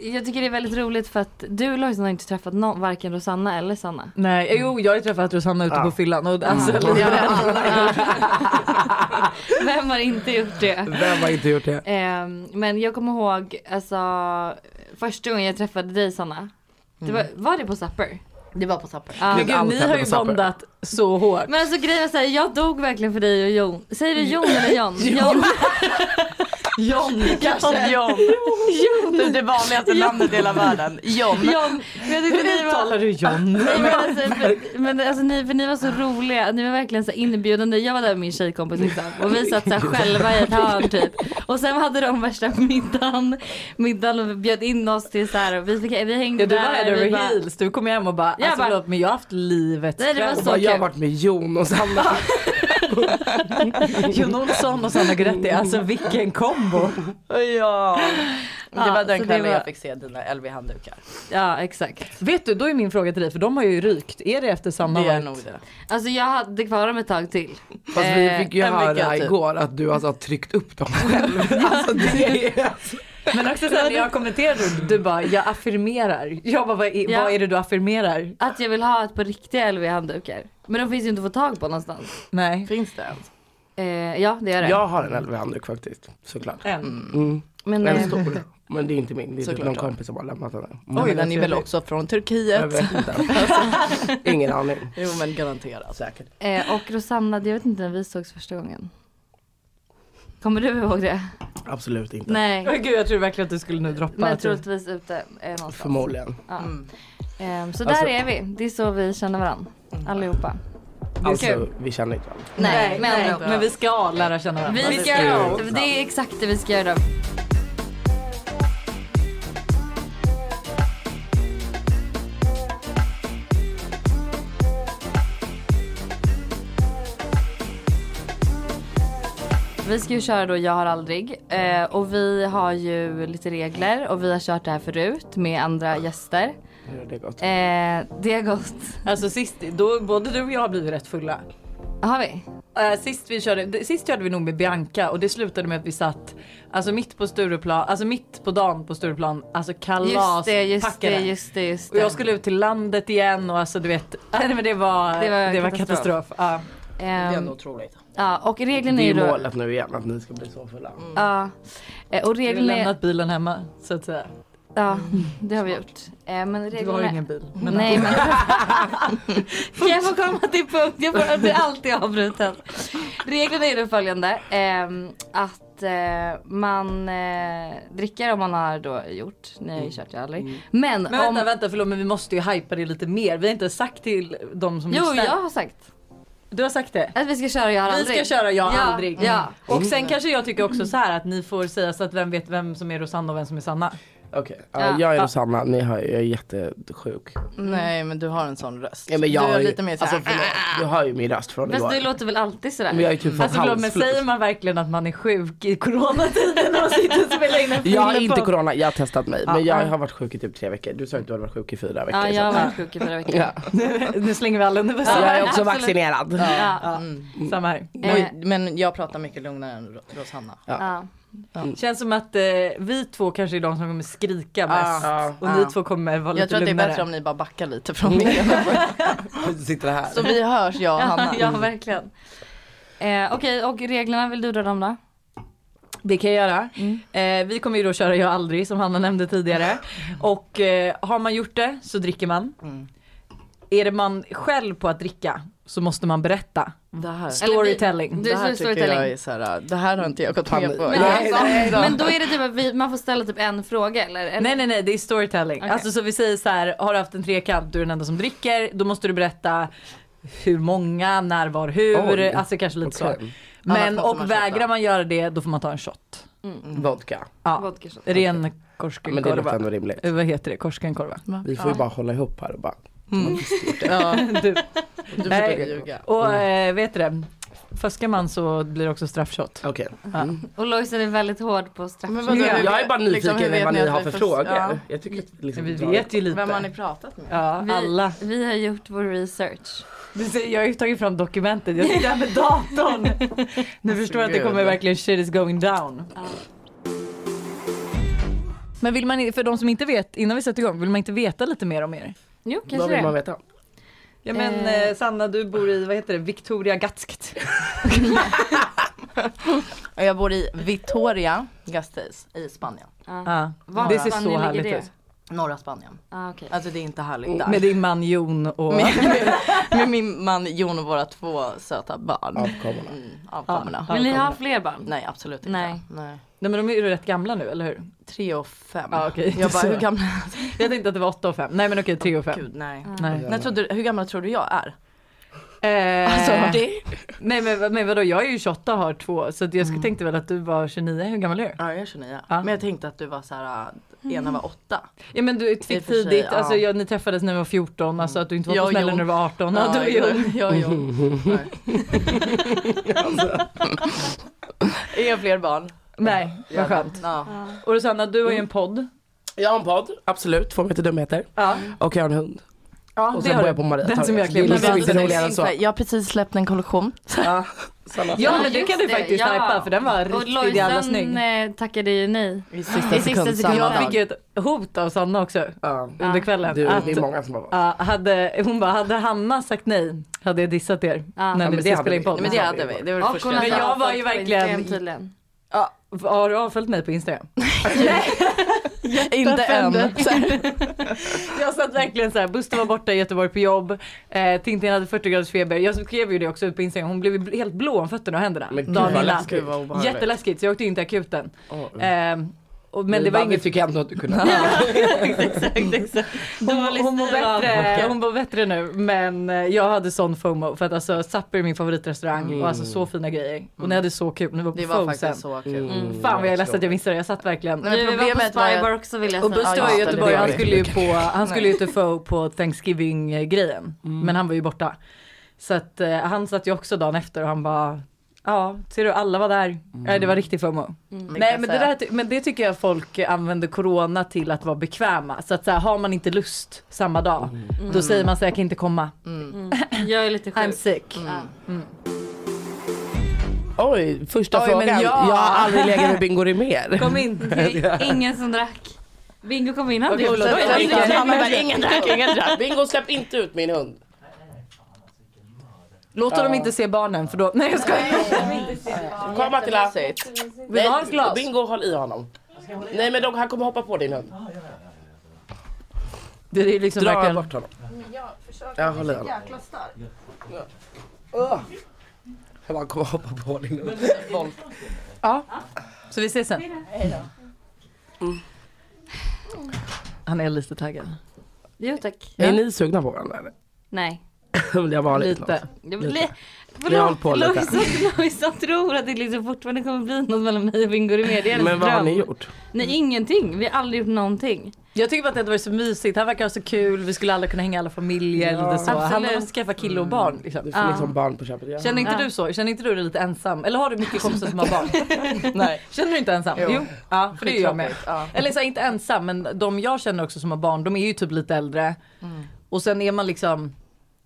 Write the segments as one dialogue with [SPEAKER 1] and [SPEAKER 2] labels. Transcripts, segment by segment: [SPEAKER 1] Jag tycker det är väldigt roligt för att du Lojsan har inte träffat någon, varken Rosanna eller Sanna.
[SPEAKER 2] Nej, jo jag har ju träffat Rosanna ute på fyllan och alltså,
[SPEAKER 1] Vem har inte gjort det?
[SPEAKER 3] Vem har inte gjort det?
[SPEAKER 1] Ehm, men jag kommer ihåg alltså första gången jag träffade dig Sanna. Det var, var det på Supper?
[SPEAKER 4] Det var på Zapper.
[SPEAKER 1] Ja.
[SPEAKER 2] Men gud,
[SPEAKER 3] Allt
[SPEAKER 2] ni
[SPEAKER 3] händer
[SPEAKER 2] har
[SPEAKER 3] på
[SPEAKER 2] ju
[SPEAKER 3] Zapper.
[SPEAKER 2] bondat så hårt.
[SPEAKER 1] Men alltså grejen är så här, jag dog verkligen för dig och Jon. Säger du Jon eller Jon? Jon.
[SPEAKER 2] John
[SPEAKER 4] kanske.
[SPEAKER 2] John.
[SPEAKER 4] Typ det vanligaste namnet i hela världen. John.
[SPEAKER 1] John. Men jag tyckte ni
[SPEAKER 2] Hur
[SPEAKER 1] var...
[SPEAKER 2] talar du John?
[SPEAKER 1] Nej, men alltså, för, men alltså ni, för ni var så roliga, ni var verkligen så inbjudande. Jag var där med min tjejkompis liksom, och vi satt så här själva i ett hörn typ. Och sen hade de värsta middagen, middagen och bjöd in oss till så här och vi, fick, vi hängde
[SPEAKER 2] Ja, du var
[SPEAKER 1] där.
[SPEAKER 2] head
[SPEAKER 1] vi
[SPEAKER 2] over
[SPEAKER 1] bara-
[SPEAKER 2] heels. Du kom hem och bara,
[SPEAKER 1] Jag
[SPEAKER 2] alltså
[SPEAKER 1] bara-
[SPEAKER 2] förlåt men jag har haft livets
[SPEAKER 1] Nej, det var
[SPEAKER 2] kväll.
[SPEAKER 3] Och
[SPEAKER 1] så
[SPEAKER 3] bara, jag har
[SPEAKER 1] kul.
[SPEAKER 3] varit med Jon och Sanna.
[SPEAKER 2] Jon Olsson och Sanna Gretti, alltså vilken kombo.
[SPEAKER 4] Ja. Det var
[SPEAKER 1] Ja, så
[SPEAKER 4] den
[SPEAKER 1] det
[SPEAKER 4] kvällen
[SPEAKER 1] var-
[SPEAKER 4] jag fick se dina LV-handdukar.
[SPEAKER 1] Ja exakt.
[SPEAKER 2] Vet du, då är min fråga till dig, för de har ju rykt. Är det efter samma
[SPEAKER 4] Det är
[SPEAKER 2] night?
[SPEAKER 4] nog det.
[SPEAKER 3] Mm.
[SPEAKER 1] Alltså jag hade kvar dem ett tag till.
[SPEAKER 3] Fast vi
[SPEAKER 1] Eh,
[SPEAKER 3] fick ju
[SPEAKER 4] en vecka
[SPEAKER 3] höra
[SPEAKER 4] typ.
[SPEAKER 3] igår att du alltså har tryckt upp dem själv. Alltså det är...
[SPEAKER 2] Men också sen när jag kommenterade, du, du bara, jag affirmerar. Jag bara, vad är,
[SPEAKER 1] Ja.
[SPEAKER 2] vad är det du affirmerar?
[SPEAKER 1] Att jag vill ha ett par riktiga LV-handdukar. Men de finns ju inte att få tag på någonstans.
[SPEAKER 2] Nej.
[SPEAKER 4] Finns det ens?
[SPEAKER 1] Eh, ja det är det.
[SPEAKER 3] Jag har en LV-handduk faktiskt, såklart.
[SPEAKER 2] En.
[SPEAKER 3] Mm.
[SPEAKER 1] Men, eh,
[SPEAKER 3] En stor. Men det är inte min, det är typ
[SPEAKER 4] Såklart
[SPEAKER 3] någon
[SPEAKER 4] då.
[SPEAKER 3] kompis som har lämnat den. där.
[SPEAKER 4] Nej,
[SPEAKER 3] Mm.
[SPEAKER 4] men den är väl också från Turkiet?
[SPEAKER 3] Jag vet inte. Ingen aning.
[SPEAKER 4] Jo men garanterat. Säkert.
[SPEAKER 1] eh, och Rosanna, jag vet inte när vi sågs första gången. Kommer du ihåg det?
[SPEAKER 3] Absolut inte.
[SPEAKER 1] Nej.
[SPEAKER 2] Men gud jag tror verkligen att du skulle nu droppa.
[SPEAKER 1] Men
[SPEAKER 2] att du-
[SPEAKER 1] troligtvis ute eh, någonstans.
[SPEAKER 3] Förmodligen.
[SPEAKER 1] Ja.
[SPEAKER 4] Mm.
[SPEAKER 1] Ehm, så
[SPEAKER 3] Alltså-
[SPEAKER 1] där är vi. Det är så vi känner varandra. Allihopa.
[SPEAKER 3] Alltså vi känner inte varandra.
[SPEAKER 1] Mm. Nej, men ändå.
[SPEAKER 2] men vi ska lära känna varandra.
[SPEAKER 1] Vi ska,
[SPEAKER 3] Kul.
[SPEAKER 1] det är exakt det vi ska göra. Vi ska ju köra då Jag har aldrig eh, och vi har ju lite regler och vi har kört det här förut med andra gäster.
[SPEAKER 3] Hur har det gått?
[SPEAKER 1] Eh, det är gott.
[SPEAKER 2] Alltså sist, då, både du och jag har blivit rätt fulla.
[SPEAKER 1] Har vi?
[SPEAKER 2] Eh, sist, vi körde, det- sist körde vi nog med Bianca och det slutade med att vi satt alltså mitt på Stureplan, alltså mitt på dagen på Stureplan, alltså
[SPEAKER 1] Just det,
[SPEAKER 2] kalaspackade.
[SPEAKER 1] just det, just det, just
[SPEAKER 2] och
[SPEAKER 1] det.
[SPEAKER 2] jag skulle ut till landet igen och alltså du vet, nej men det var, det var, katastrof. Ja.
[SPEAKER 3] Mm.
[SPEAKER 4] Det är
[SPEAKER 1] Ehm,
[SPEAKER 4] ändå otroligt.
[SPEAKER 1] ja, och reglerna är
[SPEAKER 3] Det
[SPEAKER 1] ju
[SPEAKER 3] är
[SPEAKER 1] då... Mm.
[SPEAKER 3] målet nu igen, att ni ska bli så fulla.
[SPEAKER 1] Ja. Eh, Och
[SPEAKER 2] Vi har
[SPEAKER 1] reglerna är...
[SPEAKER 2] lämnat bilen hemma så att säga.
[SPEAKER 1] Ja, det har vi gjort. Eh, Men
[SPEAKER 2] Du har ju
[SPEAKER 1] reglerna...
[SPEAKER 2] ingen bil. Men
[SPEAKER 1] Nej men... kan jag få komma till punkt? Jag, får, jag blir alltid avbruten. Reglerna är då följande. ehm, att eh, man eh, dricker om man har då gjort. Ni har ju kört jag aldrig. Men,
[SPEAKER 2] Mm. Men vänta,
[SPEAKER 1] om...
[SPEAKER 2] vänta förlåt men vi måste ju hypa det lite mer. Vi har inte sagt till de som
[SPEAKER 1] Jo
[SPEAKER 2] lyssnar.
[SPEAKER 1] jag har sagt
[SPEAKER 2] Du har sagt det.
[SPEAKER 1] att vi ska köra jag har
[SPEAKER 2] Vi
[SPEAKER 1] aldrig.
[SPEAKER 2] ska köra jag
[SPEAKER 1] Ja,
[SPEAKER 2] aldrig.
[SPEAKER 1] ja.
[SPEAKER 4] Mm.
[SPEAKER 2] Och sen kanske jag tycker också så här att ni får säga så att vem vet vem som är Rosanna och vem som är Sanna.
[SPEAKER 3] Okej,
[SPEAKER 1] Ja.
[SPEAKER 3] ja, jag är Rosanna, ni hör ju, jag är jättesjuk.
[SPEAKER 4] Nej men du har en sån röst.
[SPEAKER 3] Mm. Ja, men jag
[SPEAKER 4] du är
[SPEAKER 3] ju-
[SPEAKER 4] lite mer såhär.
[SPEAKER 3] alltså, förlåt, Du hör ju min röst från
[SPEAKER 1] Fast
[SPEAKER 3] igår.
[SPEAKER 1] du låter väl alltid sådär?
[SPEAKER 3] Men jag är typ från
[SPEAKER 2] Alltså förlåt men
[SPEAKER 3] halsfluss.
[SPEAKER 2] säger man verkligen att man är sjuk i coronatiden och sitter och spelar in en film
[SPEAKER 3] Jag har inte
[SPEAKER 2] på-
[SPEAKER 3] corona, jag har testat mig. Men jag har varit sjuk i typ tre veckor. Du sa att du hade varit sjuk i fyra veckor.
[SPEAKER 1] Ja jag har
[SPEAKER 3] så.
[SPEAKER 1] varit sjuk i fyra veckor.
[SPEAKER 3] Ja.
[SPEAKER 2] Nu slänger vi alla under bussen.
[SPEAKER 3] Så jag är också
[SPEAKER 1] absolut.
[SPEAKER 3] vaccinerad.
[SPEAKER 1] Ja.
[SPEAKER 2] Samma här.
[SPEAKER 1] Eh.
[SPEAKER 4] men, Mm. men jag pratar mycket lugnare än Ro- Rosanna.
[SPEAKER 1] Ja.
[SPEAKER 2] Känns som att eh, vi två kanske är de som kommer skrika mest.
[SPEAKER 4] Ja.
[SPEAKER 2] och
[SPEAKER 4] Ja.
[SPEAKER 2] ni två kommer vara
[SPEAKER 4] Ah. Jag
[SPEAKER 2] lite
[SPEAKER 4] tror att det är
[SPEAKER 2] lugnare.
[SPEAKER 4] bättre om ni bara backar lite från mig.
[SPEAKER 3] Du sitter här.
[SPEAKER 4] Så vi hörs jag och Hanna.
[SPEAKER 1] Ja, ja
[SPEAKER 2] Mm.
[SPEAKER 1] verkligen. Eh, Okej, och reglerna, vill du dra dem då?
[SPEAKER 2] Det kan jag göra. Eh, vi kommer ju då köra Jag aldrig som Hanna nämnde tidigare. Och eh, har man gjort det så dricker man. Är det man själv på att dricka så måste man berätta.
[SPEAKER 4] Det här,
[SPEAKER 1] Eller vi-
[SPEAKER 2] Storytelling.
[SPEAKER 1] Du,
[SPEAKER 4] det här tycker
[SPEAKER 1] storytelling.
[SPEAKER 4] jag är såhär, det här har inte jag gått med på.
[SPEAKER 1] Men,
[SPEAKER 3] Nej,
[SPEAKER 1] alltså,
[SPEAKER 3] nej,
[SPEAKER 1] men då är det typ att vi, man får ställa typ en fråga eller? En,
[SPEAKER 2] Nej nej nej det är storytelling.
[SPEAKER 1] Okej.
[SPEAKER 2] Alltså så vi säger så här, har du haft en trekant, du är den enda som dricker, då måste du berätta hur många, när, var, hur,
[SPEAKER 3] Oj.
[SPEAKER 2] alltså kanske lite så.
[SPEAKER 3] Okej.
[SPEAKER 4] Annars
[SPEAKER 2] Men
[SPEAKER 4] måste man
[SPEAKER 2] och vägrar
[SPEAKER 4] shotta.
[SPEAKER 2] man göra det då får man ta en shot.
[SPEAKER 3] Mm. Vodka.
[SPEAKER 2] Ja,
[SPEAKER 1] vodka shot.
[SPEAKER 2] ren
[SPEAKER 3] Ja, Men det låter
[SPEAKER 2] korskenkorva.
[SPEAKER 3] ändå rimligt.
[SPEAKER 2] Eh, Vad heter det? Korskenkorva.
[SPEAKER 3] Vi får ju bara hålla ihop här och bara.
[SPEAKER 4] Ja,
[SPEAKER 2] Du.
[SPEAKER 4] du försöker
[SPEAKER 2] Nej.
[SPEAKER 4] ljuga.
[SPEAKER 2] Och eh, vet du det? Fuskar man så blir det också straffshot.
[SPEAKER 3] Okej.
[SPEAKER 1] Och Lojsan är väldigt hård på straff.
[SPEAKER 4] Men vadå,
[SPEAKER 2] Ja.
[SPEAKER 4] hur-
[SPEAKER 3] Jag är bara nyfiken
[SPEAKER 4] liksom, hur
[SPEAKER 3] liksom,
[SPEAKER 4] vet
[SPEAKER 3] vad ni
[SPEAKER 4] att
[SPEAKER 3] har
[SPEAKER 4] vi
[SPEAKER 3] för
[SPEAKER 4] får-
[SPEAKER 3] frågor.
[SPEAKER 4] ja.
[SPEAKER 3] Jag tycker att liksom,
[SPEAKER 2] Vi
[SPEAKER 3] dra-
[SPEAKER 2] vet ju lite.
[SPEAKER 4] Vem har ni pratat med?
[SPEAKER 2] Ja,
[SPEAKER 1] Vi-
[SPEAKER 2] alla.
[SPEAKER 1] Vi har gjort vår research.
[SPEAKER 2] Du ser, jag har ju tagit fram dokumentet. Jag sitter här med datorn. Ni förstår att det kommer verkligen shit is going down. Men vill man, för de som inte vet, innan vi sätter igång, vill man inte veta lite mer om er?
[SPEAKER 1] Jo,
[SPEAKER 3] Vad
[SPEAKER 1] kanske
[SPEAKER 3] vill man
[SPEAKER 1] det.
[SPEAKER 3] veta?
[SPEAKER 2] Ja
[SPEAKER 1] men,
[SPEAKER 2] men
[SPEAKER 1] eh,
[SPEAKER 2] Sanna du bor i, vad heter det, Victoria Gatskt.
[SPEAKER 4] Och jag bor i Vitoria, Gasteiz i Spanien.
[SPEAKER 1] Ja.
[SPEAKER 2] Ja.
[SPEAKER 1] Var
[SPEAKER 2] Det
[SPEAKER 1] i
[SPEAKER 2] ser
[SPEAKER 1] Spanien
[SPEAKER 2] så
[SPEAKER 1] ligger
[SPEAKER 2] härligt
[SPEAKER 1] det?
[SPEAKER 2] ut.
[SPEAKER 4] Norra Spanien.
[SPEAKER 1] Ah, okej.
[SPEAKER 4] Alltså det är inte
[SPEAKER 3] Mm,
[SPEAKER 4] härligt där.
[SPEAKER 2] Med din man Jon och...
[SPEAKER 4] Med min man Jon och våra två söta barn.
[SPEAKER 3] Avkommorna.
[SPEAKER 4] Mm, avkommorna.
[SPEAKER 2] Ja.
[SPEAKER 1] Vill ni ha fler barn?
[SPEAKER 4] Nej absolut inte.
[SPEAKER 1] Nej.
[SPEAKER 4] Nej.
[SPEAKER 2] Nej men de är ju rätt gamla nu eller hur?
[SPEAKER 4] Tre och fem.
[SPEAKER 2] Ja, okej.
[SPEAKER 4] Jag bara,
[SPEAKER 2] Så.
[SPEAKER 4] hur gamla?
[SPEAKER 2] Jag tänkte att det var 8 och 5. Nej men okej 3 och 5.
[SPEAKER 4] Gud nej.
[SPEAKER 2] Nej.
[SPEAKER 4] Nej, tror du, hur gammal tror du jag är?
[SPEAKER 2] Eh,
[SPEAKER 4] Alltså det?
[SPEAKER 2] Nej men, men vadå jag är ju 28 och har två så att jag skulle tänkte väl att du var 29, hur gammal är du?
[SPEAKER 4] Ja jag är 29.
[SPEAKER 2] Ja.
[SPEAKER 4] Men jag tänkte att du var så här, äh, ena
[SPEAKER 1] Mm.
[SPEAKER 4] var åtta.
[SPEAKER 2] Ja men du
[SPEAKER 4] I och
[SPEAKER 2] fick
[SPEAKER 4] för sig,
[SPEAKER 2] tidigt,
[SPEAKER 4] ja.
[SPEAKER 2] alltså jag, ni träffades när du var 14, alltså att du inte var
[SPEAKER 4] Jag
[SPEAKER 2] på
[SPEAKER 4] och
[SPEAKER 2] smällen
[SPEAKER 4] Jon.
[SPEAKER 2] när du var 18. Ja, du är
[SPEAKER 4] jag-
[SPEAKER 2] Jon.
[SPEAKER 4] jag Alltså. och Jon. Nej. Inga fler barn.
[SPEAKER 2] Nej, vad skönt.
[SPEAKER 4] Ja.
[SPEAKER 2] Och Rosanna, du har ju en podd.
[SPEAKER 3] Jag har en podd, absolut. Två meter dumheter.
[SPEAKER 2] Ja,
[SPEAKER 3] Och jag har en hund.
[SPEAKER 2] ja
[SPEAKER 3] Och
[SPEAKER 2] det har
[SPEAKER 3] sen bor
[SPEAKER 2] du.
[SPEAKER 3] jag på Maria
[SPEAKER 2] Den som jag
[SPEAKER 3] Det är
[SPEAKER 2] klippte.
[SPEAKER 3] liksom inte roligare än så.
[SPEAKER 4] Jag har precis släppt en kollektion.
[SPEAKER 3] Ja, samma sak.
[SPEAKER 2] Ja men det
[SPEAKER 1] Just
[SPEAKER 2] kan du
[SPEAKER 1] det,
[SPEAKER 2] faktiskt
[SPEAKER 1] ja.
[SPEAKER 2] hypa för den var
[SPEAKER 1] Och
[SPEAKER 2] riktigt jävla snygg.
[SPEAKER 1] Lojsan eh, tackade ju nej.
[SPEAKER 4] I sista
[SPEAKER 1] I sista sekund,
[SPEAKER 4] samma
[SPEAKER 2] Jag
[SPEAKER 4] dag.
[SPEAKER 2] fick ju ett hot av Sanna också
[SPEAKER 3] Ja.
[SPEAKER 2] under kvällen.
[SPEAKER 3] Du,
[SPEAKER 2] att,
[SPEAKER 3] det är många som har varit.
[SPEAKER 2] ja, hade, hon bara, hade Hanna sagt nej hade jag dissat
[SPEAKER 1] Ja.
[SPEAKER 2] er när
[SPEAKER 1] Ja,
[SPEAKER 2] ni
[SPEAKER 3] men
[SPEAKER 2] skulle
[SPEAKER 3] det hade
[SPEAKER 2] spela in
[SPEAKER 3] vi.
[SPEAKER 2] podd.
[SPEAKER 4] Nej, men det hade vi. Det var det
[SPEAKER 1] Och
[SPEAKER 4] första
[SPEAKER 1] hon
[SPEAKER 4] jag
[SPEAKER 1] hade
[SPEAKER 4] sa.
[SPEAKER 2] jag var ju
[SPEAKER 1] avföljt på
[SPEAKER 2] verkligen-
[SPEAKER 1] Instagram tydligen.
[SPEAKER 2] Ja, har du avföljt mig på Instagram?
[SPEAKER 4] Inte än.
[SPEAKER 2] offended. Jag satt verkligen så här, Buster var borta i Göteborg på jobb, eh, Tintin hade 40 graders feber. Jag skrev ju det också ut på Instagram, hon blev ju bl- helt blå om fötterna och händerna.
[SPEAKER 3] Men gud
[SPEAKER 2] dagen
[SPEAKER 3] vad
[SPEAKER 2] innan.
[SPEAKER 3] läskigt. Vad Mm. obehagligt.
[SPEAKER 2] Jätteläskigt, så jag åkte in till akuten.
[SPEAKER 3] Ja.
[SPEAKER 2] Eh, och, men
[SPEAKER 3] Men
[SPEAKER 2] det var inget
[SPEAKER 3] tycker ändå att du kunde.
[SPEAKER 2] Hon, hon, mår bättre, hon mår bättre nu men eh, jag hade sån FOMO för att alltså Zapper är min favoritrestaurang
[SPEAKER 3] Mm.
[SPEAKER 2] och alltså så fina grejer. Och ni hade så kul, ni var på
[SPEAKER 4] Det var
[SPEAKER 2] Fosen.
[SPEAKER 4] faktiskt så
[SPEAKER 3] Mm.
[SPEAKER 4] kul.
[SPEAKER 2] Fan vad jag är ledsen att jag missade det, jag satt verkligen.
[SPEAKER 4] Nej, men
[SPEAKER 1] Du, vi var på
[SPEAKER 4] problemet var-
[SPEAKER 1] Spybar också vill jag
[SPEAKER 4] Och
[SPEAKER 1] säga.
[SPEAKER 4] Buster
[SPEAKER 2] Det
[SPEAKER 4] Alltså, Ja,
[SPEAKER 2] var i
[SPEAKER 4] just det,
[SPEAKER 2] Göteborg,
[SPEAKER 4] det var
[SPEAKER 2] han
[SPEAKER 4] det.
[SPEAKER 2] skulle ju på, han skulle ju UTFO på Thanksgiving-grejen.
[SPEAKER 4] Mm.
[SPEAKER 2] Men han var ju borta. Så att eh, han satt ju också dagen efter och han bara Ja, ser du alla var
[SPEAKER 4] Mm.
[SPEAKER 2] där. Nej, det var riktigt FOMO. Nej men det, där, ty- men det tycker jag folk använder corona till att vara bekväma. Så att så här, har man inte lust samma dag,
[SPEAKER 4] Mm.
[SPEAKER 2] då säger man så här, jag kan inte komma.
[SPEAKER 1] Jag är lite
[SPEAKER 4] Mm.
[SPEAKER 2] I'm
[SPEAKER 1] sjuk.
[SPEAKER 2] sick.
[SPEAKER 3] Oj, första
[SPEAKER 4] Oj, men
[SPEAKER 3] frågan.
[SPEAKER 4] ja.
[SPEAKER 3] Jag har aldrig legat med Bingo mer.
[SPEAKER 2] Kom in.
[SPEAKER 1] Det är Ingen som drack. Bingo kom in, han
[SPEAKER 2] Okej,
[SPEAKER 1] blev
[SPEAKER 2] förlåt.
[SPEAKER 1] så-
[SPEAKER 2] Oj, oj, oj.
[SPEAKER 3] Ingen drack, ingen drack. Bingo släpp inte ut min hund.
[SPEAKER 2] Låter dem inte se barnen för då, nej jag skojar.
[SPEAKER 3] Kom Matilda.
[SPEAKER 2] Vill du ha ett glas?
[SPEAKER 3] Bingo håll i honom. Nej men de, han kommer hoppa på din hund.
[SPEAKER 2] Det är ju liksom
[SPEAKER 3] Dra
[SPEAKER 2] verkligen.
[SPEAKER 3] bort honom. Jag håller i honom. Åh. Han kommer hoppa på din hund.
[SPEAKER 2] Ja. Så vi ses sen. Mm. Han är lite taggad.
[SPEAKER 1] Jo tack.
[SPEAKER 3] Är ni sugna på varandra eller?
[SPEAKER 1] Nej.
[SPEAKER 3] Om det har varit något.
[SPEAKER 2] Lite.
[SPEAKER 1] Det
[SPEAKER 3] Lite.
[SPEAKER 1] blir...
[SPEAKER 3] Vi har hållit på
[SPEAKER 1] Förlåt,
[SPEAKER 3] lite.
[SPEAKER 1] Lojsan, Lojsan tror att det liksom fortfarande kommer bli något mellan mig och Bingo Rimér. Det är hennes
[SPEAKER 3] Men vad har
[SPEAKER 1] dröm.
[SPEAKER 3] ni gjort?
[SPEAKER 1] Nej ingenting, vi har aldrig gjort någonting.
[SPEAKER 2] Jag tycker bara att det hade varit så mysigt. Han verkar ha så kul. Vi skulle alla kunna hänga i alla familjer.
[SPEAKER 3] Ja.
[SPEAKER 2] lite så. Han
[SPEAKER 1] Absolut.
[SPEAKER 2] har skaffa kille och barn. Liksom.
[SPEAKER 3] Du får
[SPEAKER 1] Ja.
[SPEAKER 3] liksom barn på köpet. Ja.
[SPEAKER 2] Känner inte
[SPEAKER 1] Ja.
[SPEAKER 2] du så? Känner inte du dig lite ensam? Eller har du mycket kompisar som har barn?
[SPEAKER 4] Nej.
[SPEAKER 2] Känner du inte ensam?
[SPEAKER 4] Jo.
[SPEAKER 2] Ja, för det gör jag med.
[SPEAKER 4] Skitjobbigt, ja.
[SPEAKER 2] Eller så här, inte ensam, men de jag känner också som har barn, de är ju typ lite äldre.
[SPEAKER 1] Mm.
[SPEAKER 2] Och sen är man liksom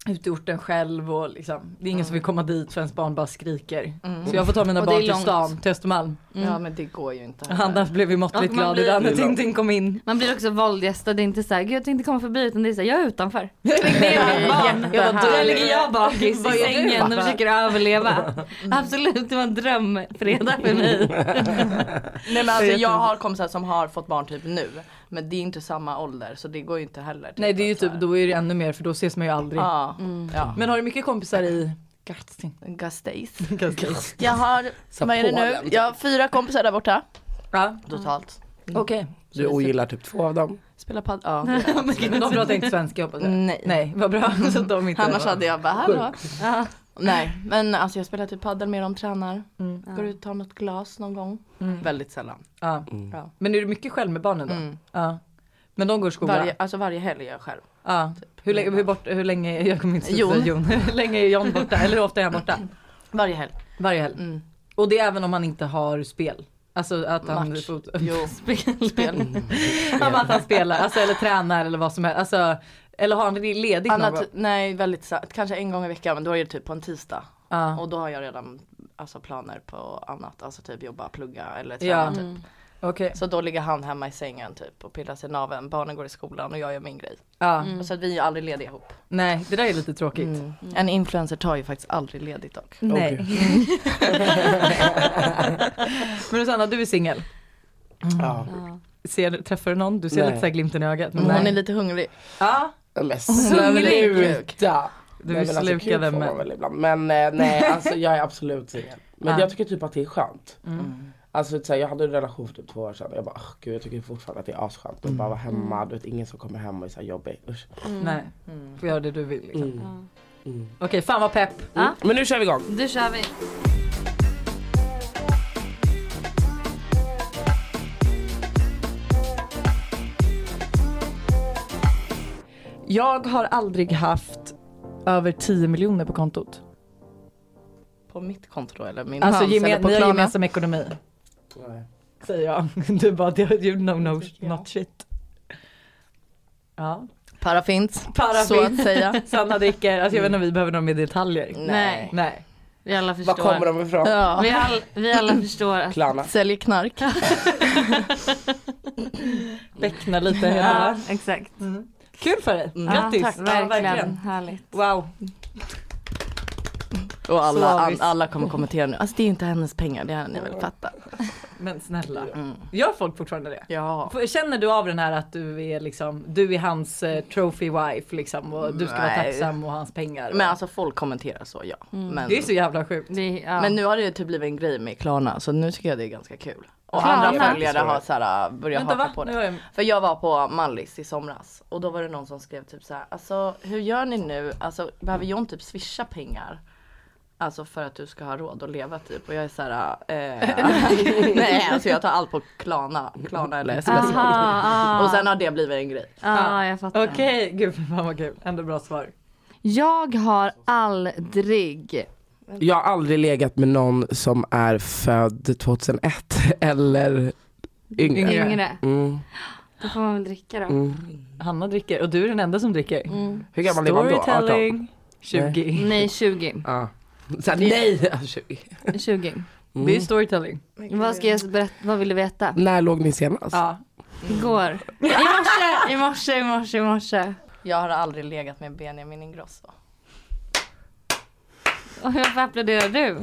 [SPEAKER 2] ute i orten själv och liksom, det är ingen som vill komma dit för ens barn bara skriker. Så jag får ta mina
[SPEAKER 1] Mm. Och det är
[SPEAKER 2] barn till
[SPEAKER 1] långt.
[SPEAKER 2] stan, till Östermalm.
[SPEAKER 4] Ja men det går ju inte.
[SPEAKER 2] Hanna blev ju måttligt
[SPEAKER 1] Och man
[SPEAKER 2] glad
[SPEAKER 1] blir-
[SPEAKER 2] idag när
[SPEAKER 3] Det är långt.
[SPEAKER 2] Tintin kom in.
[SPEAKER 1] Man blir också våldgästad, det är inte såhär, gud jag tänkte komma förbi utan det är såhär, jag är utanför. Det är mitt barn.
[SPEAKER 4] Jag var
[SPEAKER 1] Där
[SPEAKER 4] dålig.
[SPEAKER 1] ligger jag bakis i
[SPEAKER 2] Vad gör du,
[SPEAKER 1] sängen och
[SPEAKER 2] pappa?
[SPEAKER 1] försöker överleva. Absolut, det var en drömfredag för mig.
[SPEAKER 4] Nej men alltså jag har kompisar som har fått barn typ nu. Men det är inte samma ålder så det går ju inte heller. typ
[SPEAKER 2] Nej det är ju
[SPEAKER 4] att så
[SPEAKER 2] typ,
[SPEAKER 4] här-
[SPEAKER 2] då är det ännu mer för då ses man ju aldrig.
[SPEAKER 4] Ja. ja.
[SPEAKER 2] Men har du mycket kompisar i Gatsting?
[SPEAKER 4] Gasteiz. Jag har,
[SPEAKER 3] Så
[SPEAKER 4] vad är det nu?
[SPEAKER 3] Polen.
[SPEAKER 4] Jag har fyra kompisar där borta.
[SPEAKER 2] Ja,
[SPEAKER 4] Totalt.
[SPEAKER 2] Mm. okej.
[SPEAKER 3] Du ogillar typ två av dem.
[SPEAKER 4] Spelar padel. Ja.
[SPEAKER 2] Men de pratar inte svenska hoppas jag.
[SPEAKER 4] Nej.
[SPEAKER 2] Nej, vad bra. Så att de inte
[SPEAKER 4] Annars hade jag bara hallå. Ja. Nej men alltså jag spelar typ padel med dem, tränar.
[SPEAKER 2] Mm.
[SPEAKER 4] Går ut och tar något glas någon gång. Väldigt sällan.
[SPEAKER 2] Ja.
[SPEAKER 4] Ja.
[SPEAKER 2] Men är du mycket själv med barnen då?
[SPEAKER 4] Mm.
[SPEAKER 2] Ja. Men de går i skolan?
[SPEAKER 4] Varje, alltså varje helg är jag själv.
[SPEAKER 2] Ja. Hur, länge, hur, bort, hur länge, jag kommer inte
[SPEAKER 4] Jon.
[SPEAKER 2] Typ. Jon. Jon. Hur länge är John borta? Eller hur ofta är han borta?
[SPEAKER 4] Varje helg.
[SPEAKER 2] Varje helg.
[SPEAKER 4] Mm.
[SPEAKER 2] Och det är även om han inte har spel? Alltså att han,
[SPEAKER 4] Match.
[SPEAKER 2] fot-
[SPEAKER 4] Jo. Spel.
[SPEAKER 2] Ja, men att han spelar, alltså, eller tränar eller vad som helst. Alltså, eller har han ledigt någon gång?
[SPEAKER 4] Annat, nej väldigt sa- kanske en gång i veckan men då är det typ på en tisdag.
[SPEAKER 2] Ja.
[SPEAKER 4] Och då har jag redan alltså, planer på annat, alltså typ jobba, plugga eller träna
[SPEAKER 2] Ja.
[SPEAKER 4] typ.
[SPEAKER 2] Okej.
[SPEAKER 4] Så då ligger han hemma i sängen typ och pillar sig i naveln. Barnen går i skolan och jag gör min grej.
[SPEAKER 2] Ja.
[SPEAKER 4] Och Så att vi är ju aldrig lediga ihop. Mm.
[SPEAKER 2] Nej, det där är lite tråkigt.
[SPEAKER 4] En influencer tar ju faktiskt aldrig ledigt dock.
[SPEAKER 2] Nej.
[SPEAKER 3] Okej.
[SPEAKER 2] Men Rosanna, du är singel.
[SPEAKER 3] Ja.
[SPEAKER 2] Ser- Träffar du någon? Du ser
[SPEAKER 3] Nej.
[SPEAKER 2] lite så här glimten i ögat. men
[SPEAKER 4] Men Mm. Hon
[SPEAKER 2] nej.
[SPEAKER 4] är lite hungrig.
[SPEAKER 2] Ja,
[SPEAKER 3] Men
[SPEAKER 2] Mm.
[SPEAKER 1] Hungrig
[SPEAKER 4] kuk.
[SPEAKER 3] sluta!
[SPEAKER 2] Du
[SPEAKER 3] Nej, men alltså,
[SPEAKER 2] slukade
[SPEAKER 3] kul får
[SPEAKER 2] med-
[SPEAKER 3] man väl ibland. Men eh, nej, alltså jag är absolut singel. Men
[SPEAKER 2] Ah.
[SPEAKER 3] jag tycker typ att det är skönt. Alltså så här, jag hade en relation för typ två år sedan och jag bara, "Åh, gud jag tycker fortfarande att det är asskönt att bara vara hemma. Du vet ingen som kommer hem och är så här jobbig. Usch.
[SPEAKER 1] Mm.
[SPEAKER 2] nej. Får göra det du vill. Liksom.
[SPEAKER 3] Mm.
[SPEAKER 2] Okej, fan vad pepp.
[SPEAKER 1] Ja.
[SPEAKER 3] Men nu kör vi igång!
[SPEAKER 1] Nu kör vi.
[SPEAKER 2] Jag har aldrig haft över 10 miljoner på kontot.
[SPEAKER 4] På mitt konto då eller min
[SPEAKER 2] Alltså
[SPEAKER 4] hans
[SPEAKER 2] geme-
[SPEAKER 4] eller på
[SPEAKER 2] ni har
[SPEAKER 4] Klarna.
[SPEAKER 2] gemensam ekonomi.
[SPEAKER 3] Nej.
[SPEAKER 2] Säger jag. Du bara, det you know, no, not shit. Ja.
[SPEAKER 4] Paraffins.
[SPEAKER 2] Paraffin.
[SPEAKER 4] Så att säga.
[SPEAKER 2] Sanna dricker, alltså jag vet inte om vi behöver några mer detaljer.
[SPEAKER 1] Nej.
[SPEAKER 2] Nej.
[SPEAKER 1] Vi alla
[SPEAKER 3] Var
[SPEAKER 1] förstår.
[SPEAKER 3] kommer de ifrån?
[SPEAKER 4] Ja.
[SPEAKER 1] vi, all, vi alla förstår att
[SPEAKER 3] Klarna.
[SPEAKER 4] Säljer knark.
[SPEAKER 2] Bäckna lite.
[SPEAKER 1] Ja, exakt.
[SPEAKER 2] Kul för dig.
[SPEAKER 1] Ja,
[SPEAKER 2] Grattis.
[SPEAKER 1] tack.
[SPEAKER 2] Ja,
[SPEAKER 1] verkligen. Härligt.
[SPEAKER 2] Wow.
[SPEAKER 4] Och alla,
[SPEAKER 2] Så
[SPEAKER 4] an,
[SPEAKER 2] visst.
[SPEAKER 4] alla kommer kommentera nu. Alltså det är inte hennes pengar, det har ni väl fattat.
[SPEAKER 2] Men snälla.
[SPEAKER 4] Mm.
[SPEAKER 2] Gör folk fortfarande det?
[SPEAKER 4] Ja.
[SPEAKER 2] F- Känner du av den här att du är liksom, du är hans eh, trophy wife liksom och du ska vara
[SPEAKER 4] Nej.
[SPEAKER 2] tacksam och hans pengar? Och...
[SPEAKER 4] Men alltså folk kommenterar så ja. Men,
[SPEAKER 2] Mm. det är så jävla sjukt.
[SPEAKER 1] Det, ja.
[SPEAKER 4] men nu har det ju typ blivit en grej med Klarna så nu tycker jag det är ganska kul. Och
[SPEAKER 1] Klarna?
[SPEAKER 4] andra följare har så här, äh, börjat
[SPEAKER 2] Vänta
[SPEAKER 4] haka
[SPEAKER 2] va?
[SPEAKER 4] på
[SPEAKER 2] Nu
[SPEAKER 4] det.
[SPEAKER 2] har jag...
[SPEAKER 4] För jag var på Mallis i somras och då var det någon som skrev typ så här, alltså hur gör ni nu? Alltså behöver John typ swisha pengar? Alltså för att du ska ha råd att leva typ och jag är så här, eh, nej alltså jag tar allt på Klarna, Klarna eller sms
[SPEAKER 1] Aha, ah,
[SPEAKER 4] Och sen har det blivit en grej.
[SPEAKER 1] ah, jag fattar.
[SPEAKER 2] Okej, gud fan vad kul. Ändå bra svar.
[SPEAKER 1] Jag har aldrig
[SPEAKER 3] Jag har aldrig legat med någon som är född 2001 eller yngre.
[SPEAKER 2] Yngre.
[SPEAKER 1] yngre.
[SPEAKER 3] Mm,
[SPEAKER 1] Då får man väl dricka då.
[SPEAKER 3] mm.
[SPEAKER 2] Hanna dricker och du är den enda som dricker.
[SPEAKER 4] Mm.
[SPEAKER 3] Hur gammal är man då? 18?
[SPEAKER 2] Storytelling. 20.
[SPEAKER 1] Nej 20.
[SPEAKER 3] Ja. Så här, nej! Alltså, 20.
[SPEAKER 1] 20.
[SPEAKER 2] Det är storytelling.
[SPEAKER 1] Vad ska jag berätta, vad vill du veta?
[SPEAKER 3] När låg ni senast?
[SPEAKER 2] Ja.
[SPEAKER 1] Igår. I morse, i morse, i morse, i morse.
[SPEAKER 4] Jag har aldrig legat med Benjamin Ingrosso.
[SPEAKER 1] Och varför applåderar du?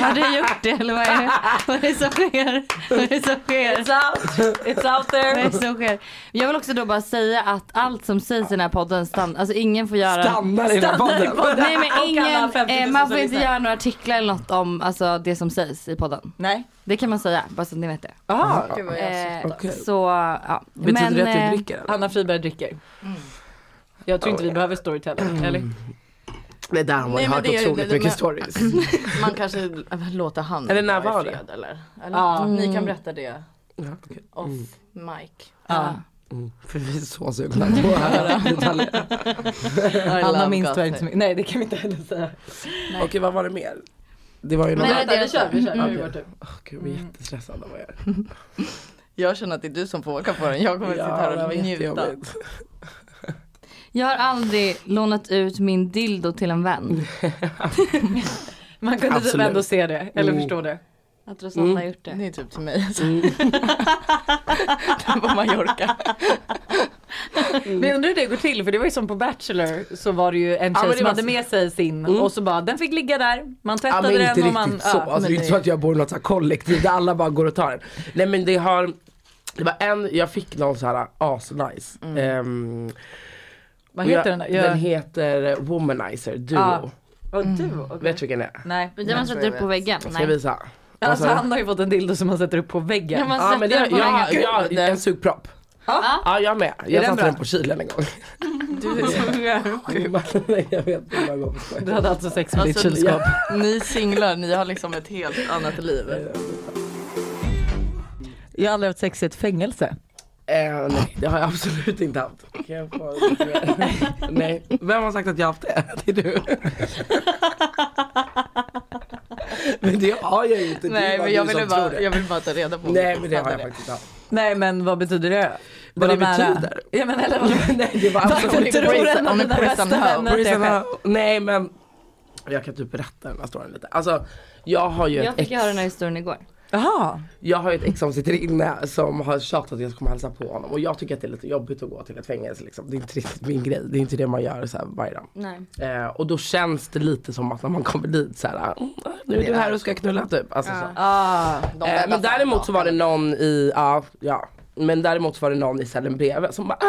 [SPEAKER 1] Har du gjort det eller vad är det, vad är det som sker? Vad är det som sker?
[SPEAKER 2] It's out, it's out
[SPEAKER 1] Vad är
[SPEAKER 2] there.
[SPEAKER 1] det som sker? Jag vill också då bara säga att allt som sägs i den här podden stannar, alltså ingen får göra
[SPEAKER 3] Stannar i den här podden.
[SPEAKER 1] Nej men
[SPEAKER 2] Och alla
[SPEAKER 1] ingen,
[SPEAKER 2] 50 000
[SPEAKER 1] eh, man får
[SPEAKER 2] som
[SPEAKER 1] inte
[SPEAKER 2] lyssnar.
[SPEAKER 1] göra några artiklar eller något om alltså, det som sägs i podden.
[SPEAKER 2] Nej.
[SPEAKER 1] Det kan man säga, bara så att ni vet det.
[SPEAKER 2] Aha.
[SPEAKER 4] Gud vad
[SPEAKER 1] Eh,
[SPEAKER 3] Okej.
[SPEAKER 1] Så, ja.
[SPEAKER 3] Betyder det att
[SPEAKER 1] eh,
[SPEAKER 3] du dricker? eller?
[SPEAKER 2] Hanna Friberg dricker.
[SPEAKER 4] Mm.
[SPEAKER 2] Jag tror inte vi behöver storytelling, eller?
[SPEAKER 3] Det där har man
[SPEAKER 4] Nej,
[SPEAKER 3] ju
[SPEAKER 4] men
[SPEAKER 3] hört
[SPEAKER 4] det är-
[SPEAKER 3] otroligt
[SPEAKER 4] det-
[SPEAKER 3] mycket
[SPEAKER 4] men-
[SPEAKER 3] stories.
[SPEAKER 4] Man kanske äh, låter han
[SPEAKER 3] Eller när
[SPEAKER 4] vara i
[SPEAKER 3] var det?
[SPEAKER 4] fred, Eller? eller?
[SPEAKER 2] Ja.
[SPEAKER 4] Ni kan berätta det
[SPEAKER 3] Ja, okej.
[SPEAKER 4] off mic.
[SPEAKER 1] eh,
[SPEAKER 2] Ja.
[SPEAKER 3] Mm, För vi är så sugna på att höra detaljer.
[SPEAKER 2] Hanna
[SPEAKER 4] love
[SPEAKER 2] minns tyvärr inte så
[SPEAKER 4] gossip.
[SPEAKER 2] mycket. Nej det kan vi inte heller säga.
[SPEAKER 3] Okej vad var det mer? Det var ju någon...
[SPEAKER 1] Men-
[SPEAKER 2] Vänta, vi kör, vi kör.
[SPEAKER 3] Mm.
[SPEAKER 2] Nu är det vår tur.
[SPEAKER 3] Åh, Gud, jag är jättestressad av vad jag gör.
[SPEAKER 4] Jag känner att det är du som får åka på den. Jag kommer sitta
[SPEAKER 3] Ja, det
[SPEAKER 4] här
[SPEAKER 3] var
[SPEAKER 4] och njuta.
[SPEAKER 3] jättejobbigt.
[SPEAKER 1] Jag har aldrig lånat ut min dildo till en vän.
[SPEAKER 2] Man kunde typ
[SPEAKER 3] Absolut.
[SPEAKER 2] ändå se det, eller
[SPEAKER 3] Mm.
[SPEAKER 2] förstå det.
[SPEAKER 1] Att Rosanna har gjort det.
[SPEAKER 4] Det är typ till mig. på Mallorca.
[SPEAKER 2] Men jag undrar hur det går till för det var ju som på Bachelor så var Mm. det ju en
[SPEAKER 3] Ja,
[SPEAKER 2] tjej
[SPEAKER 3] men det
[SPEAKER 2] som
[SPEAKER 3] var
[SPEAKER 2] hade
[SPEAKER 3] så-
[SPEAKER 2] med sig sin och så bara den fick ligga där, man
[SPEAKER 3] Ja men
[SPEAKER 2] tvättade
[SPEAKER 3] inte
[SPEAKER 2] den och
[SPEAKER 3] riktigt
[SPEAKER 2] man...
[SPEAKER 3] så.
[SPEAKER 2] ja.
[SPEAKER 3] alltså, det är inte så att jag bor i något så här kollektiv där alla bara går och tar den. Nej men det har, det var en, jag fick någon så här asnice. Ehm,
[SPEAKER 2] Vad
[SPEAKER 3] och
[SPEAKER 2] heter
[SPEAKER 3] jag,
[SPEAKER 2] den? Jag...
[SPEAKER 3] Den heter Womanizer Duo.
[SPEAKER 2] Ja. Och du? okej.
[SPEAKER 3] Vet du vilken det är?
[SPEAKER 2] Nej.
[SPEAKER 1] Men den man sätter upp på väggen?
[SPEAKER 3] Ska jag
[SPEAKER 1] Nej.
[SPEAKER 3] visa? Vad
[SPEAKER 2] Alltså
[SPEAKER 3] sa du?
[SPEAKER 2] han har ju fått en dildo som han sätter upp på väggen.
[SPEAKER 1] Ja, man
[SPEAKER 3] Ja men det,
[SPEAKER 1] sätter
[SPEAKER 3] jag,
[SPEAKER 1] den på väggen.
[SPEAKER 3] jag, jag, en sugpropp.
[SPEAKER 1] Ja.
[SPEAKER 3] Ja jag med. Jag
[SPEAKER 2] den
[SPEAKER 3] satte
[SPEAKER 2] bra?
[SPEAKER 3] den på kylen en gång. jag vet inte vad jag går på skoj.
[SPEAKER 2] Du hade alltså sex med ditt
[SPEAKER 4] Alltså,
[SPEAKER 2] kylskåp.
[SPEAKER 4] Ni singlar, ni har liksom ett helt annat liv.
[SPEAKER 2] Jag har aldrig haft sex i ett fängelse.
[SPEAKER 3] Eh, nej det har jag absolut inte haft. Kan jag få lite mer? nej. Vem har sagt att jag har haft det? Det är du. men det har jag ju inte. Det är
[SPEAKER 4] Nej
[SPEAKER 3] bara
[SPEAKER 4] men
[SPEAKER 3] du
[SPEAKER 4] jag
[SPEAKER 3] som
[SPEAKER 4] ville
[SPEAKER 3] tror
[SPEAKER 4] bara,
[SPEAKER 3] det.
[SPEAKER 4] jag ville bara ta reda på. om
[SPEAKER 3] Nej
[SPEAKER 4] ni
[SPEAKER 3] men det har jag
[SPEAKER 4] fattade
[SPEAKER 3] faktiskt inte haft.
[SPEAKER 2] Nej men vad betyder det?
[SPEAKER 3] Vad det
[SPEAKER 2] Vara nära?
[SPEAKER 3] betyder?
[SPEAKER 2] Ja men eller vad
[SPEAKER 3] nej det var alltså-
[SPEAKER 2] Varför
[SPEAKER 3] absolut
[SPEAKER 4] Om ni
[SPEAKER 2] tror
[SPEAKER 4] pratar-
[SPEAKER 2] den att
[SPEAKER 4] om ni
[SPEAKER 2] dina
[SPEAKER 4] pratar
[SPEAKER 2] bästa
[SPEAKER 4] om det här,
[SPEAKER 2] vänner inte är själv?
[SPEAKER 3] Nej men jag kan typ berätta den här storyn lite. Alltså jag har ju
[SPEAKER 1] Jag
[SPEAKER 3] ett
[SPEAKER 1] fick
[SPEAKER 3] ex.
[SPEAKER 1] höra den här historien igår.
[SPEAKER 2] Jaha.
[SPEAKER 3] Jag har ju ett ex som sitter inne som har tjatat att jag ska komma och hälsa på honom och jag tycker att det är lite jobbigt att gå till ett fängelse liksom. Det är inte riktigt min grej. Det är inte det man gör så här varje dag.
[SPEAKER 1] Nej.
[SPEAKER 3] Eh, och då känns det lite som att när man kommer dit så här, "Mm, nu är du här och ska knulla typ. Alltså, så.
[SPEAKER 2] Ah.
[SPEAKER 3] Eh, men däremot så var det någon i, ja, ja. Men däremot så var det någon i cellen bredvid som bara, ah,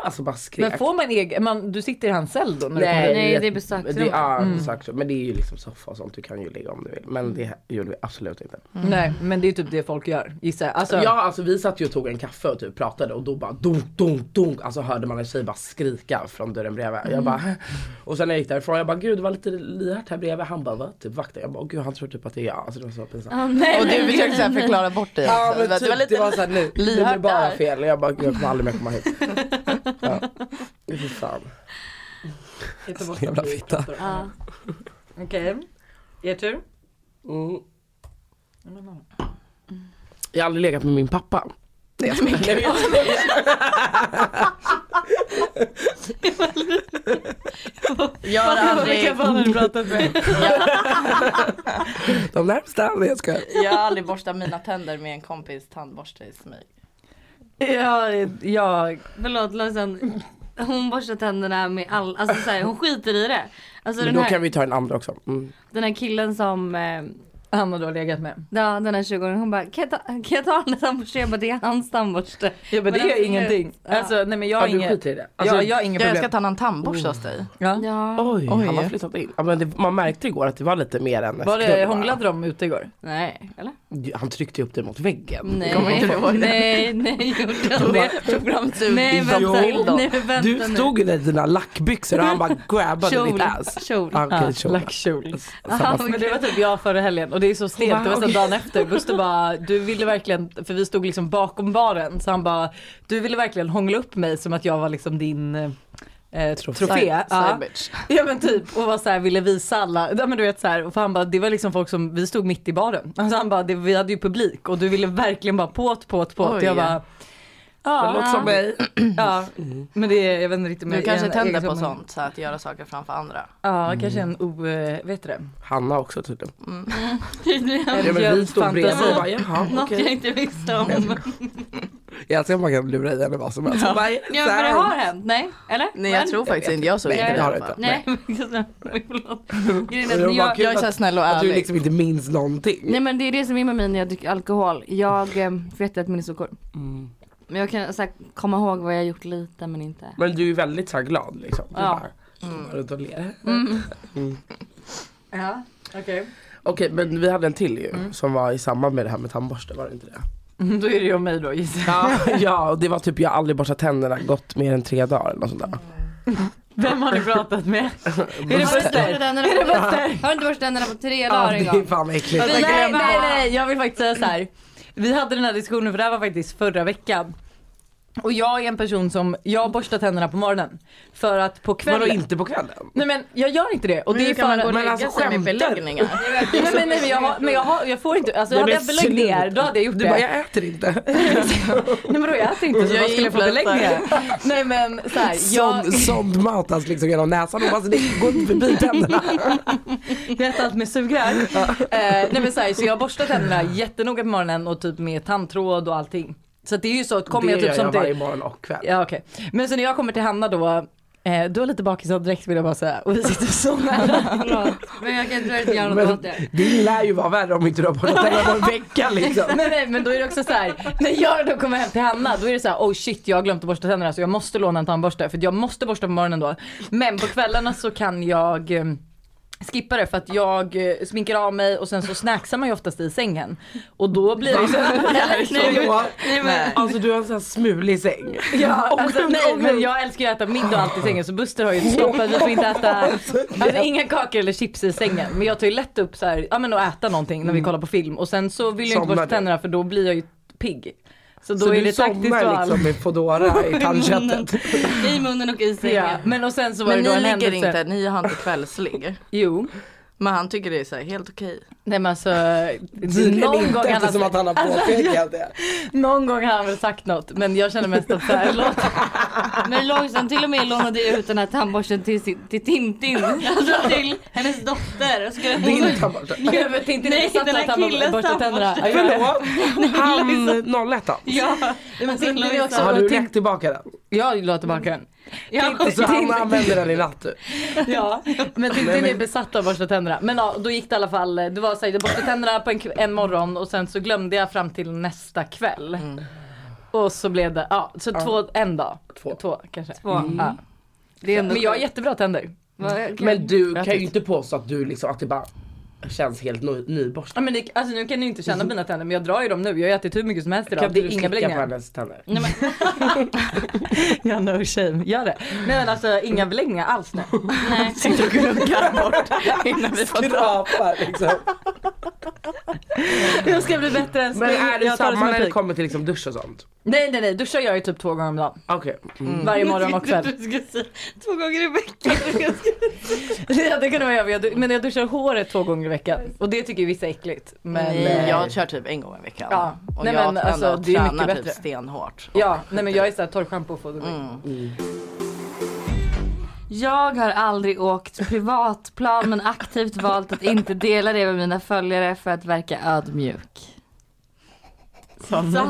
[SPEAKER 3] ah, alltså bara skrek.
[SPEAKER 2] Men får man egen, man, du sitter i hans cell då? När Mm.
[SPEAKER 3] Nej,
[SPEAKER 1] kommer- Nej,
[SPEAKER 3] jätte-
[SPEAKER 1] det är besöksrum.
[SPEAKER 3] det- Ja, besöksrum. Men det är ju liksom soffa och sånt, du kan ju ligga om du vill. Men det gjorde vi absolut inte.
[SPEAKER 2] Du, nej men det är typ det folk gör gissar jag. Alltså,
[SPEAKER 3] Ja alltså vi satt ju och tog en kaffe och typ pratade och då bara dunk dunk dunk alltså hörde man en tjej bara skrika från dörren bredvid. Jag bara och sen när jag gick därifrån jag bara gud det var lite lyhört här bredvid. Han bara va? Typ vakten. Jag bara gud han tror typ att det är jag. Alltså det var så pinsamt.
[SPEAKER 1] Ah, nej,
[SPEAKER 4] Och
[SPEAKER 1] men
[SPEAKER 4] du
[SPEAKER 1] gud,
[SPEAKER 4] försökte så här
[SPEAKER 1] nej.
[SPEAKER 4] förklara bort det
[SPEAKER 3] Ja
[SPEAKER 4] också.
[SPEAKER 3] men typ,
[SPEAKER 4] det var lite
[SPEAKER 3] det var såhär nu, nu är det
[SPEAKER 4] lyhört
[SPEAKER 3] bara
[SPEAKER 4] där.
[SPEAKER 3] fel. Jag bara jag kommer aldrig mer komma hit. Ja. Fy fan. Jävla fitta.
[SPEAKER 1] Ja.
[SPEAKER 2] Okej. Er tur.
[SPEAKER 3] Mm. Jag har aldrig legat med min pappa. Det är jag som är
[SPEAKER 4] Jag har aldrig,
[SPEAKER 2] Vilka fan har du pratat med?
[SPEAKER 3] De närmsta, nej jag skojar.
[SPEAKER 4] jag har aldrig borstat mina tänder med en kompis tandborste i smyg.
[SPEAKER 2] Ja, jag...
[SPEAKER 1] Förlåt Lojsan. Hon borstar tänderna med all, alltså så här, hon skiter i det. Alltså
[SPEAKER 3] Men
[SPEAKER 1] den
[SPEAKER 3] då
[SPEAKER 1] här,
[SPEAKER 3] kan vi ta en andra också. Mm.
[SPEAKER 1] den här killen som, eh,
[SPEAKER 2] Han har då legat med.
[SPEAKER 1] ja, den här 20-åringen hon bara kan jag ta, kan jag ta den där tandborsten? Jag bara det är hans tandborste.
[SPEAKER 2] Ja men det
[SPEAKER 1] Men
[SPEAKER 2] gör
[SPEAKER 1] absolut.
[SPEAKER 2] ingenting.
[SPEAKER 1] Ja.
[SPEAKER 2] Alltså nej men jag
[SPEAKER 3] Ja,
[SPEAKER 2] har
[SPEAKER 3] du
[SPEAKER 2] inget.
[SPEAKER 3] skiter i det. Alltså,
[SPEAKER 2] Jag, jag har inga
[SPEAKER 4] Jag
[SPEAKER 2] problem.
[SPEAKER 4] ska ta en tandborste hos dig.
[SPEAKER 2] Ja.
[SPEAKER 1] Ja.
[SPEAKER 3] Oj,
[SPEAKER 4] Oj.
[SPEAKER 3] han har flyttat in. Ja, men det, man märkte igår att det var lite mer än
[SPEAKER 2] Var det,
[SPEAKER 3] skrubb, va?
[SPEAKER 2] hånglade de ute igår?
[SPEAKER 1] Nej, eller?
[SPEAKER 3] Han tryckte upp det mot väggen.
[SPEAKER 1] Nej,
[SPEAKER 3] Kommer du ihåg det?
[SPEAKER 1] nej, nej, gjorde han det?
[SPEAKER 4] Tog fram typ
[SPEAKER 1] Nej, vänta,
[SPEAKER 3] Jo.
[SPEAKER 1] nej, men vänta
[SPEAKER 3] Du
[SPEAKER 1] nu.
[SPEAKER 3] stod ju där i dina lackbyxor och han bara grabbade
[SPEAKER 1] Kjol,
[SPEAKER 3] ditt ass.
[SPEAKER 1] kjol.
[SPEAKER 3] Ah, okej, kjol.
[SPEAKER 2] Lackkjol.
[SPEAKER 3] Samma
[SPEAKER 1] Aha.
[SPEAKER 3] sak.
[SPEAKER 2] Men det var typ jag förra helgen och det är så stelt. Det var så dagen efter. Buster bara, du ville verkligen, för vi stod liksom bakom baren så han bara, du ville verkligen hångla upp mig som att jag var liksom din eh, trofé.
[SPEAKER 4] Side,
[SPEAKER 2] Ja.
[SPEAKER 4] side bitch.
[SPEAKER 2] Ja men typ och var så här, ville visa alla. Ja, men du vet så här, och för han bara, det var liksom folk som, vi stod mitt i baren. Alltså han bara, det, vi hade ju publik och du ville verkligen bara påt, påt, påt.
[SPEAKER 4] Oj.
[SPEAKER 2] Jag bara,
[SPEAKER 3] Det
[SPEAKER 2] ja,
[SPEAKER 3] låter som mig.
[SPEAKER 2] ja. Men det är, jag vet inte riktigt. om
[SPEAKER 4] Du
[SPEAKER 2] jag-
[SPEAKER 4] kanske
[SPEAKER 2] en-
[SPEAKER 4] tänder på
[SPEAKER 2] egenskap, men-
[SPEAKER 4] sånt, så att göra saker framför andra.
[SPEAKER 2] Ja, kanske en o, eh, vet du det?
[SPEAKER 3] Hanna också tydligen.
[SPEAKER 1] Tydligen.
[SPEAKER 3] Ja, men vi stod bredvid
[SPEAKER 2] Fantasi.
[SPEAKER 3] och bara jaha
[SPEAKER 1] Något jag
[SPEAKER 3] okej.
[SPEAKER 1] inte visste om.
[SPEAKER 3] Jag älskar att man kan lura i henne vad som helst. Hon bara,
[SPEAKER 1] Ja,
[SPEAKER 3] så
[SPEAKER 1] men det
[SPEAKER 3] här.
[SPEAKER 1] har hänt, nej? Eller?
[SPEAKER 4] Nej jag
[SPEAKER 1] Men-
[SPEAKER 4] tror faktiskt inte, jag såg
[SPEAKER 3] Nej,
[SPEAKER 4] inte
[SPEAKER 3] det har
[SPEAKER 4] det.
[SPEAKER 3] du inte.
[SPEAKER 1] Nej, men- förlåt. Grejen
[SPEAKER 3] Det
[SPEAKER 1] är
[SPEAKER 3] var
[SPEAKER 1] att jag,
[SPEAKER 3] kul
[SPEAKER 4] Jag är så här snäll och
[SPEAKER 3] Att du
[SPEAKER 4] ärlig.
[SPEAKER 3] liksom inte minns någonting.
[SPEAKER 1] Nej men det är det som är med mig när jag dricker alkohol. Jag eh, vet att minne saker.
[SPEAKER 3] Mm.
[SPEAKER 1] Men jag kan så här, komma ihåg vad jag gjort lite men inte.
[SPEAKER 3] Men du är väldigt så här glad liksom. Du
[SPEAKER 1] Ja.
[SPEAKER 3] bara, mm. runt och ler.
[SPEAKER 2] Ja, okej.
[SPEAKER 3] Okej men vi hade en till ju
[SPEAKER 1] Mm.
[SPEAKER 3] som var i samband med det här med tandborste, var det inte det?
[SPEAKER 2] Då är det ju om mig då gissar jag.
[SPEAKER 3] Ja, ja och det var typ jag har aldrig borstat tänderna gått mer än tre dagar eller något sånt där.
[SPEAKER 2] Vem har ni pratat med? är
[SPEAKER 1] Har du
[SPEAKER 2] det
[SPEAKER 1] inte
[SPEAKER 2] Buster?
[SPEAKER 1] borstat tänderna
[SPEAKER 2] Är det
[SPEAKER 1] på-
[SPEAKER 2] Buster?
[SPEAKER 1] Har du inte borstat tänderna på tre
[SPEAKER 3] Ja
[SPEAKER 1] dagar en
[SPEAKER 3] det är
[SPEAKER 1] gång?
[SPEAKER 3] fan äckligt.
[SPEAKER 1] Vi-
[SPEAKER 2] Nej,
[SPEAKER 1] Glöm
[SPEAKER 2] nej,
[SPEAKER 1] det.
[SPEAKER 2] nej, jag vill faktiskt säga så här. Vi hade den här diskussionen för det här var faktiskt förra veckan. Och jag är en person som, jag borstar tänderna på morgonen. För att på kvällen.
[SPEAKER 3] Vadå inte på kvällen?
[SPEAKER 2] Nej men jag gör inte det. Och
[SPEAKER 4] Men
[SPEAKER 2] det
[SPEAKER 4] hur
[SPEAKER 2] är
[SPEAKER 4] kan
[SPEAKER 2] för
[SPEAKER 4] man gå
[SPEAKER 2] att...
[SPEAKER 4] och
[SPEAKER 3] Men
[SPEAKER 4] lägga
[SPEAKER 3] alltså,
[SPEAKER 4] sig med
[SPEAKER 3] skämtar du?
[SPEAKER 4] beläggningar?
[SPEAKER 2] Nej men, nej, men, jag, har, men jag, har, jag får inte, alltså
[SPEAKER 3] Nej,
[SPEAKER 2] hade
[SPEAKER 3] men
[SPEAKER 2] jag beläggningar
[SPEAKER 3] sluta.
[SPEAKER 2] då hade jag gjort
[SPEAKER 3] Du
[SPEAKER 2] det.
[SPEAKER 3] bara jag äter inte.
[SPEAKER 2] Nej men då jag äter inte så
[SPEAKER 4] Jag
[SPEAKER 2] vad
[SPEAKER 4] är
[SPEAKER 2] skulle jag få
[SPEAKER 4] influencer.
[SPEAKER 2] beläggningar? Nej men så här, jag,
[SPEAKER 3] Sond- Sondmatas liksom genom näsan och bara, alltså, det går inte förbi tänderna.
[SPEAKER 2] Jag äter allt med sugrör. eh, nej men så, här, så jag borstar tänderna jättenoga på morgonen och typ med tandtråd och allting. Så att det är ju så att kommer
[SPEAKER 3] det
[SPEAKER 2] jag typ
[SPEAKER 3] gör
[SPEAKER 2] som
[SPEAKER 3] jag varje
[SPEAKER 2] till,
[SPEAKER 3] morgon och kväll.
[SPEAKER 2] Ja okej. Men så när jag kommer till Hanna då, eh, du har lite bakisavdräkt vill jag bara säga och vi sitter så nära.
[SPEAKER 1] Förlåt. Men jag kan tyvärr inte göra något
[SPEAKER 3] Men
[SPEAKER 1] åt det.
[SPEAKER 3] det lär ju vara värre om inte du har borstat tänderna på en vecka liksom.
[SPEAKER 2] nej, nej men då är det också så här. när jag då kommer hem till Hanna då är det så här: oh shit jag har glömt att borsta tänderna så jag måste låna en tandborste för jag måste borsta på morgonen då. Men på kvällarna så kan jag eh, skippa det för att jag eh, sminkar av mig och sen så snacksar man ju oftast i sängen. Och då blir det ju så
[SPEAKER 1] Nej, men-
[SPEAKER 3] Så-
[SPEAKER 1] nej, men-
[SPEAKER 3] Alltså du har en sån här smulig säng.
[SPEAKER 2] Ja, alltså,
[SPEAKER 3] gud,
[SPEAKER 2] nej
[SPEAKER 3] åh,
[SPEAKER 2] men
[SPEAKER 3] gud.
[SPEAKER 2] jag älskar ju att äta middag och allt i sängen så Buster har ju ett stopp att vi får inte äta alltså, inga kakor eller chips i sängen. Men jag tar ju lätt upp så här, ja men att äta någonting när vi kollar på film och sen så vill jag inte
[SPEAKER 3] Mm. Somnar
[SPEAKER 2] borsta
[SPEAKER 3] du?
[SPEAKER 2] tänderna för då blir jag ju pigg. Så då
[SPEAKER 3] Så
[SPEAKER 2] är
[SPEAKER 3] du
[SPEAKER 2] det taktiskt
[SPEAKER 3] somnar
[SPEAKER 2] val.
[SPEAKER 3] liksom med Foodora i tandköttet.
[SPEAKER 1] I munnen och i sängen.
[SPEAKER 2] Ja, men och sen så var
[SPEAKER 4] Men
[SPEAKER 2] det då
[SPEAKER 4] ni
[SPEAKER 2] en
[SPEAKER 4] ligger
[SPEAKER 2] händelse.
[SPEAKER 4] inte, ni har inte kvällsligg.
[SPEAKER 2] Jo.
[SPEAKER 4] Men han tycker det är så här helt okej.
[SPEAKER 2] Nej men alltså,
[SPEAKER 3] Tydligen
[SPEAKER 2] någon
[SPEAKER 3] inte
[SPEAKER 2] gång, han
[SPEAKER 3] eftersom
[SPEAKER 2] har,
[SPEAKER 3] att han har påpekat det.
[SPEAKER 2] någon gång har han väl sagt något men jag känner mest att så här, låt
[SPEAKER 1] Men Långstrump till och med lånade ju ut den här tandborsten till, sin, till Tintin. Alltså till hennes dotter. Och skulle
[SPEAKER 3] Din tandborste.
[SPEAKER 2] Jag vet inte,
[SPEAKER 1] Nej,
[SPEAKER 2] jag satt
[SPEAKER 1] den här
[SPEAKER 2] att han
[SPEAKER 1] killen
[SPEAKER 2] borstar
[SPEAKER 1] stammar.
[SPEAKER 2] tänderna. Ja, jag-
[SPEAKER 3] Förlåt? Han 01
[SPEAKER 1] Ja, det
[SPEAKER 3] Alltså,
[SPEAKER 1] var
[SPEAKER 2] sen blir det också-
[SPEAKER 3] Har du
[SPEAKER 2] Tänk-
[SPEAKER 3] lagt tillbaka den?
[SPEAKER 2] Jag la tillbaka den.
[SPEAKER 1] Ja.
[SPEAKER 3] Så han använder den i natt typ. du?
[SPEAKER 2] Ja. Men Tintin är besatt av att borsta tänderna. Men ja, då gick det i alla fall, det var såhär, jag borstade tänderna på en, kv- en morgon och sen så glömde jag fram till nästa kväll. Och så blev det, Mm. ja så två, en dag.
[SPEAKER 3] Två.
[SPEAKER 2] kanske. Mm.
[SPEAKER 1] Två.
[SPEAKER 2] Ja.
[SPEAKER 1] Det är ändå
[SPEAKER 2] Men jag har jättebra tänder.
[SPEAKER 1] Men
[SPEAKER 3] Men du kan ju inte påstå att du liksom, att det bara känns helt ny- nyborstad.
[SPEAKER 2] Ja, men det, alltså, nu kan ni inte känna mina tänder men jag drar ju dem nu. Jag har ätit hur mycket som helst idag.
[SPEAKER 3] Kan
[SPEAKER 2] Det är
[SPEAKER 3] du
[SPEAKER 2] inga
[SPEAKER 3] slicka på
[SPEAKER 2] beläggningar.
[SPEAKER 3] hennes tänder?
[SPEAKER 2] Ja no shame, gör det. Nej men alltså inga beläggningar alls nu.
[SPEAKER 1] nej.
[SPEAKER 2] Sitter och gnuggar bort innan vi får dra.
[SPEAKER 3] Skrapa liksom.
[SPEAKER 2] Jag ska bli bättre än så.
[SPEAKER 3] Men är det
[SPEAKER 2] Jag tar som
[SPEAKER 3] samma
[SPEAKER 2] en
[SPEAKER 3] när det
[SPEAKER 2] pik.
[SPEAKER 3] kommer till liksom dusch och sånt?
[SPEAKER 2] Nej nej nej, duschar jag ju typ två gånger om dagen.
[SPEAKER 3] Okej. Mm.
[SPEAKER 2] Varje morgon och kväll.
[SPEAKER 1] Du ska säga två gånger i veckan.
[SPEAKER 2] Ja, det kunde man göra, men jag du- men jag duschar håret två gånger i veckan. Och det tycker ju vissa är äckligt. Men,
[SPEAKER 4] Nej,
[SPEAKER 2] eh,
[SPEAKER 4] jag kör typ en gång i veckan.
[SPEAKER 2] Ja.
[SPEAKER 4] Och
[SPEAKER 2] Nej,
[SPEAKER 4] jag
[SPEAKER 2] men
[SPEAKER 4] ändå
[SPEAKER 2] alltså, det är
[SPEAKER 4] tränar
[SPEAKER 2] mycket
[SPEAKER 4] typ
[SPEAKER 2] bättre.
[SPEAKER 4] stenhårt.
[SPEAKER 2] Ja, nej men jag är såhär torrschampo och fotogen.
[SPEAKER 4] Mm.
[SPEAKER 1] Jag har aldrig åkt privatplan men aktivt valt att inte dela det med mina följare för att verka ödmjuk.
[SPEAKER 4] Alltså,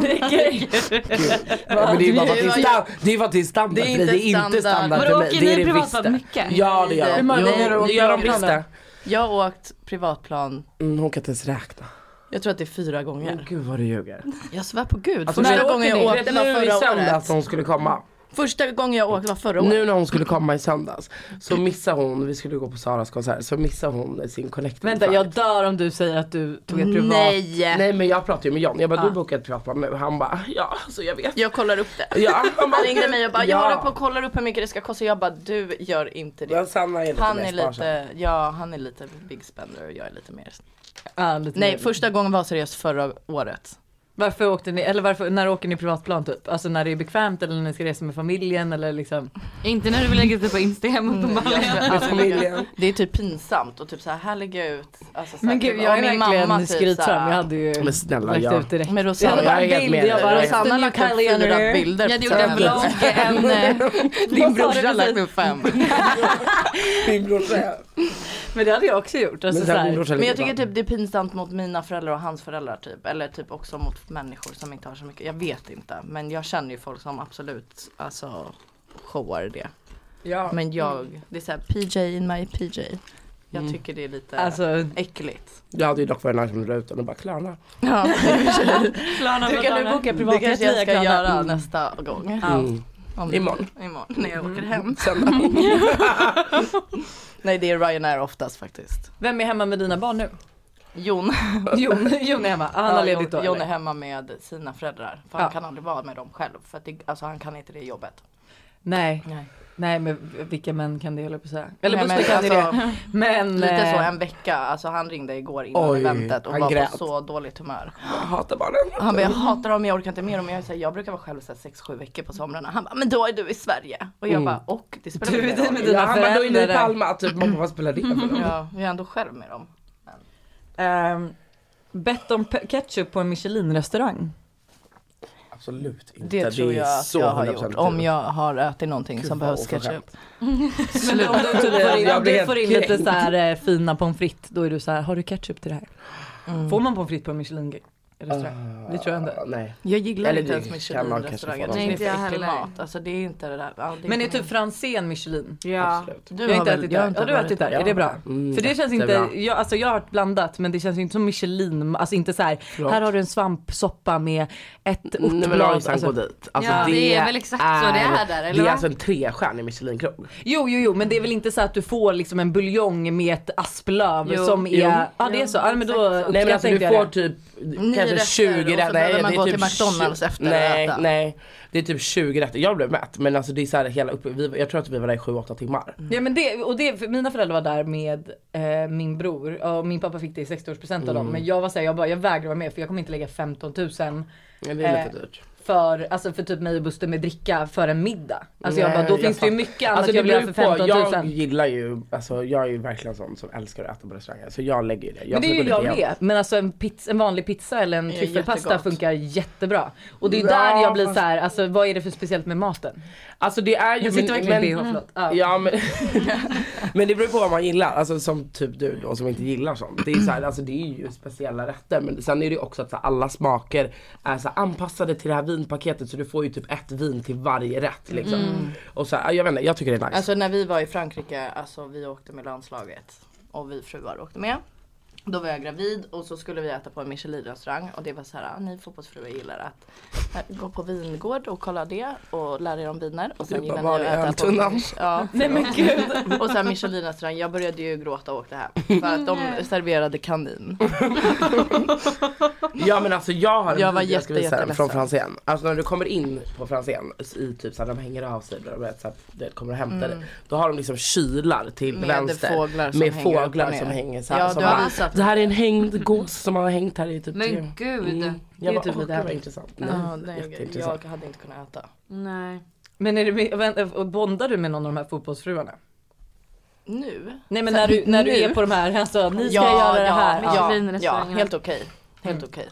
[SPEAKER 3] Men det är ju bara för att det är
[SPEAKER 4] Vad-
[SPEAKER 3] standard, det är för att det är standard
[SPEAKER 4] Det är
[SPEAKER 3] för dig. Det är
[SPEAKER 4] inte
[SPEAKER 3] inte
[SPEAKER 4] standard.
[SPEAKER 3] standard
[SPEAKER 1] Vadå
[SPEAKER 3] för mig.
[SPEAKER 1] åker
[SPEAKER 3] Det är
[SPEAKER 1] ni
[SPEAKER 3] det
[SPEAKER 1] privatplan
[SPEAKER 3] visst
[SPEAKER 1] mycket?
[SPEAKER 3] Ja det gör
[SPEAKER 4] Hur
[SPEAKER 3] de.
[SPEAKER 4] många
[SPEAKER 3] Jo,
[SPEAKER 4] gånger
[SPEAKER 3] det
[SPEAKER 2] åker
[SPEAKER 3] gör de
[SPEAKER 2] du
[SPEAKER 3] visst det.
[SPEAKER 4] Jag har åkt privatplan,
[SPEAKER 3] Mm, Hon kan inte ens räkna.
[SPEAKER 4] jag tror att det är fyra gånger.
[SPEAKER 3] Gud vad du ljuger.
[SPEAKER 4] Jag svär på gud.
[SPEAKER 3] Mm. Alltså,
[SPEAKER 4] första
[SPEAKER 3] när
[SPEAKER 4] gången jag
[SPEAKER 2] åker ni?
[SPEAKER 4] åkte
[SPEAKER 3] Nu
[SPEAKER 4] var
[SPEAKER 3] i
[SPEAKER 4] förra
[SPEAKER 3] söndags
[SPEAKER 4] året.
[SPEAKER 3] när hon skulle komma.
[SPEAKER 4] Första gången jag åkte var förra året.
[SPEAKER 3] Nu när hon skulle komma i söndags så missar hon, vi skulle gå på Saras konsert, så missar hon sin connect.
[SPEAKER 2] Vänta jag dör om du säger att du tog ett privat.
[SPEAKER 4] Nej!
[SPEAKER 3] Nej men jag pratade ju med John, jag bara du bokade ett privatplan nu. Han bara ja, så jag vet.
[SPEAKER 4] alltså, Jag kollar upp det.
[SPEAKER 3] Ja,
[SPEAKER 4] Han ringde mig och bara jag
[SPEAKER 3] Ja.
[SPEAKER 4] håller på och kollar upp hur mycket det ska kosta. Jag bara du gör inte
[SPEAKER 3] Men
[SPEAKER 4] det.
[SPEAKER 3] Sanna är lite
[SPEAKER 4] Han
[SPEAKER 3] mer
[SPEAKER 4] är
[SPEAKER 3] sparsam.
[SPEAKER 4] lite, ja han är lite big spender och jag är lite mer.
[SPEAKER 2] Ja, lite
[SPEAKER 4] Nej
[SPEAKER 2] mer.
[SPEAKER 4] första gången var seriöst förra året.
[SPEAKER 2] Varför åkte ni, eller varför, när åker ni privatplan typ? Alltså när det är bekvämt eller när ni ska resa med familjen eller liksom?
[SPEAKER 1] Inte när du vill lägga ut det på Instagram
[SPEAKER 4] Mm,
[SPEAKER 1] uppenbarligen.
[SPEAKER 3] Med familjen.
[SPEAKER 4] Det är typ pinsamt och typ så här, här lägger jag ut. Alltså, så här,
[SPEAKER 2] Men
[SPEAKER 4] typ,
[SPEAKER 2] gud jag är
[SPEAKER 4] och min
[SPEAKER 2] verkligen
[SPEAKER 4] mamma typ så här-
[SPEAKER 2] skrytsam, jag hade ju
[SPEAKER 3] Men snälla,
[SPEAKER 2] lagt
[SPEAKER 3] ja.
[SPEAKER 2] ut direkt.
[SPEAKER 4] Med
[SPEAKER 2] Jag hade
[SPEAKER 4] Rosanna.
[SPEAKER 3] Ja,
[SPEAKER 2] bara
[SPEAKER 3] jag är
[SPEAKER 2] en
[SPEAKER 3] helt
[SPEAKER 2] bild,
[SPEAKER 3] med
[SPEAKER 2] jag
[SPEAKER 3] dig.
[SPEAKER 2] bara
[SPEAKER 3] Jag är-
[SPEAKER 2] Rosanna
[SPEAKER 4] Rosanna
[SPEAKER 2] New
[SPEAKER 4] lagt upp fyra
[SPEAKER 2] Kylie
[SPEAKER 4] bilder
[SPEAKER 1] Jag hade gjort en
[SPEAKER 4] tillsammans.
[SPEAKER 1] vlogg, en, eh,
[SPEAKER 4] Din brorsa har lagt upp fem.
[SPEAKER 3] Min brorsa.
[SPEAKER 2] Men det hade jag också gjort. Alltså,
[SPEAKER 3] Men sen, min
[SPEAKER 2] såhär.
[SPEAKER 3] brorsa är
[SPEAKER 4] Men jag
[SPEAKER 3] lite
[SPEAKER 4] tycker
[SPEAKER 3] bra.
[SPEAKER 4] typ det är pinsamt mot mina föräldrar och hans föräldrar typ. Eller typ också mot människor som inte har så mycket. Jag vet inte. Men jag känner ju folk som absolut alltså showar det. typ-
[SPEAKER 2] Ja.
[SPEAKER 4] Men jag, det är såhär PJ in my PJ. Jag tycker det är lite
[SPEAKER 2] Alltså
[SPEAKER 4] äckligt.
[SPEAKER 3] Jag hade ju dock varit nice om du la ut den och bara Klarna.
[SPEAKER 4] Ja,
[SPEAKER 2] du kan nu boka
[SPEAKER 4] det
[SPEAKER 2] privatjet
[SPEAKER 4] kanske jag
[SPEAKER 2] via
[SPEAKER 4] ska
[SPEAKER 2] Klarna.
[SPEAKER 4] göra nästa gång.
[SPEAKER 3] Mm.
[SPEAKER 4] Om
[SPEAKER 3] Imorgon.
[SPEAKER 4] Imorgon när jag åker hem.
[SPEAKER 3] Söndag.
[SPEAKER 4] Nej det är Ryanair oftast faktiskt.
[SPEAKER 2] Vem är hemma med dina barn nu?
[SPEAKER 4] Jon,
[SPEAKER 2] Jon, Jon är hemma, han
[SPEAKER 4] Ja,
[SPEAKER 2] har ledigt då
[SPEAKER 4] Jon, Jon är
[SPEAKER 2] eller?
[SPEAKER 4] hemma med sina föräldrar. För han
[SPEAKER 2] Ja.
[SPEAKER 4] kan aldrig vara med dem själv. För att det, alltså, han kan inte det jobbet.
[SPEAKER 2] Nej,
[SPEAKER 4] Nej.
[SPEAKER 2] nej men vilka män kan det hålla på så här? Eller
[SPEAKER 4] Nej,
[SPEAKER 2] Buster
[SPEAKER 4] men
[SPEAKER 2] kan
[SPEAKER 4] alltså,
[SPEAKER 2] det. Men
[SPEAKER 4] Lite så
[SPEAKER 2] eh,
[SPEAKER 4] en vecka, alltså han ringde igår innan
[SPEAKER 3] Oj,
[SPEAKER 4] eventet och
[SPEAKER 3] han
[SPEAKER 4] var på
[SPEAKER 3] grät.
[SPEAKER 4] så dåligt humör.
[SPEAKER 3] Jag hatar barnen.
[SPEAKER 4] Han bara jag hatar dem, jag orkar inte med dem. Jag, är så här, jag brukar vara själv 6-7 veckor på somrarna. Han bara men då är du i Sverige. Och jag bara och det spelar
[SPEAKER 2] Mm. Du är det
[SPEAKER 4] ingen
[SPEAKER 2] med
[SPEAKER 4] roll.
[SPEAKER 2] dina
[SPEAKER 3] Ja, han bara då är ni i
[SPEAKER 2] föräldrar.
[SPEAKER 3] Palma, typ mamma vad spelar det för roll?
[SPEAKER 4] Ja, jag är ändå själv med dem.
[SPEAKER 2] ehm, bett om pe- ketchup på en Michelin-restaurang.
[SPEAKER 3] Absolut inte.
[SPEAKER 4] Det, tror
[SPEAKER 3] är
[SPEAKER 4] jag att
[SPEAKER 3] så
[SPEAKER 4] jag har
[SPEAKER 3] 100%
[SPEAKER 4] gjort. Om
[SPEAKER 3] tur.
[SPEAKER 4] jag har ätit någonting
[SPEAKER 3] Gud,
[SPEAKER 4] som
[SPEAKER 3] vad
[SPEAKER 4] behövs ketchup.
[SPEAKER 3] oförskämt.
[SPEAKER 2] Men om du, typ får in,
[SPEAKER 3] Jag
[SPEAKER 2] om
[SPEAKER 3] blir
[SPEAKER 2] du
[SPEAKER 3] helt
[SPEAKER 2] får in lite
[SPEAKER 3] kränkt.
[SPEAKER 2] så här eh, fina pommes frites, då är du så här, har du ketchup till det här? Får man pommes frites på en Michelin-restaurang? det tror jag inte.
[SPEAKER 3] Ah, Nej.
[SPEAKER 4] Jag gillar
[SPEAKER 3] Eller
[SPEAKER 4] inte
[SPEAKER 3] det
[SPEAKER 4] ens
[SPEAKER 3] kan man kanske
[SPEAKER 4] Michelin-restauranger.
[SPEAKER 3] få
[SPEAKER 4] Jag tycker
[SPEAKER 1] någon
[SPEAKER 4] Det är
[SPEAKER 1] gång.
[SPEAKER 4] för äcklig
[SPEAKER 1] Inte jag heller.
[SPEAKER 4] mat. Alltså det är inte det där. Ja, det
[SPEAKER 2] Men är
[SPEAKER 4] inte
[SPEAKER 2] typ Franzén Michelin?
[SPEAKER 1] Ja.
[SPEAKER 3] Absolut.
[SPEAKER 4] Du
[SPEAKER 2] Jag har inte
[SPEAKER 4] väl-
[SPEAKER 2] ätit
[SPEAKER 4] jag
[SPEAKER 2] där. Har du
[SPEAKER 4] varit
[SPEAKER 2] ätit där?
[SPEAKER 3] där.
[SPEAKER 2] Är det bra?
[SPEAKER 3] Mm,
[SPEAKER 2] För det känns
[SPEAKER 3] jättebra.
[SPEAKER 2] inte, jag, alltså jag har hört blandat men det känns ju inte som Michelin, alltså inte så här, här har du en svampsoppa med ett
[SPEAKER 3] Mm, Nej men
[SPEAKER 2] örtblad.
[SPEAKER 3] Lojsan, gå
[SPEAKER 2] Alltså,
[SPEAKER 3] dit. Alltså,
[SPEAKER 1] Ja, det är väl exakt så det är där, eller
[SPEAKER 3] Det
[SPEAKER 1] va?
[SPEAKER 3] är alltså en trestjärnig Michelinkrog.
[SPEAKER 2] jo jo jo men det är väl inte så att du får liksom en buljong med ett asplöv
[SPEAKER 1] Jo,
[SPEAKER 2] som är,
[SPEAKER 3] jo.
[SPEAKER 2] ja det är så, ja, men då
[SPEAKER 3] Nej men alltså du
[SPEAKER 2] uppskattar jag
[SPEAKER 3] får
[SPEAKER 2] det.
[SPEAKER 3] typ
[SPEAKER 4] rätter,
[SPEAKER 3] kanske
[SPEAKER 4] och
[SPEAKER 3] 20
[SPEAKER 4] så
[SPEAKER 3] rätter.
[SPEAKER 4] behöver
[SPEAKER 3] Nej,
[SPEAKER 4] man
[SPEAKER 3] det är
[SPEAKER 4] gå
[SPEAKER 3] typ
[SPEAKER 4] till McDonalds
[SPEAKER 3] 20
[SPEAKER 4] efter och
[SPEAKER 3] Nej,
[SPEAKER 4] äta.
[SPEAKER 3] nej. Det är typ 20 rätter. Jag blev mätt men alltså det är så här hela uppe, vi, jag tror att vi var där i 7-8 timmar.
[SPEAKER 2] Ja men det, och det, för mina föräldrar var där med eh, min bror och min pappa fick det i 60-årspresent av dem men jag var såhär, jag bara jag vägrar vara med för jag kommer inte lägga 15 000
[SPEAKER 3] Men det är lite
[SPEAKER 2] Eh,
[SPEAKER 3] dyrt.
[SPEAKER 2] för, alltså för typ mig och Buster med dricka för en middag. Alltså jag
[SPEAKER 3] Nej,
[SPEAKER 2] bara, då
[SPEAKER 3] jag
[SPEAKER 2] finns det ju
[SPEAKER 3] fattar.
[SPEAKER 2] mycket annat
[SPEAKER 3] Alltså, det
[SPEAKER 2] jag vill göra för
[SPEAKER 3] beror
[SPEAKER 2] 15
[SPEAKER 3] på.
[SPEAKER 2] 000.
[SPEAKER 3] Jag gillar ju, alltså jag är ju verkligen sån som älskar att äta på restauranger. Så jag lägger ju det. Jag
[SPEAKER 2] Men det är ju
[SPEAKER 3] ska gå
[SPEAKER 2] jag
[SPEAKER 3] dit igen.
[SPEAKER 2] med. Men alltså en, pizza, en vanlig pizza eller en
[SPEAKER 4] Ja,
[SPEAKER 2] tryffelpasta
[SPEAKER 4] jättegott.
[SPEAKER 2] funkar jättebra. Och det är ju
[SPEAKER 3] Ja,
[SPEAKER 2] där jag blir
[SPEAKER 3] fast-
[SPEAKER 2] så här, alltså vad är det för speciellt med maten?
[SPEAKER 3] Alltså det är ju...
[SPEAKER 2] Jag sitter verkligen i bh, förlåt. Ja.
[SPEAKER 3] Ja men, men det beror på vad man gillar, alltså som typ du då som inte gillar sånt. Det är, så här, alltså, det är ju speciella rätter men sen är det ju också att så här, alla smaker är så här, anpassade till det här vinpaketet så du får ju typ ett vin till varje rätt liksom.
[SPEAKER 2] Mm.
[SPEAKER 3] Och så här, jag vet inte, jag tycker det är nice.
[SPEAKER 4] Alltså när vi var i Frankrike, alltså vi åkte med landslaget och vi fruar åkte med. Då var jag gravid och så skulle vi äta på en Michelin-restaurang och det var så här, ah, ni fotbollsfruar gillar att eh, gå på vingård och kolla det och lära er om viner. Och sen
[SPEAKER 3] Du bara,
[SPEAKER 4] gillar
[SPEAKER 3] var
[SPEAKER 4] ni
[SPEAKER 3] är
[SPEAKER 4] att äta på...
[SPEAKER 3] öltunnan?
[SPEAKER 4] Ja, Nej men gud. Och sen Michelin-restaurang, jag började ju gråta och åkte hem. För att de serverade kanin.
[SPEAKER 3] Ja men alltså jag har en
[SPEAKER 4] Jag var
[SPEAKER 3] video ska visa
[SPEAKER 4] jätte-
[SPEAKER 3] den
[SPEAKER 4] jätteledsen.
[SPEAKER 3] från Franzén. Alltså när du kommer in på Franzén i typ såhär de hänger av sig och vet, så att det kommer och hämtar dig. Då har de liksom kylar till
[SPEAKER 4] Mm. Med
[SPEAKER 3] vänster.
[SPEAKER 4] fåglar som
[SPEAKER 3] med
[SPEAKER 4] hänger upp och
[SPEAKER 3] fåglar
[SPEAKER 4] ner.
[SPEAKER 3] som hänger såhär.
[SPEAKER 4] Ja,
[SPEAKER 3] som
[SPEAKER 4] du har
[SPEAKER 3] bara,
[SPEAKER 4] visat.
[SPEAKER 3] Det här är en hängd gås som har hängt här i typ
[SPEAKER 1] Men
[SPEAKER 3] tre
[SPEAKER 1] gud.
[SPEAKER 2] Det är
[SPEAKER 3] Jag bara,
[SPEAKER 2] typ
[SPEAKER 3] åh,
[SPEAKER 2] lite
[SPEAKER 3] det här var
[SPEAKER 2] härligt."
[SPEAKER 3] intressant.
[SPEAKER 4] Ja,
[SPEAKER 3] Nej,
[SPEAKER 4] nej,
[SPEAKER 3] jätteintressant.
[SPEAKER 4] Mm. jag hade inte kunnat äta.
[SPEAKER 1] Nej.
[SPEAKER 2] Men är det, med- vänta, och bondar du med någon av de här fotbollsfruarna?
[SPEAKER 4] Nu?
[SPEAKER 2] Nej men när du, när du
[SPEAKER 4] Nu?
[SPEAKER 2] är på de här, alltså ni ska göra det här.
[SPEAKER 1] ja.
[SPEAKER 4] Ja, ja
[SPEAKER 1] Michelin-restaurangerna.
[SPEAKER 4] helt okej. Helt okej.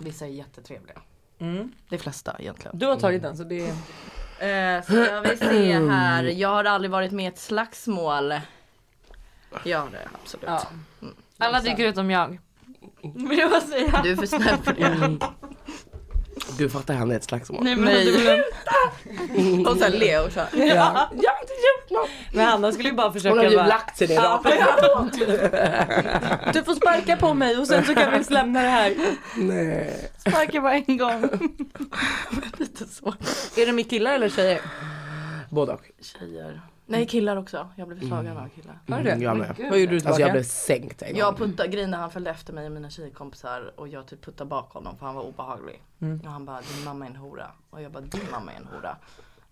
[SPEAKER 4] Vissa är jättetrevliga.
[SPEAKER 2] Mm.
[SPEAKER 4] De flesta egentligen.
[SPEAKER 2] Du har tagit den så det är...
[SPEAKER 4] Eh, ska vi se här. Jag har aldrig varit med i ett slagsmål. Ja det har jag absolut.
[SPEAKER 2] Ja.
[SPEAKER 1] Alla dyker utom jag. Vill jag bara säga.
[SPEAKER 4] Du är för snäll för det.
[SPEAKER 3] Gud fattar han är ett slagsmål.
[SPEAKER 1] Nej men du.
[SPEAKER 4] Och sen le och så. här.
[SPEAKER 3] Ja. Jag har inte gjort något.
[SPEAKER 2] Men Hanna skulle ju bara försöka
[SPEAKER 3] Hon har ju
[SPEAKER 2] bara...
[SPEAKER 3] lagt sig ner
[SPEAKER 2] Ja,
[SPEAKER 3] rakt.
[SPEAKER 2] Du får sparka på mig och sen så kan vi ens lämna det här.
[SPEAKER 3] Nej.
[SPEAKER 1] Sparka bara en gång.
[SPEAKER 4] Lite så.
[SPEAKER 2] Är det med killar eller tjejer?
[SPEAKER 3] Både och.
[SPEAKER 4] Tjejer. Nej killar också. Jag blev slagen av killar.
[SPEAKER 2] Har du det?
[SPEAKER 3] jag med.
[SPEAKER 2] Vad gjorde du
[SPEAKER 3] Alltså
[SPEAKER 2] tillbaka?
[SPEAKER 3] jag blev sänkt en gång.
[SPEAKER 4] Jag puttade, grejen när han följde efter mig och mina tjejkompisar och jag typ puttade bak honom för han var obehaglig. Och han bara din mamma är en hora. Och jag bara din mamma är en hora.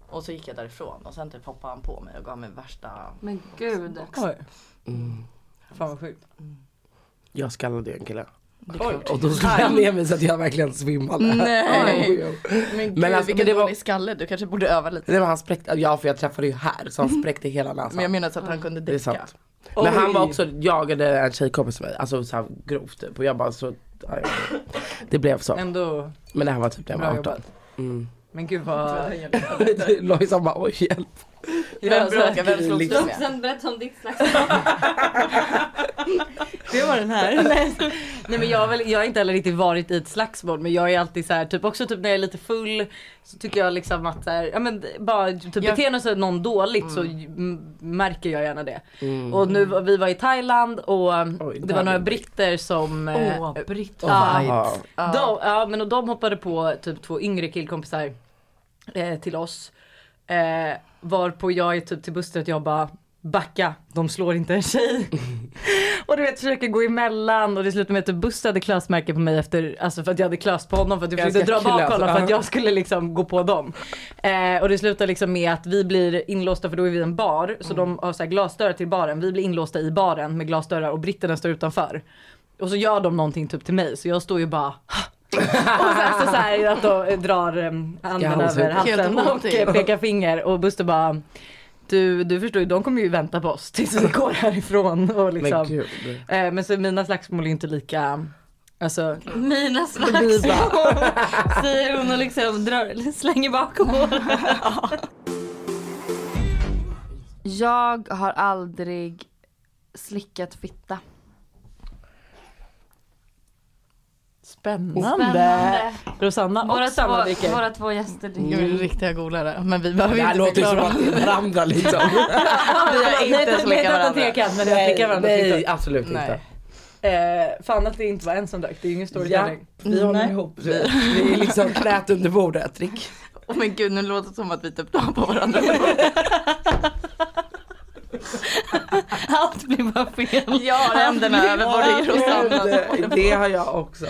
[SPEAKER 4] Och så gick jag därifrån och sen typ hoppade han på mig och gav mig värsta
[SPEAKER 1] Men gud.
[SPEAKER 2] Oj. Fan vad sjukt.
[SPEAKER 3] Jag skallade ju en kille.
[SPEAKER 4] Det är klart.
[SPEAKER 3] Och då slog han ner mig så att jag verkligen svimmade.
[SPEAKER 4] Nej.
[SPEAKER 3] Jo, jo.
[SPEAKER 4] Men,
[SPEAKER 3] Men
[SPEAKER 4] gud,
[SPEAKER 3] alltså,
[SPEAKER 4] vilken
[SPEAKER 3] men det var-
[SPEAKER 4] dålig skalle, du kanske borde öva lite.
[SPEAKER 3] Nej men han spräckte, ja för jag träffade ju här så han spräckte hela näsan.
[SPEAKER 4] Mhm. Men jag menar så att han kunde
[SPEAKER 3] det är
[SPEAKER 4] däcka.
[SPEAKER 3] sant. Men han var
[SPEAKER 2] Oj.
[SPEAKER 3] också, jagade en tjejkompis med mig, alltså så här grovt typ. Och jag bara så, ja, jag- det blev så.
[SPEAKER 2] Ändå
[SPEAKER 3] Men det här var typ när jag
[SPEAKER 2] bra
[SPEAKER 3] var 18.
[SPEAKER 2] jobbat.
[SPEAKER 3] Mm.
[SPEAKER 2] Men gud vad...
[SPEAKER 3] Lojsan bara oj hjälp.
[SPEAKER 2] Ja, så här,
[SPEAKER 4] bråkar? Vem slogs du med?
[SPEAKER 1] Sen berätta om ditt slagsmål.
[SPEAKER 2] det var den här. Nej, så- Nej men jag har, väl, jag har inte heller riktigt varit i ett slagsmål men jag är alltid så här, typ också typ när jag är lite full så tycker jag liksom att så här, ja men bara typ
[SPEAKER 4] Jag-
[SPEAKER 2] beter sig någon dåligt så m- märker jag gärna det.
[SPEAKER 4] Mm.
[SPEAKER 2] Och nu var- vi var i Thailand och
[SPEAKER 3] Oj,
[SPEAKER 2] det var några
[SPEAKER 3] Thailand.
[SPEAKER 2] britter som eh,
[SPEAKER 4] Åh, Britt.
[SPEAKER 2] Ja.
[SPEAKER 3] Ja.
[SPEAKER 2] De, ja, men och de hoppade på typ två yngre killkompisar eh, till oss. Eh, varpå jag är typ till Buster att jag bara backa, de slår inte en tjej. och du vet försöker gå emellan och det slutade med att typ Buster hade klassmärke på mig efter, alltså för att jag hade klass på honom för att jag
[SPEAKER 3] Ganska
[SPEAKER 2] försökte dra bak
[SPEAKER 3] klass,
[SPEAKER 2] honom för
[SPEAKER 3] ja.
[SPEAKER 2] att jag skulle liksom gå på dem. Eh, och det slutar liksom med att vi blir inlåsta för då är vi i en bar
[SPEAKER 3] Mm.
[SPEAKER 2] så de har så här glasdörrar till baren. Vi blir inlåsta i baren med glasdörrar och britterna står utanför. Och så gör de någonting typ till mig så jag står ju bara och sen så, så här att de drar eh, handen
[SPEAKER 3] Skalls
[SPEAKER 2] över
[SPEAKER 3] ut.
[SPEAKER 2] halsen
[SPEAKER 4] Helt
[SPEAKER 2] och eh,
[SPEAKER 4] otäckt.
[SPEAKER 2] pekar finger och Buster bara du, du förstår ju, de kommer ju vänta på oss tills vi går härifrån och liksom.
[SPEAKER 3] Men
[SPEAKER 2] Men,
[SPEAKER 3] gud.
[SPEAKER 2] eh, men så mina slagsmål är ju inte lika, alltså
[SPEAKER 1] Mina slagsmål. Säger hon och liksom drar, slänger bakom håret. Jag har aldrig slickat fitta.
[SPEAKER 2] spännande.
[SPEAKER 1] Spännande.
[SPEAKER 2] Rosanna
[SPEAKER 1] Våra
[SPEAKER 2] och Sanna
[SPEAKER 1] två,
[SPEAKER 2] dricker.
[SPEAKER 1] våra två gäster dricker.
[SPEAKER 4] Jag är riktiga golare men vi
[SPEAKER 3] Det
[SPEAKER 4] behöver
[SPEAKER 3] här
[SPEAKER 4] inte
[SPEAKER 3] låter ju som
[SPEAKER 4] förklara.
[SPEAKER 3] att vi är varandra liksom.
[SPEAKER 4] Vi har
[SPEAKER 2] Nej,
[SPEAKER 4] inte
[SPEAKER 2] inte
[SPEAKER 4] slickat
[SPEAKER 2] varandra.
[SPEAKER 4] varandra.
[SPEAKER 2] Trekant, men jag flickar varandra
[SPEAKER 3] Nej absolut inte.
[SPEAKER 4] Nej.
[SPEAKER 2] eh, Fan att det inte var en som drack, det är ju ingen
[SPEAKER 3] Ja,
[SPEAKER 2] storytelling.
[SPEAKER 3] vi håller
[SPEAKER 4] Nej.
[SPEAKER 3] ihop. Vi vi är liksom knät under bordet. Rick.
[SPEAKER 4] Åh men gud nu låter det som att vi typ tar på varandra.
[SPEAKER 1] Allt blir ju bara fel.
[SPEAKER 4] Jag har händerna över både er och Sanna.
[SPEAKER 3] Gud, det har jag också.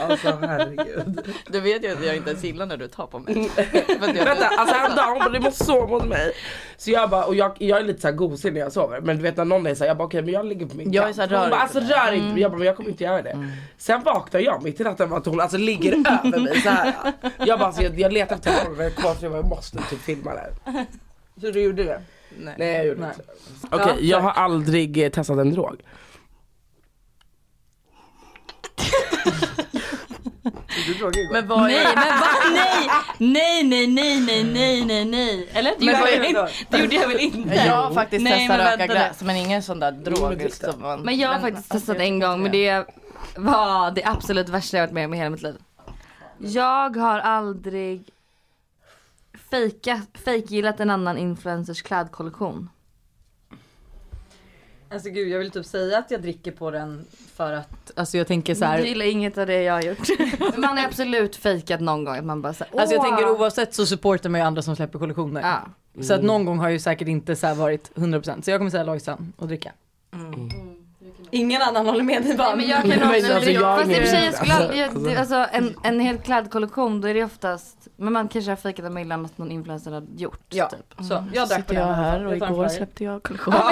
[SPEAKER 3] Alltså herregud.
[SPEAKER 4] Du vet ju att jag inte ens gillar när du tar på mig. För att jag-
[SPEAKER 3] Vänta, alltså häromdagen hon bara, du måste sova mot mig. Så jag bara, och jag, jag är lite såhär gosig när jag sover. Men du vet när någon är såhär, jag bara okej men jag ligger på min
[SPEAKER 4] Jag är
[SPEAKER 3] kant.
[SPEAKER 4] så här,
[SPEAKER 3] Hon
[SPEAKER 4] rör
[SPEAKER 3] bara,
[SPEAKER 4] inte Mm.
[SPEAKER 3] alltså rör inte mig. Jag bara, men jag kommer inte göra det. Sen vaknar jag mitt i natten med att hon alltså ligger över mig såhär. Jag bara, alltså, jag, jag letar efter telefonen men jag kom på att jag måste typ filma det här. Så du gjorde det?
[SPEAKER 4] Nej.
[SPEAKER 3] Nej jag gjorde
[SPEAKER 2] Nej.
[SPEAKER 3] inte det. Okej, jag har aldrig eh, testat en drog. Du drog igår.
[SPEAKER 4] Men vad
[SPEAKER 1] Nej
[SPEAKER 4] är
[SPEAKER 1] men va? Nej! Nej nej nej nej nej nej nej. Eller? Det,
[SPEAKER 4] Men
[SPEAKER 1] gjorde,
[SPEAKER 4] vad
[SPEAKER 1] jag
[SPEAKER 4] är
[SPEAKER 1] väl
[SPEAKER 4] det
[SPEAKER 1] inte, det gjorde jag väl inte?
[SPEAKER 4] Jag har faktiskt
[SPEAKER 1] Nej,
[SPEAKER 4] testat
[SPEAKER 1] men
[SPEAKER 4] röka
[SPEAKER 1] vänta
[SPEAKER 4] gräs men ingen sån där
[SPEAKER 3] men
[SPEAKER 4] drog.
[SPEAKER 3] titta.
[SPEAKER 4] som man-
[SPEAKER 1] Men jag har faktiskt testat en gång men det var det absolut värsta jag varit med om i hela mitt liv. Jag har aldrig fejkat, fejkgillat en annan influencers klädkollektion.
[SPEAKER 2] Alltså gud jag vill typ säga att jag dricker på den för att, alltså jag tänker så
[SPEAKER 1] Du
[SPEAKER 2] här.
[SPEAKER 1] gillar inget av det jag har gjort. Man har absolut fejkat någon gång att man bara såhär,
[SPEAKER 2] Alltså jag
[SPEAKER 1] "Åh."
[SPEAKER 2] tänker oavsett så supportar man ju andra som släpper kollektioner.
[SPEAKER 1] Ja.
[SPEAKER 2] Så att någon gång har ju säkert inte så här varit 100% så jag kommer säga Lojsan och dricka. Ingen annan håller med dig
[SPEAKER 1] Nej,
[SPEAKER 2] bara.
[SPEAKER 1] men jag kan
[SPEAKER 3] Men
[SPEAKER 1] också,
[SPEAKER 3] alltså, jag
[SPEAKER 1] fast i och för sig jag skulle
[SPEAKER 3] alltså,
[SPEAKER 1] aldrig, jag, det- alltså en, en hel klädkollektion då är det oftast, men man kanske har fejkat en mejl annat någon influencer har gjort.
[SPEAKER 2] Ja,
[SPEAKER 1] Typ.
[SPEAKER 2] så Mm. jag drack på
[SPEAKER 4] Sitter
[SPEAKER 2] den.
[SPEAKER 4] jag
[SPEAKER 2] i alla fall.
[SPEAKER 4] här och
[SPEAKER 2] Jag tar en
[SPEAKER 4] igår
[SPEAKER 2] flyer.
[SPEAKER 4] släppte jag kollektionen.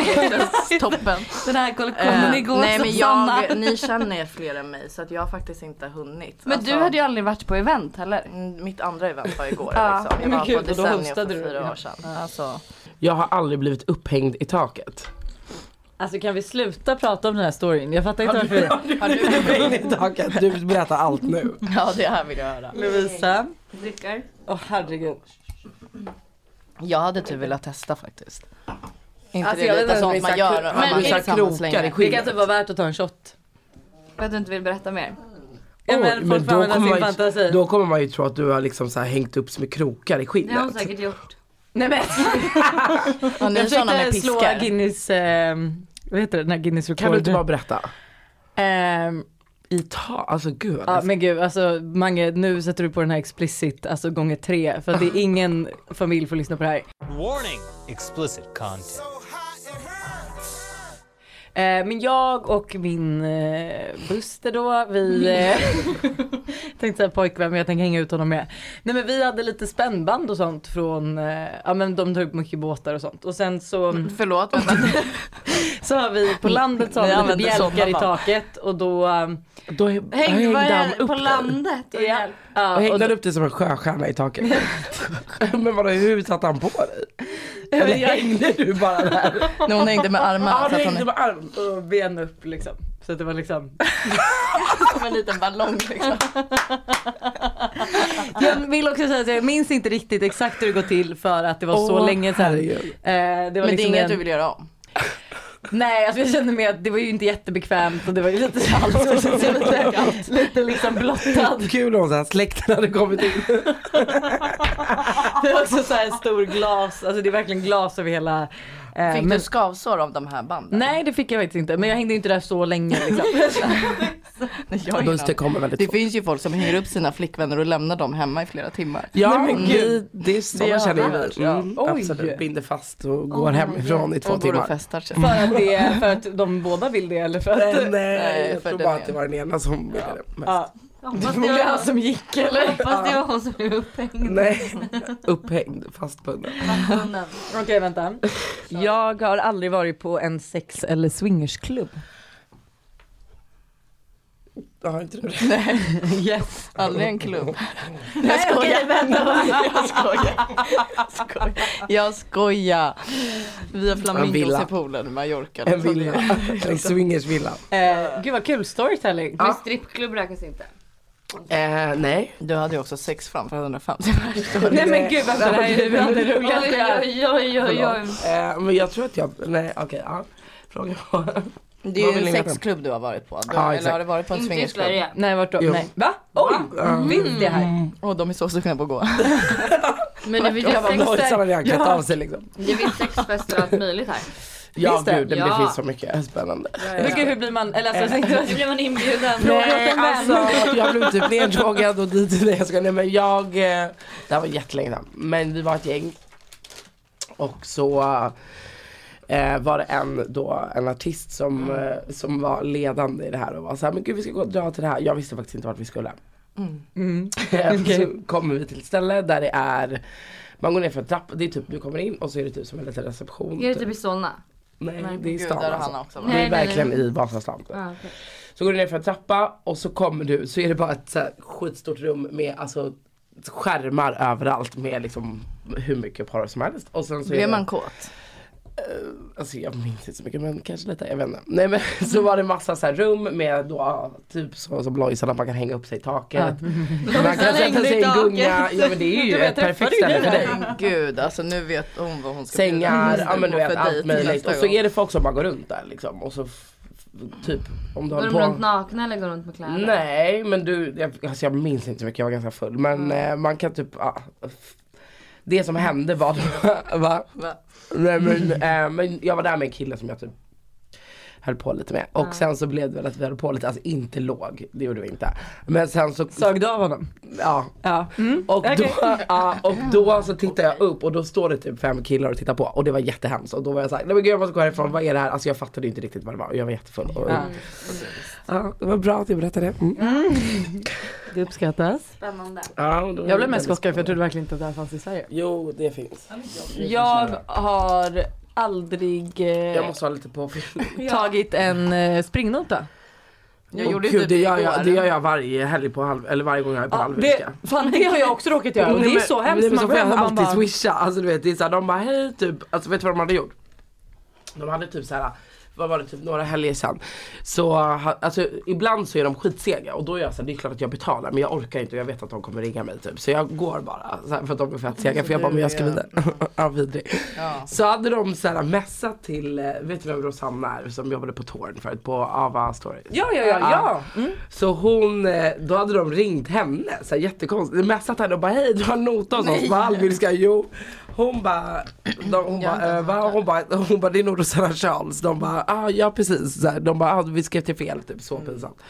[SPEAKER 4] Toppen.
[SPEAKER 1] Den här kollektionen
[SPEAKER 4] Eh,
[SPEAKER 1] igår
[SPEAKER 4] Nej men
[SPEAKER 1] Sanna.
[SPEAKER 4] jag, ni känner er fler än mig så att jag har faktiskt inte hunnit.
[SPEAKER 1] Men du
[SPEAKER 4] Alltså,
[SPEAKER 1] hade ju aldrig varit på event heller.
[SPEAKER 4] mm, Mitt andra event var igår
[SPEAKER 1] Ja.
[SPEAKER 4] liksom. Jag
[SPEAKER 2] Men
[SPEAKER 4] var
[SPEAKER 2] gud,
[SPEAKER 4] på
[SPEAKER 2] och då
[SPEAKER 4] Desenio för
[SPEAKER 2] hostade du.
[SPEAKER 4] fyra
[SPEAKER 2] Ja.
[SPEAKER 4] år sedan. Alltså,
[SPEAKER 3] Jag har aldrig blivit upphängd i taket.
[SPEAKER 2] Alltså kan vi sluta prata om den här storyn? Jag fattar inte varför.
[SPEAKER 4] har du,
[SPEAKER 3] upphängd i taket? Du berättar allt nu.
[SPEAKER 4] ja det här vill jag höra.
[SPEAKER 2] Lovisa.
[SPEAKER 1] Dricker.
[SPEAKER 2] Åh herregud.
[SPEAKER 4] Jag hade typ velat testa faktiskt. Inte
[SPEAKER 3] Alltså, jag
[SPEAKER 4] det
[SPEAKER 3] vet
[SPEAKER 4] lite
[SPEAKER 3] inte om
[SPEAKER 4] sånt
[SPEAKER 3] det
[SPEAKER 4] man
[SPEAKER 3] är så här
[SPEAKER 4] gör
[SPEAKER 3] kro- men
[SPEAKER 4] om
[SPEAKER 3] liksom-
[SPEAKER 4] man
[SPEAKER 3] det är
[SPEAKER 4] är
[SPEAKER 3] så här
[SPEAKER 4] tillsammans
[SPEAKER 3] krokar i
[SPEAKER 4] länge.
[SPEAKER 3] skit.
[SPEAKER 2] Det kan typ vara värt att ta en shot.
[SPEAKER 1] För att du inte vill berätta mer.
[SPEAKER 2] Ja,
[SPEAKER 3] Oj,
[SPEAKER 2] men folk får
[SPEAKER 3] då,
[SPEAKER 2] använda sin
[SPEAKER 3] kommer man
[SPEAKER 2] fantasi.
[SPEAKER 3] ju, då kommer man ju tro att du har liksom så här hängt upp som i krokar i
[SPEAKER 1] Det har hon
[SPEAKER 3] skinnet.
[SPEAKER 1] säkert
[SPEAKER 2] typ.
[SPEAKER 1] gjort.
[SPEAKER 2] Nej men.
[SPEAKER 4] Och ni är
[SPEAKER 2] Jag
[SPEAKER 4] såna med
[SPEAKER 2] försökte slå
[SPEAKER 4] piskar.
[SPEAKER 2] Guinness, eh, vad heter det, den här Guinness
[SPEAKER 3] Kan du
[SPEAKER 2] rekord.
[SPEAKER 3] inte bara berätta?
[SPEAKER 2] Ehm,
[SPEAKER 3] I ta, alltså gud vad
[SPEAKER 2] Ja
[SPEAKER 3] läskigt.
[SPEAKER 2] men gud, alltså Mange nu sätter du på den här explicit, alltså gånger tre. För att det är ingen familj får lyssna på det här.
[SPEAKER 5] Warning explicit content.
[SPEAKER 2] Eh, men jag och min eh, Buster då, vi eh, tänkte säga pojkvän men jag tänker hänga ut honom med. Nej men vi hade lite spännband och sånt från, eh, ja men de tar upp mycket båtar och sånt. Och sen så,
[SPEAKER 4] Förlåt men
[SPEAKER 2] så har vi på landet så har
[SPEAKER 4] Ni
[SPEAKER 2] vi lite
[SPEAKER 4] använder sådana
[SPEAKER 2] bjälkar i
[SPEAKER 4] band.
[SPEAKER 2] taket och då, eh,
[SPEAKER 3] Då häng-
[SPEAKER 1] Häng
[SPEAKER 3] hängde han
[SPEAKER 1] bara
[SPEAKER 3] upp
[SPEAKER 1] på
[SPEAKER 3] dig.
[SPEAKER 1] landet. och
[SPEAKER 2] ja,
[SPEAKER 1] hjälp.
[SPEAKER 3] Och
[SPEAKER 2] ja, och
[SPEAKER 3] hängde
[SPEAKER 2] då,
[SPEAKER 3] han upp dig som en sjöstjärna i taket? men vadå hur satte han på dig? Eller hängde du bara där?
[SPEAKER 4] när hon hängde med
[SPEAKER 3] Ja
[SPEAKER 4] armarna så
[SPEAKER 3] du
[SPEAKER 4] att hon
[SPEAKER 3] hängde med armen.
[SPEAKER 2] och ben upp liksom. Så att det var liksom
[SPEAKER 4] som en liten ballong liksom.
[SPEAKER 2] Jag vill också säga att jag minns inte riktigt exakt hur det går till för att det var så
[SPEAKER 3] Åh,
[SPEAKER 2] länge sedan. Eh,
[SPEAKER 3] herregud.
[SPEAKER 2] det var
[SPEAKER 4] Men det är
[SPEAKER 2] liksom
[SPEAKER 4] inget
[SPEAKER 2] en...
[SPEAKER 4] du vill göra om.
[SPEAKER 2] Nej, alltså jag kände mig att det var ju inte jättebekvämt och det var ju lite kallt. Så jag kände mig lite, lite liksom blottad.
[SPEAKER 3] Kul om såhär släkten hade kommit in.
[SPEAKER 2] Det var också Alltså, så här stor glas, alltså det är verkligen glas över hela. eh,
[SPEAKER 4] Fick
[SPEAKER 2] men...
[SPEAKER 4] du skavsår av de här banden?
[SPEAKER 2] Nej det fick jag faktiskt inte men jag hängde ju inte där så länge liksom.
[SPEAKER 4] Nej, jag har ingen
[SPEAKER 3] Buster
[SPEAKER 4] aning.
[SPEAKER 3] kommer väldigt
[SPEAKER 4] Det
[SPEAKER 3] fort.
[SPEAKER 4] finns ju folk som hänger upp sina flickvänner och lämnar dem hemma i flera timmar.
[SPEAKER 2] Nej,
[SPEAKER 3] Ja,
[SPEAKER 2] men
[SPEAKER 3] men
[SPEAKER 2] gud.
[SPEAKER 3] gud. Det är så
[SPEAKER 2] Det är
[SPEAKER 3] känner
[SPEAKER 2] annars,
[SPEAKER 3] vi.
[SPEAKER 2] ja.
[SPEAKER 3] Mm,
[SPEAKER 2] Oj.
[SPEAKER 3] absolut, binder fast och går hemifrån i två
[SPEAKER 4] och går och
[SPEAKER 3] timmar.
[SPEAKER 4] festar sig.
[SPEAKER 2] För att, det, för att de båda vill det eller för att...
[SPEAKER 3] Nej,
[SPEAKER 4] Nej,
[SPEAKER 3] eh, jag
[SPEAKER 4] för
[SPEAKER 3] tror
[SPEAKER 4] den
[SPEAKER 3] bara
[SPEAKER 4] är-
[SPEAKER 3] att det var den ena som ville det. mest.
[SPEAKER 2] Ja.
[SPEAKER 1] Hoppas
[SPEAKER 2] Det var
[SPEAKER 1] det
[SPEAKER 2] han
[SPEAKER 1] var-
[SPEAKER 2] som gick eller?
[SPEAKER 1] hoppas det var hon som blev upphängd.
[SPEAKER 3] Nej, upphängd, fastbunden.
[SPEAKER 2] Okej vänta. Jag har aldrig varit på en sex eller swingersklubb.
[SPEAKER 3] Ja, inte du det?
[SPEAKER 2] Yes.
[SPEAKER 4] Aldrig en klubb.
[SPEAKER 2] Jag skojar.
[SPEAKER 4] Jag skojar. skojar. Jag skojar. Vi har flamingos
[SPEAKER 3] villa.
[SPEAKER 4] i poolen i Mallorca.
[SPEAKER 3] En
[SPEAKER 4] Så det-
[SPEAKER 3] villa, en swingersvilla.
[SPEAKER 2] Eh, gud vad kul storytelling.
[SPEAKER 1] Men strippklubb räknas inte.
[SPEAKER 3] Eh, nej.
[SPEAKER 4] Du hade ju också sex framför 150
[SPEAKER 2] Nej men gud vänta det här är ju bland det roligaste
[SPEAKER 1] Oj
[SPEAKER 2] jag har
[SPEAKER 1] oj oj oj oj.
[SPEAKER 3] Eh, men jag tror att jag, nej okej, ja. Fråga var.
[SPEAKER 4] Det
[SPEAKER 3] Vad
[SPEAKER 4] är ju
[SPEAKER 3] vill
[SPEAKER 4] en
[SPEAKER 3] ni veta?
[SPEAKER 4] sexklubb du har varit på. Du,
[SPEAKER 3] Ja,
[SPEAKER 4] eller
[SPEAKER 3] exakt.
[SPEAKER 4] har du varit på en
[SPEAKER 1] Inte i
[SPEAKER 4] swingersklubb?
[SPEAKER 1] Mm, Sverige.
[SPEAKER 2] Nej vart då?
[SPEAKER 3] Jo.
[SPEAKER 2] Nej. Va? Mm. Oj! Finns det här?
[SPEAKER 4] Och de är så sugna på att gå.
[SPEAKER 1] Men det finns ju
[SPEAKER 3] Jag bara
[SPEAKER 1] sexfester-
[SPEAKER 3] nojsarna redan klätt av sig liksom.
[SPEAKER 1] det finns sexfester och allt möjligt här.
[SPEAKER 3] Ja
[SPEAKER 2] Finns det?
[SPEAKER 3] gud, det, men
[SPEAKER 1] Ja.
[SPEAKER 3] det finns så mycket spännande.
[SPEAKER 2] Men gud hur blir man, eller alltså jag tänkte
[SPEAKER 1] Nu blir man inbjuden.
[SPEAKER 3] Nej alltså, jag blev typ nedfrågad och dit och dit. Jag ska, nej men jag, eh, det här var jättelänge sedan. Men vi var ett gäng. Och så eh, var det en, då, en artist som, eh, som var ledande i det här och var så här, men gud vi ska gå och dra till det här. Jag visste faktiskt inte vart vi skulle. Eh, Så kommer vi till ett ställe där det är man går ner för en trappa, det är typ du kommer in och så är det typ som en liten reception.
[SPEAKER 1] Är det typ i Solna?
[SPEAKER 3] Nej,
[SPEAKER 4] Nej,
[SPEAKER 3] det är i
[SPEAKER 4] gud,
[SPEAKER 3] stan
[SPEAKER 4] där har
[SPEAKER 3] alltså.
[SPEAKER 4] han också
[SPEAKER 3] Det
[SPEAKER 1] Nej,
[SPEAKER 3] är
[SPEAKER 1] nej,
[SPEAKER 3] verkligen i Vasastan.
[SPEAKER 1] Ah, okej.
[SPEAKER 3] Så går du ner för en trappa och så kommer du, så är det bara ett så här skitstort rum med alltså skärmar överallt med liksom hur mycket porr som helst. Och sen så är
[SPEAKER 4] Blev
[SPEAKER 3] det,
[SPEAKER 4] man kåt?
[SPEAKER 3] alltså jag minns inte så mycket men kanske lite, jag vet inte. Nej men så var det massa så här rum med då typ så som Lojsan att man kan hänga upp sig i taket. Man kan
[SPEAKER 1] hängde
[SPEAKER 3] sätta sig i
[SPEAKER 1] i
[SPEAKER 3] en
[SPEAKER 1] taket.
[SPEAKER 3] gunga. Ja men det är ju ett perfekt ställe för dig.
[SPEAKER 4] Men Gud alltså nu vet hon vad hon ska Mm,
[SPEAKER 3] Sängar, ja men du
[SPEAKER 4] Gå
[SPEAKER 3] vet
[SPEAKER 4] för liksom.
[SPEAKER 3] allt
[SPEAKER 4] dejt
[SPEAKER 3] möjligt.
[SPEAKER 4] nästa
[SPEAKER 3] Och så
[SPEAKER 4] gång.
[SPEAKER 3] är det folk som bara går runt där liksom. Och så f- f- typ om du
[SPEAKER 1] Går
[SPEAKER 3] håller
[SPEAKER 1] de
[SPEAKER 3] på.
[SPEAKER 1] runt nakna eller går de runt med kläder?
[SPEAKER 3] Nej men du, jag, alltså jag minns inte så mycket, jag var ganska full. Men eh, man kan typ, ja, f- det som hände var va?
[SPEAKER 4] Va?
[SPEAKER 3] Nej, men, eh, men jag var där med en kille som jag typ höll på lite med. Och sen så blev det väl att vi höll på lite, alltså inte låg, det gjorde vi inte. Men sen så,
[SPEAKER 2] Sög du av honom?
[SPEAKER 3] ja.
[SPEAKER 2] Ja. Mm.
[SPEAKER 3] Och,
[SPEAKER 2] okej.
[SPEAKER 3] då, ja, och då så tittar jag upp och då står det typ fem killar och tittar på och det var jättehemskt. Och då var jag såhär, nej men gud jag måste gå härifrån, vad är det här? Alltså jag fattade ju inte riktigt vad det var och jag var jättefull. Och, ja. det var bra att du berättade. Mm.
[SPEAKER 2] Det uppskattas.
[SPEAKER 1] Spännande.
[SPEAKER 3] Ja, och då-
[SPEAKER 2] Jag blev mest chockad för jag trodde verkligen inte att det här fanns i Sverige.
[SPEAKER 3] Jo, det finns.
[SPEAKER 2] Jag har aldrig eh,
[SPEAKER 3] Jag måste ha lite påfyllning.
[SPEAKER 2] tagit en eh, springnota.
[SPEAKER 4] Jag
[SPEAKER 3] Åh,
[SPEAKER 4] gjorde
[SPEAKER 3] Gud, det
[SPEAKER 4] inte det
[SPEAKER 3] gör jag, typ
[SPEAKER 4] igår.
[SPEAKER 3] det gör jag varje helg på halv, eller varje gång jag är på
[SPEAKER 2] typ Ja,
[SPEAKER 3] halvvecka.
[SPEAKER 2] det, fan, det har jag också råkat göra och det är så hemskt. Man
[SPEAKER 3] Man
[SPEAKER 2] går
[SPEAKER 3] får jag
[SPEAKER 2] hem och man
[SPEAKER 3] alltid
[SPEAKER 2] bara,
[SPEAKER 3] swisha. Alltså du vet, det är så här, de bara hej typ. Alltså vet du vad de hade gjort? De hade typ så här. Vad var det typ några helger sedan? Så ha- alltså, ibland så är de skitsega och då är jag såhär, det är klart att jag betalar men jag orkar inte och jag vet att de kommer ringa mig typ. Så jag går bara så här, för att de är fett
[SPEAKER 2] Alltså,
[SPEAKER 3] sega för jag bara, men jag ska vidare. ja, vidrig.
[SPEAKER 4] Ja.
[SPEAKER 3] Så hade de såhär mässat till, eh, vet du vem Rosanna är som jobbade på Torn förut? På Ava Stories.
[SPEAKER 2] ja ja ja ja. Mm.
[SPEAKER 3] Så hon, eh, då hade de ringt henne, så här jättekonstigt, messat henne och bara hej du har en nota hos oss, bara allmilska, jo. Hon bara, de, hon bara, äh, va? Hon bara, hon bara det är nog Rosanna Charles. De bara, ah, ja precis. Så här, de bara, ah, vi skrev till fel, typ
[SPEAKER 2] Mm.
[SPEAKER 3] så pinsamt.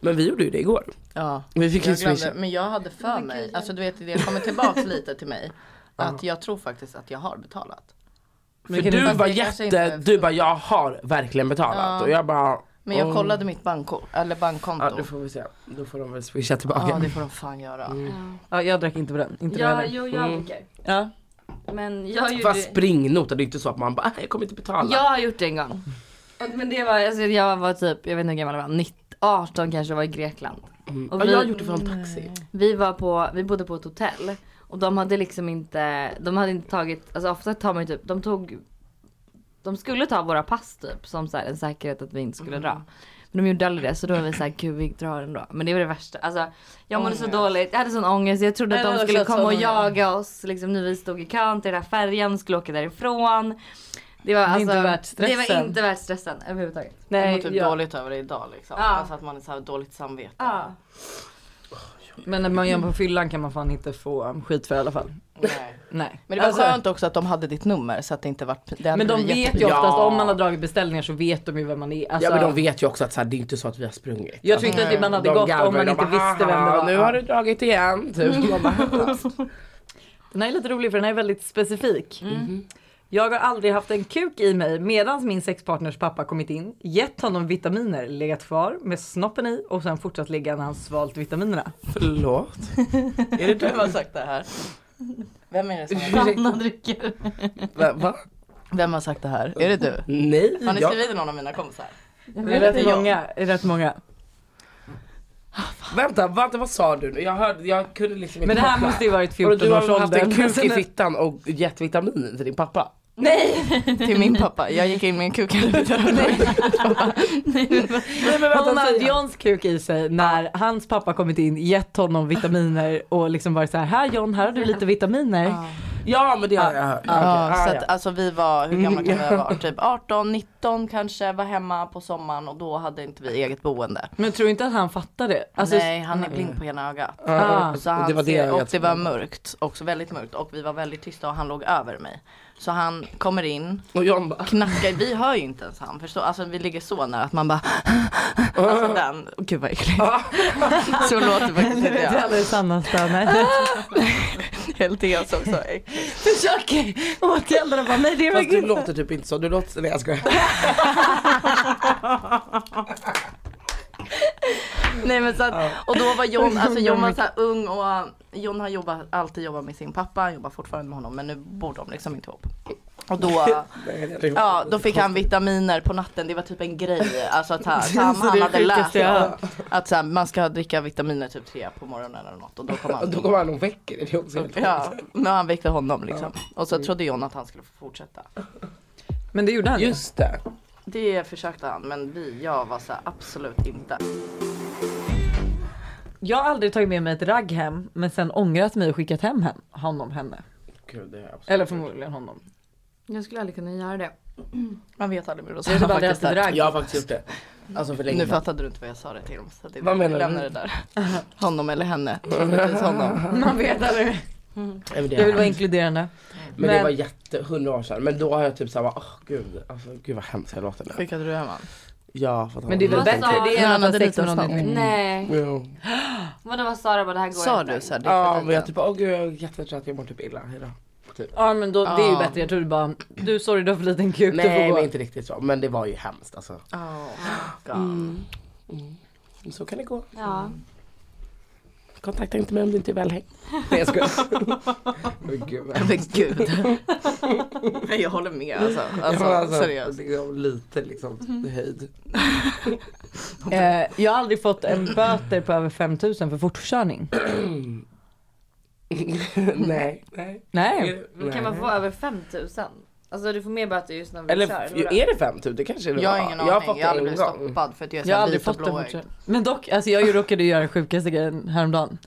[SPEAKER 3] Men vi gjorde ju det igår.
[SPEAKER 4] Ja.
[SPEAKER 3] Vi fick ju
[SPEAKER 4] Jag glömde,
[SPEAKER 3] swisha.
[SPEAKER 4] men jag hade för mig, alltså du vet det kommer tillbaks lite till mig. Att jag tror faktiskt att jag har betalat.
[SPEAKER 3] För du
[SPEAKER 4] fast
[SPEAKER 3] var
[SPEAKER 4] det kanske
[SPEAKER 3] jätte,
[SPEAKER 4] alltså, inte-
[SPEAKER 3] du bara jag har verkligen betalat. Och jag bara,
[SPEAKER 4] Men jag
[SPEAKER 3] "Oh."
[SPEAKER 4] kollade mitt bankkort, eller bankkonto.
[SPEAKER 3] Ja
[SPEAKER 4] Ja,
[SPEAKER 3] då får Mm. vi se, då får de väl swisha tillbaka.
[SPEAKER 4] det får de fan göra.
[SPEAKER 2] Ja, jag drack inte på den. Inte
[SPEAKER 1] Ja,
[SPEAKER 2] ja,
[SPEAKER 1] jo jag
[SPEAKER 2] Mm.
[SPEAKER 1] dricker.
[SPEAKER 2] ja.
[SPEAKER 1] Men jag gjorde...
[SPEAKER 3] Fast springnota, det är inte så att man bara, "Ah, jag kommer inte betala.
[SPEAKER 1] Jag har gjort det en gång. Och- Men det var, alltså, jag var typ, jag vet inte hur gammal jag var, 19, 18 kanske var i Grekland. Och
[SPEAKER 3] Mm. Ja,
[SPEAKER 1] vi,
[SPEAKER 3] jag har gjort det för en taxi.
[SPEAKER 1] vi var på, vi bodde på ett hotell. Och de hade liksom inte, de hade inte tagit, alltså ofta tar man ju typ, de tog, de skulle ta våra pass typ som så här, en säkerhet att vi inte
[SPEAKER 2] Mm.
[SPEAKER 1] skulle dra. Men de gjorde aldrig det så då var vi såhär, gud vi drar ändå. Men det var det värsta. Alltså, jag mådde så dåligt, jag hade sån ångest. Jag trodde
[SPEAKER 2] Jag
[SPEAKER 1] att de
[SPEAKER 2] hade
[SPEAKER 1] skulle
[SPEAKER 2] också
[SPEAKER 1] komma och
[SPEAKER 2] sån ångest.
[SPEAKER 1] jaga oss. Liksom, nu vi stod i kön till den här färjan, skulle åka därifrån. Det var, alltså,
[SPEAKER 2] inte värt stressen.
[SPEAKER 1] Det var inte värt stressen överhuvudtaget.
[SPEAKER 4] Jag mår
[SPEAKER 2] Nej,
[SPEAKER 4] typ
[SPEAKER 2] ja.
[SPEAKER 4] dåligt över det idag liksom.
[SPEAKER 1] Ja.
[SPEAKER 4] Alltså att man är så här dåligt samvete.
[SPEAKER 1] Ja.
[SPEAKER 2] Men när man gör på fyllan kan man fan inte få um, skit för i alla fall.
[SPEAKER 4] Nej.
[SPEAKER 2] Nej.
[SPEAKER 4] Men det var
[SPEAKER 2] Alltså,
[SPEAKER 4] skönt också att de hade ditt nummer så att det inte var det hade
[SPEAKER 2] Men de
[SPEAKER 4] blivit
[SPEAKER 2] vet ju
[SPEAKER 4] jättepinsamt.
[SPEAKER 2] oftast
[SPEAKER 3] Ja.
[SPEAKER 2] om man har dragit beställningar så vet de ju vem man är. Alltså,
[SPEAKER 3] Ja men de vet ju också att så här, det är inte så att vi har sprungit.
[SPEAKER 2] Jag tror inte att man hade gått om man inte visste vem det var.
[SPEAKER 3] Nu har du dragit igen. Typ. Man bara,
[SPEAKER 2] Den här är lite rolig för den här är väldigt specifik.
[SPEAKER 4] Mm. Mm-hmm.
[SPEAKER 2] Jag har aldrig haft en kuk i mig medan min sexpartners pappa kommit in, gett honom vitaminer, legat kvar med snoppen i och sen fortsatt ligga när han svalt vitaminerna.
[SPEAKER 3] Förlåt? Är det du?
[SPEAKER 4] Vem har sagt det här? Vem är det som har...
[SPEAKER 1] Anna dricker.
[SPEAKER 3] Va? va?
[SPEAKER 4] Vem har sagt det här? Är det du?
[SPEAKER 3] Nej.
[SPEAKER 4] Har ni
[SPEAKER 3] jag-
[SPEAKER 4] skrivit till någon av mina kompisar?
[SPEAKER 2] Det är rätt många. det är Rätt många.
[SPEAKER 3] Vänta, vänta vad sa du? nu? Jag, hörde, jag kunde liksom inte
[SPEAKER 2] Men det här
[SPEAKER 3] fatta.
[SPEAKER 2] måste ju varit
[SPEAKER 3] Vadå, Du
[SPEAKER 2] 14 års Alltså,
[SPEAKER 3] har haft en
[SPEAKER 2] åldern.
[SPEAKER 3] kuk i fittan och gett vitaminer till din pappa?
[SPEAKER 4] Till min pappa. Jag gick in med en kuk i röven.
[SPEAKER 2] Hon hade Johns kuk i sig när hans pappa kommit in, gett honom vitaminer och liksom varit så här, här John, här har du lite vitaminer.
[SPEAKER 3] Ja men det har jag hört.
[SPEAKER 4] Ja,
[SPEAKER 3] Okej, ah,
[SPEAKER 4] så att, alltså vi var, hur gamla kan vi ha varit? Typ 18, 19 kanske, var hemma på sommaren och då hade inte vi eget boende.
[SPEAKER 2] Men tror inte att han fattar det? Alltså,
[SPEAKER 4] Nej, han är blind på ena ögat.
[SPEAKER 3] Ja.
[SPEAKER 4] ah, Så
[SPEAKER 3] Ah, Och
[SPEAKER 4] han
[SPEAKER 3] det var det
[SPEAKER 4] ser,
[SPEAKER 3] jag
[SPEAKER 4] och det var mörkt, också väldigt mörkt och vi var väldigt tysta och han låg över mig. Så han kommer in,
[SPEAKER 3] Och John bara,
[SPEAKER 4] knackar, vi hör ju inte ens han förstår, alltså vi ligger så nära att man bara Alltså den, Åh, gud vad äckligt. Så låter faktiskt inte
[SPEAKER 2] Det är
[SPEAKER 4] jag.
[SPEAKER 2] alldeles sanna stönet.
[SPEAKER 4] LTS
[SPEAKER 2] alltså
[SPEAKER 4] också. äckligt.
[SPEAKER 2] Försöker åtgärda bara, nej det var
[SPEAKER 3] Fast du
[SPEAKER 2] grymt.
[SPEAKER 3] låter typ inte så, du låter, nej jag skojar.
[SPEAKER 4] Nej men så att, och då var John, alltså John var så här ung och John har jobbat, alltid jobbat med sin pappa, han jobbar fortfarande med honom men nu bor de liksom inte ihop. Och då, ja då fick han vitaminer på natten, det var typ en grej, alltså att han, han,
[SPEAKER 2] Så det är
[SPEAKER 4] han hade
[SPEAKER 2] det
[SPEAKER 4] läst
[SPEAKER 2] sjukaste jag har hört.
[SPEAKER 4] att så här, man ska dricka vitaminer typ tre på morgonen eller något och då kom
[SPEAKER 3] Och
[SPEAKER 4] han
[SPEAKER 3] Då kommer han och väcker dig, det är också helt
[SPEAKER 4] Ja, men han väckte honom liksom. Och så trodde John att han skulle få fortsätta.
[SPEAKER 2] Men det gjorde han ju.
[SPEAKER 3] Just det.
[SPEAKER 4] Det försökte han men vi, jag var så här, absolut inte.
[SPEAKER 2] Jag har aldrig tagit med mig ett ragg hem men sen ångrat mig och skickat hem hen- honom henne.
[SPEAKER 3] Gud, det är absolut-
[SPEAKER 2] Eller förmodligen honom.
[SPEAKER 1] Jag skulle aldrig kunna göra det.
[SPEAKER 4] Man vet aldrig med Rosanna
[SPEAKER 2] Jag har typ aldrig
[SPEAKER 4] faktiskt.
[SPEAKER 2] haft ett
[SPEAKER 4] där.
[SPEAKER 2] ragg.
[SPEAKER 3] Jag har faktiskt gjort det. Alltså för länge
[SPEAKER 4] Nu
[SPEAKER 3] sedan.
[SPEAKER 4] fattade du inte vad jag sa det till om. Så det
[SPEAKER 3] Vad menar du?
[SPEAKER 4] lämnar det där. Honom eller henne. Troligtvis honom.
[SPEAKER 2] Man vet aldrig.
[SPEAKER 3] Nej, men det
[SPEAKER 2] Jag vill
[SPEAKER 3] är
[SPEAKER 2] vara
[SPEAKER 3] hemskt.
[SPEAKER 2] inkluderande.
[SPEAKER 3] men, det
[SPEAKER 2] men-
[SPEAKER 3] var jätte, hundra år sedan. Men då har jag typ såhär, åh gud, alltså gud vad hemskt jag låter nu.
[SPEAKER 4] Skickade du hem honom?
[SPEAKER 3] Ja, fattar
[SPEAKER 2] Men det är väl
[SPEAKER 1] Vad
[SPEAKER 2] bättre
[SPEAKER 1] sa-
[SPEAKER 2] det
[SPEAKER 4] Nej,
[SPEAKER 2] än att
[SPEAKER 4] men
[SPEAKER 2] ha
[SPEAKER 4] det är
[SPEAKER 2] sex
[SPEAKER 4] lite
[SPEAKER 2] med någon
[SPEAKER 4] snabbt.
[SPEAKER 2] inte-
[SPEAKER 1] Nej.
[SPEAKER 3] Jo.
[SPEAKER 1] Vadå vad Sara bara det här går
[SPEAKER 4] Sa
[SPEAKER 1] inte.
[SPEAKER 4] du så här, det är för
[SPEAKER 3] Ja, men jag
[SPEAKER 4] lite.
[SPEAKER 3] typ, åh gud jag är jättetrött, jag mår typ illa idag.
[SPEAKER 2] Ja men då, det är ju
[SPEAKER 4] Ja.
[SPEAKER 2] bättre. Jag trodde bara, du sorry du har för liten kuk, du
[SPEAKER 3] Nej
[SPEAKER 2] får gå.
[SPEAKER 3] men inte riktigt så, men det var ju hemskt alltså.
[SPEAKER 4] Oh, God.
[SPEAKER 3] Så kan det gå.
[SPEAKER 1] Ja.
[SPEAKER 3] Kontakta inte mig om du inte är välhängd. Nej jag skojar. Men gud vad
[SPEAKER 4] Men gud. Nej, jag håller med alltså. Alltså,
[SPEAKER 3] Ja, men alltså,
[SPEAKER 4] seriöst.
[SPEAKER 3] det är lite liksom höjd.
[SPEAKER 2] Eh, jag har aldrig fått en böter på över 5000 för fortkörning.
[SPEAKER 3] nej, nej.
[SPEAKER 2] Nej.
[SPEAKER 3] nej.
[SPEAKER 1] Kan man få över 5000? Alltså du får mer böter just när vi
[SPEAKER 3] Eller
[SPEAKER 1] kör.
[SPEAKER 3] f- är det 5000? Det kanske det
[SPEAKER 4] Jag har
[SPEAKER 3] var.
[SPEAKER 4] ingen
[SPEAKER 3] Jag har
[SPEAKER 4] aning.
[SPEAKER 3] fått
[SPEAKER 4] Jag har aldrig
[SPEAKER 3] det en
[SPEAKER 4] blivit
[SPEAKER 3] gång.
[SPEAKER 4] stoppad för att jag är
[SPEAKER 2] Jag har
[SPEAKER 4] så
[SPEAKER 2] aldrig
[SPEAKER 4] vit och
[SPEAKER 2] fått en
[SPEAKER 4] blåögd.
[SPEAKER 2] fortkörning. Men dock, alltså jag råkade göra den sjukaste grejen häromdagen.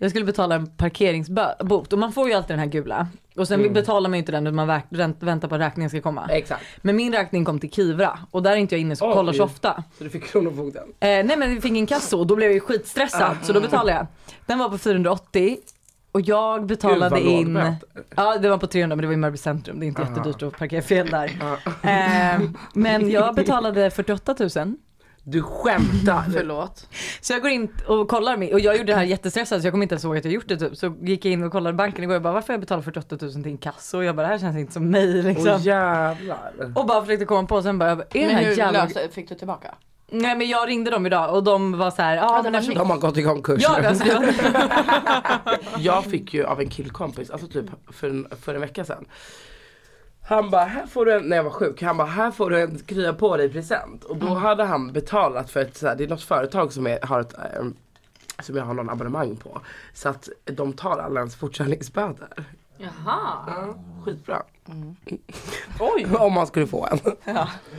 [SPEAKER 2] Jag skulle betala en parkeringsbot och man får ju alltid den här gula. Och
[SPEAKER 3] Mm.
[SPEAKER 2] sen betalar man ju inte den utan man väk- vänt- väntar på att räkningen ska komma.
[SPEAKER 3] Exakt.
[SPEAKER 2] Men min räkning kom till Kivra och där är inte jag inne och
[SPEAKER 3] Oj.
[SPEAKER 2] kollar så ofta.
[SPEAKER 3] Så du fick Kronofogden.
[SPEAKER 2] Eh, nej men vi fick inkasso och då blev jag ju skitstressad så då betalade jag. Den var på 480 och jag betalade
[SPEAKER 3] Ah. Gud, vad
[SPEAKER 2] in...
[SPEAKER 3] lågböter.
[SPEAKER 2] Ja det var på 300 men det var i Mörby centrum, det är inte
[SPEAKER 3] Aha.
[SPEAKER 2] jättedyrt att parkera fel där. Eh, men jag betalade 48 000.
[SPEAKER 3] Du skämtar!
[SPEAKER 4] Förlåt.
[SPEAKER 2] Så jag går in och kollar, min- och jag gjorde det här jättestressad så jag kommer inte ens ihåg att jag gjort det typ. Så gick jag in och kollade banken igår och bara varför har jag betalat 48 000 till inkasso? Och jag bara det här känns inte som mig
[SPEAKER 3] Åh
[SPEAKER 2] liksom.
[SPEAKER 3] jävlar.
[SPEAKER 2] Och bara försökte komma på och sen bara, är den
[SPEAKER 4] Men
[SPEAKER 2] här
[SPEAKER 4] hur
[SPEAKER 2] jävla...
[SPEAKER 4] löste, fick du tillbaka?
[SPEAKER 2] Nej men jag ringde dem idag och de var så här, ja
[SPEAKER 4] det
[SPEAKER 2] men
[SPEAKER 4] var
[SPEAKER 2] eftersom...
[SPEAKER 3] De har gått i konkurs
[SPEAKER 2] Ja,
[SPEAKER 3] nu.
[SPEAKER 2] alltså, det var...
[SPEAKER 3] Jag fick ju av en killkompis, alltså typ för en, för en vecka sedan. Han bara, här får du en, när jag var sjuk, han bara, här får du en krya på dig present. Och då
[SPEAKER 2] Mm.
[SPEAKER 3] hade han betalat för ett, så här, det är något företag som är, har ett, ehm, som jag har någon abonnemang på. Så att de tar alla ens fortkörningsböter.
[SPEAKER 1] Jaha.
[SPEAKER 3] Skitbra.
[SPEAKER 2] Mm.
[SPEAKER 3] Oj! Om man skulle få en.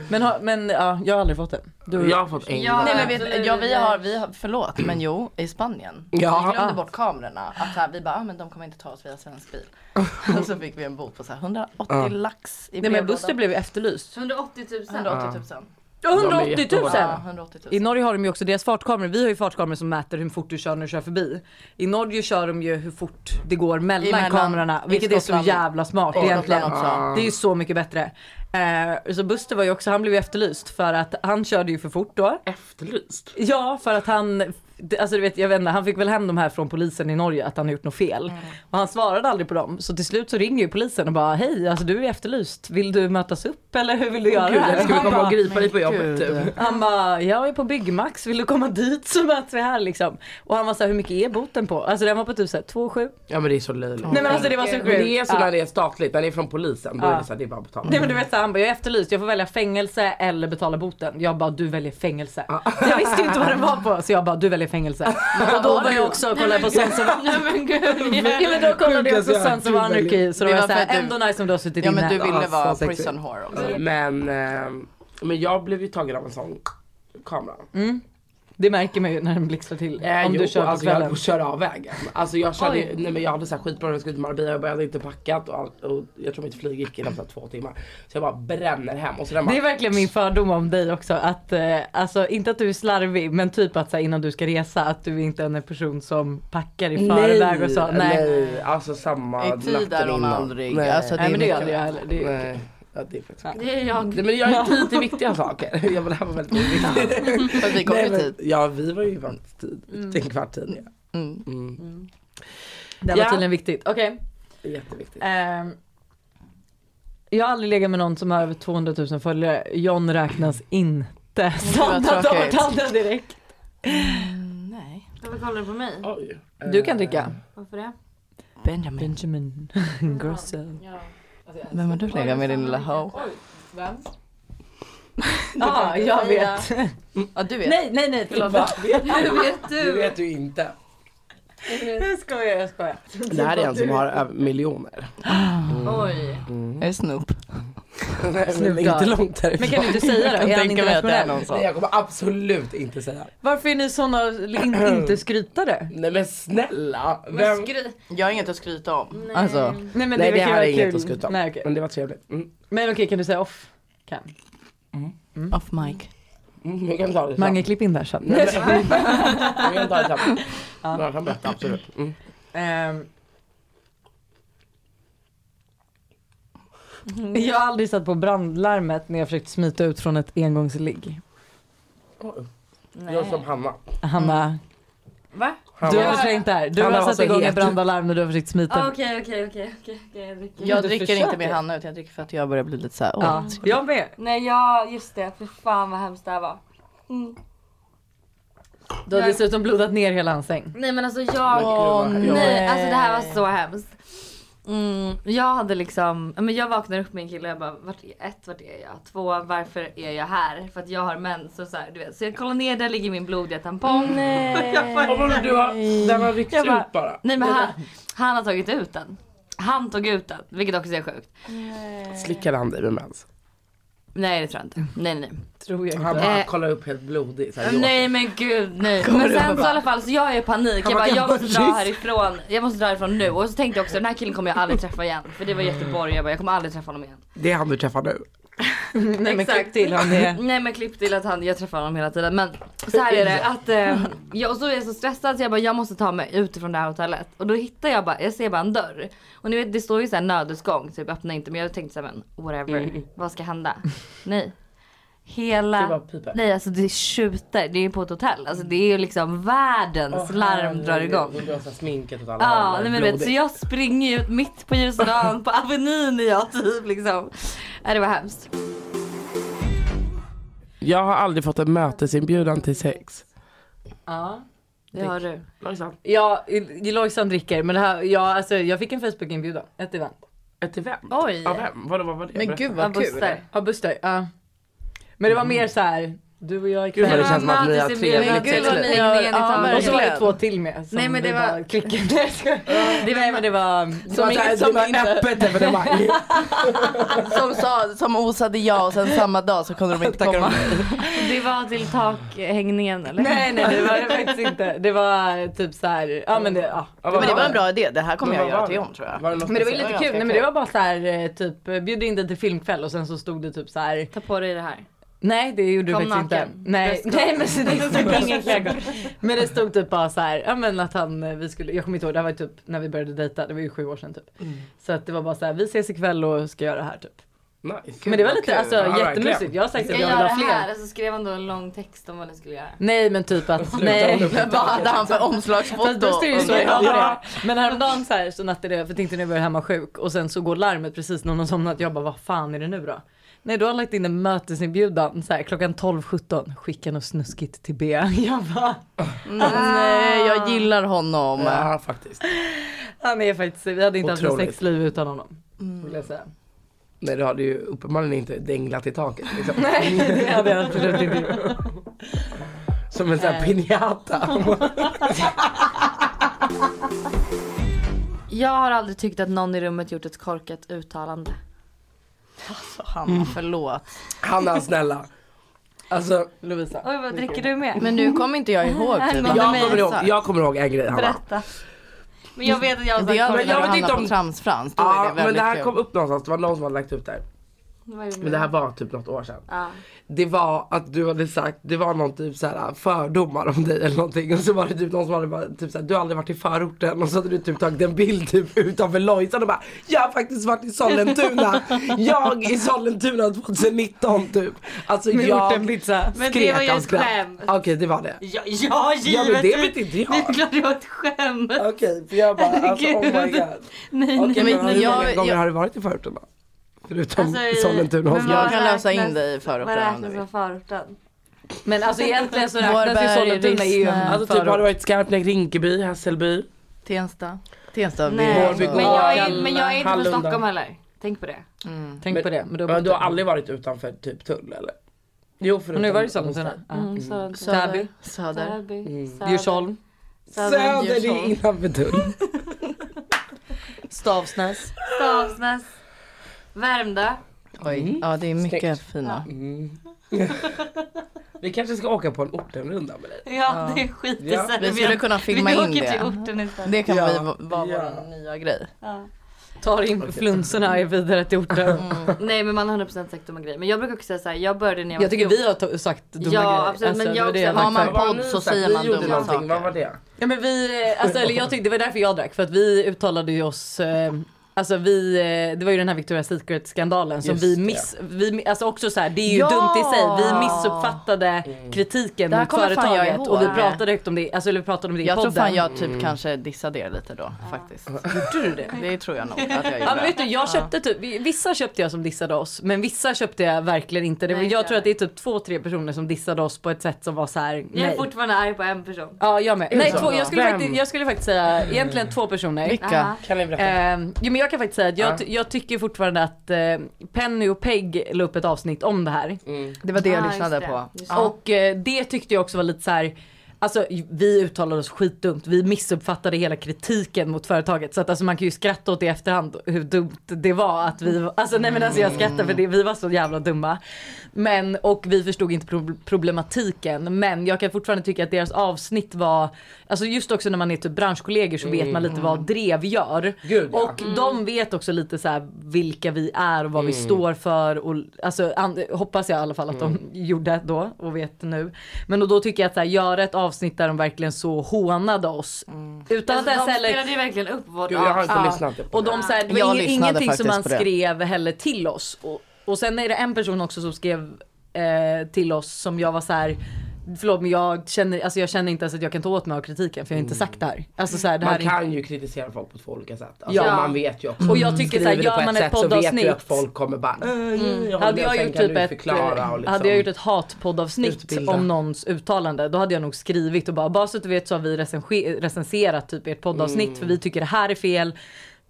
[SPEAKER 2] Men, har, men ja, jag har aldrig fått den. Du,
[SPEAKER 3] Jag har fått en
[SPEAKER 1] Ja.
[SPEAKER 3] gång.
[SPEAKER 4] Nej men vet,
[SPEAKER 1] Absolut.
[SPEAKER 4] ja, vi har, vi har, förlåt men jo i Spanien.
[SPEAKER 3] Ja.
[SPEAKER 4] Vi glömde bort kamerorna. Att så här, vi bara, ah, men de kommer inte ta oss via svensk bil. Och så fick vi en bot på så här, 180 lax i
[SPEAKER 2] Nej men
[SPEAKER 4] brevlådan.
[SPEAKER 2] Buster blev ju efterlyst.
[SPEAKER 1] 180 000.
[SPEAKER 4] 180 000.
[SPEAKER 2] Ja, 180 000!
[SPEAKER 3] jättebra.
[SPEAKER 4] Ja, 180 000.
[SPEAKER 2] I Norge har de ju också deras fartkameror. Vi har ju fartkameror som mäter hur fort du kör när du kör förbi. I Norge kör de ju hur fort det går mellan
[SPEAKER 4] Emellan.
[SPEAKER 2] kamerorna.
[SPEAKER 4] I
[SPEAKER 2] Vilket är så
[SPEAKER 4] Skottland.
[SPEAKER 2] jävla smart
[SPEAKER 4] Och
[SPEAKER 2] egentligen.
[SPEAKER 4] Skottland också.
[SPEAKER 2] Det är ju så mycket bättre. Eh, så Buster var ju också, han blev ju efterlyst för att han körde ju för fort då.
[SPEAKER 3] Efterlyst.
[SPEAKER 2] Ja för att han, det- alltså du vet jag vet inte, han fick väl hem de här från polisen i Norge att han har gjort något fel.
[SPEAKER 4] Mm.
[SPEAKER 2] Och han svarade aldrig på dem. Så till slut så ringer ju polisen och bara hej alltså du är efterlyst, vill du mötas upp eller hur vill du göra?
[SPEAKER 3] Gud,
[SPEAKER 2] här?
[SPEAKER 3] ska vi
[SPEAKER 2] Han
[SPEAKER 3] komma
[SPEAKER 2] bara-
[SPEAKER 3] och gripa dig på jobbet
[SPEAKER 4] gud.
[SPEAKER 3] typ?
[SPEAKER 2] han bara, jag är på Byggmax, vill du komma dit så möts vi här liksom. Och han var såhär, hur mycket är boten på? Alltså den var på typ såhär 2,7.
[SPEAKER 3] Ja men det är så löjligt.
[SPEAKER 2] Nej men alltså det var så
[SPEAKER 1] Men
[SPEAKER 2] sjukt.
[SPEAKER 3] Men det är så
[SPEAKER 2] Ja.
[SPEAKER 3] när det är statligt, när det är från polisen, då är det så här, det är bara att betala.
[SPEAKER 2] Nej men du vet såhär, han bara, jag är efterlyst, jag får välja fängelse eller betala boten. Jag bara, du väljer fängelse. Jag visste ju inte vad den var på så jag bara, du väljer fängelse. Och då var jag också och kollade på Sons of
[SPEAKER 1] Nej men gud.
[SPEAKER 2] Ja men då kollade jag
[SPEAKER 3] Sjukaste
[SPEAKER 2] på
[SPEAKER 3] jag har
[SPEAKER 2] Sons of
[SPEAKER 3] hört.
[SPEAKER 2] Anarchy så då
[SPEAKER 4] Det
[SPEAKER 2] var jag
[SPEAKER 4] var
[SPEAKER 2] såhär,
[SPEAKER 4] för att du-
[SPEAKER 2] ändå nice om du har suttit
[SPEAKER 4] Ja
[SPEAKER 2] inne.
[SPEAKER 4] men du ville
[SPEAKER 3] Ja,
[SPEAKER 4] vara
[SPEAKER 3] så sexigt.
[SPEAKER 4] prison whore också.
[SPEAKER 2] Mm.
[SPEAKER 3] Men, eh, men jag blev ju tagen av en sån kamera.
[SPEAKER 2] Det märker man ju när den blixtrar till.
[SPEAKER 3] Eh,
[SPEAKER 2] Mm. om
[SPEAKER 3] jo,
[SPEAKER 2] du kör på
[SPEAKER 3] alltså jag höll på
[SPEAKER 2] kvällen.
[SPEAKER 3] att köra av vägen. Alltså jag körde,
[SPEAKER 1] Oj.
[SPEAKER 3] nej men jag hade så här skitbra när jag skulle till Marbella, jag hade inte packat och, allt- och jag tror mitt flyg gick inom så här två timmar. Så jag bara bränner hem och så där
[SPEAKER 2] Det är
[SPEAKER 3] bara,
[SPEAKER 2] verkligen min fördom om dig också att, eh, alltså inte att du är slarvig men typ att så här, innan du ska resa att du inte är en person som packar i förväg och så. Nej. Nej.
[SPEAKER 3] nej, alltså samma
[SPEAKER 4] I tid
[SPEAKER 3] natten
[SPEAKER 4] är hon
[SPEAKER 3] innan.
[SPEAKER 4] aldrig.
[SPEAKER 3] Nej,
[SPEAKER 4] Alltså,
[SPEAKER 3] nej,
[SPEAKER 4] är
[SPEAKER 2] men det
[SPEAKER 4] mycket
[SPEAKER 2] gör jag heller. Det är...
[SPEAKER 3] nej. Ja, det är faktiskt okej.
[SPEAKER 1] Det är jag.
[SPEAKER 3] Nej men jag är tid till viktiga saker. Jag vill här var väldigt viktigt.
[SPEAKER 4] Fast vi kom
[SPEAKER 3] Nej,
[SPEAKER 4] ju typ-
[SPEAKER 3] men-
[SPEAKER 4] tid.
[SPEAKER 3] Ja vi var ju faktiskt tid, en kvart tidigare.
[SPEAKER 4] Mm.
[SPEAKER 3] Mm.
[SPEAKER 2] Det var
[SPEAKER 3] Ja.
[SPEAKER 2] tydligen viktigt. Okej.
[SPEAKER 3] Det är jätteviktigt.
[SPEAKER 2] Ehm, jag har aldrig legat med någon som har över 200 000 följare. John räknas inte. Sanna tar
[SPEAKER 4] tråkigt.
[SPEAKER 2] tanden direkt.
[SPEAKER 4] Mm, Nej.
[SPEAKER 1] Varför kollar du på mig?
[SPEAKER 3] Oj.
[SPEAKER 2] Du kan dricka.
[SPEAKER 1] Varför det?
[SPEAKER 4] Benjamin.
[SPEAKER 2] Eh, Benjamin Grosso.
[SPEAKER 1] Ja.
[SPEAKER 4] Vem har du legat med din lilla ho?
[SPEAKER 2] Vem? Ja, Ah, jag vet.
[SPEAKER 4] Ja du vet.
[SPEAKER 2] Nej, nej, nej. Förlåt.
[SPEAKER 3] Va? Vet du?
[SPEAKER 1] Hur vet
[SPEAKER 3] Det
[SPEAKER 1] du?
[SPEAKER 3] vet du inte.
[SPEAKER 2] Jag skojar, jag skojar.
[SPEAKER 3] Det här är en som har över miljoner. Mm.
[SPEAKER 1] Oj.
[SPEAKER 4] Är det Snoop?
[SPEAKER 3] Nej, men
[SPEAKER 2] Snoop
[SPEAKER 3] inte
[SPEAKER 2] Dogg.
[SPEAKER 3] långt därifrån.
[SPEAKER 2] Men kan du inte säga
[SPEAKER 4] Jag
[SPEAKER 2] det? Är han
[SPEAKER 4] tänker mig att det är
[SPEAKER 2] internationell?
[SPEAKER 4] någon
[SPEAKER 3] Nej,
[SPEAKER 4] sån.
[SPEAKER 3] jag kommer absolut inte säga.
[SPEAKER 2] Varför är ni såna in, inte skrytare?
[SPEAKER 3] Nej men snälla.
[SPEAKER 1] Men
[SPEAKER 3] Vem?
[SPEAKER 1] skry...
[SPEAKER 4] Jag har inget att skryta om.
[SPEAKER 1] Nej.
[SPEAKER 4] Alltså.
[SPEAKER 2] Nej men
[SPEAKER 3] Nej det
[SPEAKER 2] verkar
[SPEAKER 3] här
[SPEAKER 2] vara
[SPEAKER 3] är inget
[SPEAKER 2] kul.
[SPEAKER 3] att skryta om.
[SPEAKER 2] Nej, okej.
[SPEAKER 3] Men det var trevligt. Mm.
[SPEAKER 2] Men okej kan du säga off? Kan.
[SPEAKER 4] Off mic.
[SPEAKER 3] Mm, vi kan ta det sen.
[SPEAKER 2] Mange klipp in där sen.
[SPEAKER 3] Nej, men, vi kan ta det sen. Men jag kan berätta absolut. Mm.
[SPEAKER 2] Ehm.
[SPEAKER 3] Mm.
[SPEAKER 2] Jag har aldrig satt på brandlarmet när jag försökt smita ut från ett engångsligg.
[SPEAKER 3] Oj. Jag som Hanna.
[SPEAKER 2] Hanna,
[SPEAKER 1] Va?
[SPEAKER 3] Hanna.
[SPEAKER 2] du har försökt där. Du
[SPEAKER 3] Mm. Hanna
[SPEAKER 2] har
[SPEAKER 3] var
[SPEAKER 2] satt
[SPEAKER 3] så
[SPEAKER 2] igång
[SPEAKER 3] het.
[SPEAKER 2] ett brandalarm när du har försökt smita.
[SPEAKER 1] Ah, Okej okej okej okej. okej, jag dricker.
[SPEAKER 4] Jag
[SPEAKER 2] du
[SPEAKER 4] dricker
[SPEAKER 2] försöker.
[SPEAKER 4] inte med Hanna utan jag dricker för att jag börjar bli lite såhär, åh.
[SPEAKER 2] Ja, jag med.
[SPEAKER 1] Nej ja just det, för fan vad hemskt det här var. Mm.
[SPEAKER 2] Du har
[SPEAKER 1] Nej.
[SPEAKER 2] dessutom blodat ner hela hans säng.
[SPEAKER 1] Nej men alltså
[SPEAKER 3] Men
[SPEAKER 1] jag,
[SPEAKER 3] gud, vad- jag-
[SPEAKER 1] nej alltså det här var så hemskt. Mm, jag hade liksom, ja, men jag vaknar upp med en kille och jag bara vart är, ett vart är jag? Två varför är jag här? För att jag har mens och så här, du vet. Så jag kollar ner där ligger min blodiga tampong. Nej. Jag bara,
[SPEAKER 3] Ja, men du har, den har ryckts
[SPEAKER 1] Jag bara-
[SPEAKER 3] ut bara.
[SPEAKER 1] nej men han, han har tagit ut den. Han tog ut den, vilket också är sjukt.
[SPEAKER 3] Slickade han dig med mens?
[SPEAKER 1] Nej det tror jag inte. Nej nej nej.
[SPEAKER 2] Tror jag
[SPEAKER 3] Han
[SPEAKER 2] inte.
[SPEAKER 3] bara
[SPEAKER 1] Eh.
[SPEAKER 3] kollar upp helt blodig. Så här,
[SPEAKER 1] Mm,
[SPEAKER 3] jag-
[SPEAKER 1] Nej men gud nej. Men sen så i alla fall så jag är i panik. Jag bara jag måste dra härifrån. Jag måste dra härifrån nu. Och så tänkte jag också den här killen kommer jag aldrig träffa igen. För det var Göteborg. Jag bara jag kommer aldrig träffa honom igen.
[SPEAKER 3] Det är han du träffar nu.
[SPEAKER 2] Nej men
[SPEAKER 1] Exakt.
[SPEAKER 2] klipp till han är...
[SPEAKER 3] Mm.
[SPEAKER 1] Nej men klipp till att han, jag träffar honom hela tiden. Men så här är det att, eh, jag, och så är jag så stressad så jag bara jag måste ta mig ut från det här hotellet. Och då hittar jag bara, jag ser bara en dörr. Och ni vet det står ju så här nödutgång, typ öppna inte. Men jag tänkte så här, men whatever,
[SPEAKER 3] Mm.
[SPEAKER 1] vad ska hända? Nej.
[SPEAKER 3] Det bara
[SPEAKER 1] Hela,
[SPEAKER 3] piper.
[SPEAKER 1] nej alltså det tjuter, det är ju på ett hotell. Alltså det är ju liksom världens
[SPEAKER 3] Åh,
[SPEAKER 1] larm drar
[SPEAKER 3] herregud.
[SPEAKER 1] igång.
[SPEAKER 3] Och Du har så här sminket åt alla
[SPEAKER 1] Ja,
[SPEAKER 3] håll,
[SPEAKER 1] nej men du vet,
[SPEAKER 3] blodigt.
[SPEAKER 1] så jag springer ju ut mitt på ljusa dagen på Avenyn är jag typ liksom. Nej, det var hemskt.
[SPEAKER 3] Jag har aldrig fått en mötesinbjudan till sex.
[SPEAKER 2] Ja.
[SPEAKER 1] Det har du.
[SPEAKER 3] Lojsan,
[SPEAKER 2] Ja, i- i Lojsan dricker men det här, ja, alltså, jag fick en Facebook-inbjudan, ett event.
[SPEAKER 3] ett event?
[SPEAKER 1] Oj.
[SPEAKER 3] Av vem? Vadå, vad var det?
[SPEAKER 4] Men
[SPEAKER 3] Berätta.
[SPEAKER 4] gud vad kul.
[SPEAKER 1] Buster.
[SPEAKER 2] Ja Buster, ja. Men det var mer så här, du och jag
[SPEAKER 3] Gud, vad det
[SPEAKER 2] ikväll.
[SPEAKER 3] känns som att ni
[SPEAKER 1] Mattis
[SPEAKER 3] har
[SPEAKER 1] är med.
[SPEAKER 3] trevligt
[SPEAKER 1] Men gud, vad
[SPEAKER 4] sex.
[SPEAKER 1] ni hängde igen i
[SPEAKER 4] Ja,
[SPEAKER 1] tavlan.
[SPEAKER 2] Och så var det
[SPEAKER 4] verkligen.
[SPEAKER 2] två till med som
[SPEAKER 1] Nej, men det
[SPEAKER 2] vi
[SPEAKER 1] var-
[SPEAKER 2] bara klickade. Nej, jag skojar. det var, nej, men det var,
[SPEAKER 3] Det var,
[SPEAKER 2] som,
[SPEAKER 3] så här,
[SPEAKER 2] som,
[SPEAKER 3] det var
[SPEAKER 2] inte,
[SPEAKER 3] öppet evenemang.
[SPEAKER 4] Som, sa, som osade ja och sen samma dag så kunde de inte komma.
[SPEAKER 1] Det var till takhängningen eller?
[SPEAKER 2] nej nej det var det faktiskt inte. Det var typ så här, ja men det, ja.
[SPEAKER 3] Ja,
[SPEAKER 4] Men det var en
[SPEAKER 3] det?
[SPEAKER 4] bra idé, det här kommer
[SPEAKER 3] Men
[SPEAKER 4] jag
[SPEAKER 3] vad
[SPEAKER 4] göra
[SPEAKER 3] var
[SPEAKER 4] till
[SPEAKER 3] det?
[SPEAKER 4] om tror jag.
[SPEAKER 3] Var det något
[SPEAKER 2] Men det var ju
[SPEAKER 3] speciellt?
[SPEAKER 2] lite
[SPEAKER 4] ganska
[SPEAKER 2] kul, nej men det var bara så här eh, typ eh, bjöd in dig till filmkväll och sen så stod det typ så här
[SPEAKER 1] Ta på dig det här.
[SPEAKER 2] Nej det gjorde du
[SPEAKER 1] Kom
[SPEAKER 2] faktiskt inte.
[SPEAKER 1] naken.
[SPEAKER 2] Nej,
[SPEAKER 1] Bröstkorg.
[SPEAKER 2] nej men så det stod ingen klädgård. Men det stod typ bara så här, ja men att han, eh, vi skulle, jag kommer inte ihåg, det här var ju typ när vi började dejta, det var ju sju år sedan typ. Så att det var bara så här, vi ses ikväll och ska göra det här typ.
[SPEAKER 3] Nice.
[SPEAKER 2] men det var
[SPEAKER 3] Vad
[SPEAKER 2] lite,
[SPEAKER 3] kul.
[SPEAKER 2] alltså
[SPEAKER 3] Ja, verkligen.
[SPEAKER 2] jättemysigt. Jag har sagt
[SPEAKER 1] Ska
[SPEAKER 2] att
[SPEAKER 1] jag
[SPEAKER 2] jag vill ha
[SPEAKER 1] göra det
[SPEAKER 2] fler.
[SPEAKER 1] här? Och så skrev han då en lång text om vad ni skulle göra.
[SPEAKER 2] Nej men typ att,
[SPEAKER 3] Sluta hålla
[SPEAKER 2] nej.
[SPEAKER 3] upp ett
[SPEAKER 4] Vad hade han för
[SPEAKER 2] Fast
[SPEAKER 4] omslagsfoto? Mm,
[SPEAKER 2] Buster är ju så
[SPEAKER 4] undrar jag?
[SPEAKER 2] det. Men häromdagen så, här, så nattade jag, för tänkte när jag var hemma sjuk och sen så går larmet precis när hon har somnat. Jag bara vad fan är det nu då? Nej då har han lagt in en mötesinbjudan så här, klockan 12.17. Skicka något snuskigt till B. Jag bara,
[SPEAKER 4] Nej jag gillar honom.
[SPEAKER 3] Ja, faktiskt.
[SPEAKER 2] han är faktiskt, vi hade inte haft något
[SPEAKER 3] Otroligt.
[SPEAKER 2] sexliv utan honom. Vill jag säga.
[SPEAKER 3] Nej, du hade ju uppenbarligen inte dänglat i taket. Liksom.
[SPEAKER 2] Nej det hade jag absolut inte gjort.
[SPEAKER 3] Som en sån här pinjata.
[SPEAKER 1] Jag har aldrig tyckt att någon i rummet gjort ett korkat uttalande.
[SPEAKER 4] Hanna förlåt.
[SPEAKER 3] Hanna, snälla. Alltså,
[SPEAKER 2] Lovisa.
[SPEAKER 1] Oj vad dricker du med?
[SPEAKER 4] Men nu kommer inte jag ihåg typ.
[SPEAKER 1] Jag
[SPEAKER 4] vad
[SPEAKER 3] jag,
[SPEAKER 4] han
[SPEAKER 3] kommer ihåg,
[SPEAKER 4] sa.
[SPEAKER 3] jag kommer ihåg en grej, Hanna.
[SPEAKER 1] Berätta. Men jag vet att jag har
[SPEAKER 4] Det
[SPEAKER 1] sagt
[SPEAKER 4] är
[SPEAKER 1] korkat.
[SPEAKER 4] när
[SPEAKER 3] jag vet
[SPEAKER 4] du
[SPEAKER 3] inte
[SPEAKER 4] hamnar
[SPEAKER 3] om-
[SPEAKER 4] på tramsfrans, då är
[SPEAKER 3] Ja,
[SPEAKER 4] det
[SPEAKER 3] men det
[SPEAKER 4] väldigt
[SPEAKER 3] här
[SPEAKER 4] kul.
[SPEAKER 3] kom upp någonstans. Det var någon som hade lagt ut det här.
[SPEAKER 1] Vad gjorde
[SPEAKER 3] Men
[SPEAKER 1] ni?
[SPEAKER 3] det här var typ något år sedan.
[SPEAKER 1] Ja.
[SPEAKER 3] Det var att du hade sagt, det var någon typ så här fördomar om dig eller någonting. Och så var det typ någon som hade bara, typ så här, du har aldrig varit i förorten. Och så hade du typ tagit en bild typ utanför Lojsan och bara, jag har faktiskt varit i Sollentuna. Jag i Sollentuna 2019 typ. Alltså
[SPEAKER 2] Med
[SPEAKER 3] jag
[SPEAKER 2] ortenpizza.
[SPEAKER 1] Men det
[SPEAKER 3] skrek
[SPEAKER 1] var ju
[SPEAKER 3] av
[SPEAKER 1] ett
[SPEAKER 3] skratt.
[SPEAKER 1] skämt.
[SPEAKER 3] Okej det var det.
[SPEAKER 1] Ja, ja
[SPEAKER 3] Ja men det vet
[SPEAKER 1] givetvis!
[SPEAKER 3] inte jag.
[SPEAKER 1] Det är klart det var ett skämt.
[SPEAKER 3] Okej för jag bara, alltså oh my
[SPEAKER 1] Herregud.
[SPEAKER 3] god.
[SPEAKER 1] Nej, nej.
[SPEAKER 3] Okej
[SPEAKER 4] men
[SPEAKER 3] men hur
[SPEAKER 4] jag-
[SPEAKER 3] många gånger
[SPEAKER 4] jag-
[SPEAKER 3] har du varit i förorten då? Förutom
[SPEAKER 1] Alltså, i-
[SPEAKER 3] Sollentuna och
[SPEAKER 1] men
[SPEAKER 4] Jag
[SPEAKER 1] vad
[SPEAKER 4] kan lösa in
[SPEAKER 1] räknas-
[SPEAKER 4] dig i
[SPEAKER 1] Vad
[SPEAKER 4] förorten om du
[SPEAKER 1] räknas
[SPEAKER 4] vill.
[SPEAKER 1] som förorten?
[SPEAKER 2] Men alltså egentligen så räknas ju
[SPEAKER 4] Vårberg,
[SPEAKER 2] Sollentuna i
[SPEAKER 4] Rissne.
[SPEAKER 3] Alltså typ har du varit i Skarpnäck, Rinkeby, Hässelby?
[SPEAKER 4] Tensta. Tensta. alltså-
[SPEAKER 1] Nej.
[SPEAKER 3] Vårby
[SPEAKER 1] Men jag är,
[SPEAKER 3] gård.
[SPEAKER 1] men jag är inte från
[SPEAKER 3] Hallunda.
[SPEAKER 1] Stockholm heller. Tänk på det.
[SPEAKER 4] Mm.
[SPEAKER 2] Tänk på det. Men du
[SPEAKER 3] Men du har aldrig varit utanför typ tull eller? Jo förutom
[SPEAKER 2] Nu var det Sollentuna. Ja.
[SPEAKER 1] Mm, Söder.
[SPEAKER 2] Täby,
[SPEAKER 4] Söder.
[SPEAKER 1] Täby.
[SPEAKER 3] Mm.
[SPEAKER 1] Söder.
[SPEAKER 2] Djursholm,
[SPEAKER 1] Söder.
[SPEAKER 3] Söder, det är innanför tull.
[SPEAKER 2] Stavsnäs.
[SPEAKER 1] Stavsnäs. Värmdö.
[SPEAKER 4] Oj. Ja det är mycket
[SPEAKER 3] Snyggt.
[SPEAKER 4] fina.
[SPEAKER 3] Vi kanske ska åka på en ortenrunda med dig.
[SPEAKER 1] Ja, det är skit i
[SPEAKER 3] Ja.
[SPEAKER 1] Serbien.
[SPEAKER 4] Vi skulle kunna filma
[SPEAKER 1] vi
[SPEAKER 4] in
[SPEAKER 1] åker till
[SPEAKER 4] det.
[SPEAKER 1] orten istället.
[SPEAKER 4] Det kan
[SPEAKER 3] Ja.
[SPEAKER 4] vi va- vara
[SPEAKER 3] Ja.
[SPEAKER 4] vår nya grej.
[SPEAKER 1] Ja.
[SPEAKER 2] Tar in flunsorna är vidare till orten.
[SPEAKER 1] Nej men man har 100% sagt dumma grejer. Men jag brukar också säga såhär, jag började när jag,
[SPEAKER 2] Jag tycker
[SPEAKER 1] var
[SPEAKER 2] vi har to- sagt dumma
[SPEAKER 1] Ja,
[SPEAKER 2] grejer.
[SPEAKER 1] absolut, men
[SPEAKER 2] det
[SPEAKER 1] jag
[SPEAKER 2] är det
[SPEAKER 1] också-
[SPEAKER 2] har
[SPEAKER 4] Har
[SPEAKER 2] sagt
[SPEAKER 4] man
[SPEAKER 2] förut.
[SPEAKER 3] Vad
[SPEAKER 4] podd
[SPEAKER 3] ni
[SPEAKER 4] så
[SPEAKER 3] sagt?
[SPEAKER 4] säger
[SPEAKER 3] Ni
[SPEAKER 4] man
[SPEAKER 3] gjorde
[SPEAKER 4] dumma
[SPEAKER 3] någonting,
[SPEAKER 4] saker.
[SPEAKER 3] Vad var det?
[SPEAKER 2] Ja men vi, eh, alltså eller jag tyckte, det var därför jag drack för att vi uttalade ju oss eh, Alltså vi, eh, det var ju den här Victoria's Secret skandalen som
[SPEAKER 3] Just
[SPEAKER 2] vi
[SPEAKER 3] det.
[SPEAKER 2] miss, vi, alltså också så här, det är ju
[SPEAKER 4] Ja!
[SPEAKER 2] dumt i sig, vi missuppfattade kritiken
[SPEAKER 4] Det här
[SPEAKER 2] mot
[SPEAKER 4] kommer fan jag
[SPEAKER 2] företaget
[SPEAKER 4] ihåg.
[SPEAKER 2] och vi pratade högt om det, alltså eller vi pratade om det i
[SPEAKER 4] Jag tror
[SPEAKER 2] podden.
[SPEAKER 4] fan jag typ kanske dissade er lite då faktiskt.
[SPEAKER 2] Gjorde du det?
[SPEAKER 4] Det tror jag nog att jag
[SPEAKER 2] Ja men
[SPEAKER 4] gjorde.
[SPEAKER 2] vet du, jag köpte typ, vissa köpte jag som dissade oss men vissa köpte jag verkligen inte. Det, var-
[SPEAKER 1] Nej,
[SPEAKER 2] jag
[SPEAKER 1] inte
[SPEAKER 2] tror att det är typ två, tre personer som dissade oss på ett sätt som var så här.
[SPEAKER 1] jag är
[SPEAKER 2] nej.
[SPEAKER 1] fortfarande arg på en person.
[SPEAKER 2] Ja jag med. Nej
[SPEAKER 3] så?
[SPEAKER 2] två, jag skulle,
[SPEAKER 3] Vem?
[SPEAKER 2] faktiskt, jag skulle faktiskt säga egentligen två personer.
[SPEAKER 4] Vilka?
[SPEAKER 3] Kan ni berätta?
[SPEAKER 2] Ehm, jo men jag kan faktiskt säga att jag, ty- jag tycker fortfarande att eh, Penny och Peg la upp ett avsnitt om det här.
[SPEAKER 4] Det var det jag
[SPEAKER 1] Ah,
[SPEAKER 4] lyssnade
[SPEAKER 1] just det.
[SPEAKER 4] på.
[SPEAKER 1] Just
[SPEAKER 4] Ja.
[SPEAKER 2] Och eh, det tyckte jag också var lite så här. Alltså vi uttalade oss skitdumt, vi missuppfattade hela kritiken mot företaget. Så att alltså, man kan ju skratta åt det i efterhand hur dumt det var att vi, alltså nej men alltså jag skrattar för det, vi var så jävla dumma. Men, och vi förstod inte pro- problematiken. Men jag kan fortfarande tycka att deras avsnitt var, alltså just också när man är typ branschkollegor så vet man lite vad drev gör.
[SPEAKER 3] Mm. Gud, ja.
[SPEAKER 2] och
[SPEAKER 4] Mm.
[SPEAKER 2] de vet också lite så här vilka vi är och vad vi står för. Och, alltså, an, hoppas jag i alla fall att de
[SPEAKER 4] Mm.
[SPEAKER 2] gjorde då och vet nu. Men och då tycker jag att så här, göra ett avsnitt där de verkligen så hånade oss.
[SPEAKER 4] Mm.
[SPEAKER 2] Utan
[SPEAKER 1] Alltså,
[SPEAKER 2] att ens
[SPEAKER 1] de
[SPEAKER 2] heller...
[SPEAKER 1] spelade ju verkligen upp vårt
[SPEAKER 3] Gud, jag har
[SPEAKER 1] avsnitt.
[SPEAKER 3] inte lyssnat på
[SPEAKER 2] Och
[SPEAKER 3] det.
[SPEAKER 2] de, så här, det
[SPEAKER 4] Jag
[SPEAKER 2] var ing-
[SPEAKER 4] lyssnade
[SPEAKER 2] ingenting som
[SPEAKER 4] faktiskt
[SPEAKER 2] man
[SPEAKER 4] på det.
[SPEAKER 2] skrev heller till oss. Och, och sen är det en person också som skrev eh, till oss som jag var så här. Förlåt men jag känner, alltså jag känner inte ens att jag kan ta åt mig av kritiken för jag har
[SPEAKER 4] Mm.
[SPEAKER 2] inte sagt det här. Alltså så här, det här
[SPEAKER 3] Man
[SPEAKER 2] är inte-
[SPEAKER 3] kan ju kritisera folk på två olika sätt. Alltså,
[SPEAKER 2] Ja.
[SPEAKER 3] Man vet ju också.
[SPEAKER 2] Och jag tycker så här,
[SPEAKER 3] Skriver du
[SPEAKER 2] gör
[SPEAKER 3] på
[SPEAKER 2] man
[SPEAKER 3] ett
[SPEAKER 2] ett
[SPEAKER 3] sätt så vet du
[SPEAKER 2] poddavsnitt-
[SPEAKER 3] att folk kommer bara mm. jag håller
[SPEAKER 2] Hade
[SPEAKER 3] med."
[SPEAKER 2] jag,
[SPEAKER 3] Sen
[SPEAKER 2] gjort
[SPEAKER 3] kan
[SPEAKER 2] typ
[SPEAKER 3] du
[SPEAKER 2] ett,
[SPEAKER 3] förklara och liksom.
[SPEAKER 2] hade jag gjort ett hatpoddavsnitt
[SPEAKER 3] Utbilda.
[SPEAKER 2] om någons uttalande då hade jag nog skrivit och bara, bara så att du vet så har vi recense- recenserat typ ert poddavsnitt för
[SPEAKER 3] Mm.
[SPEAKER 2] vi tycker det här är fel.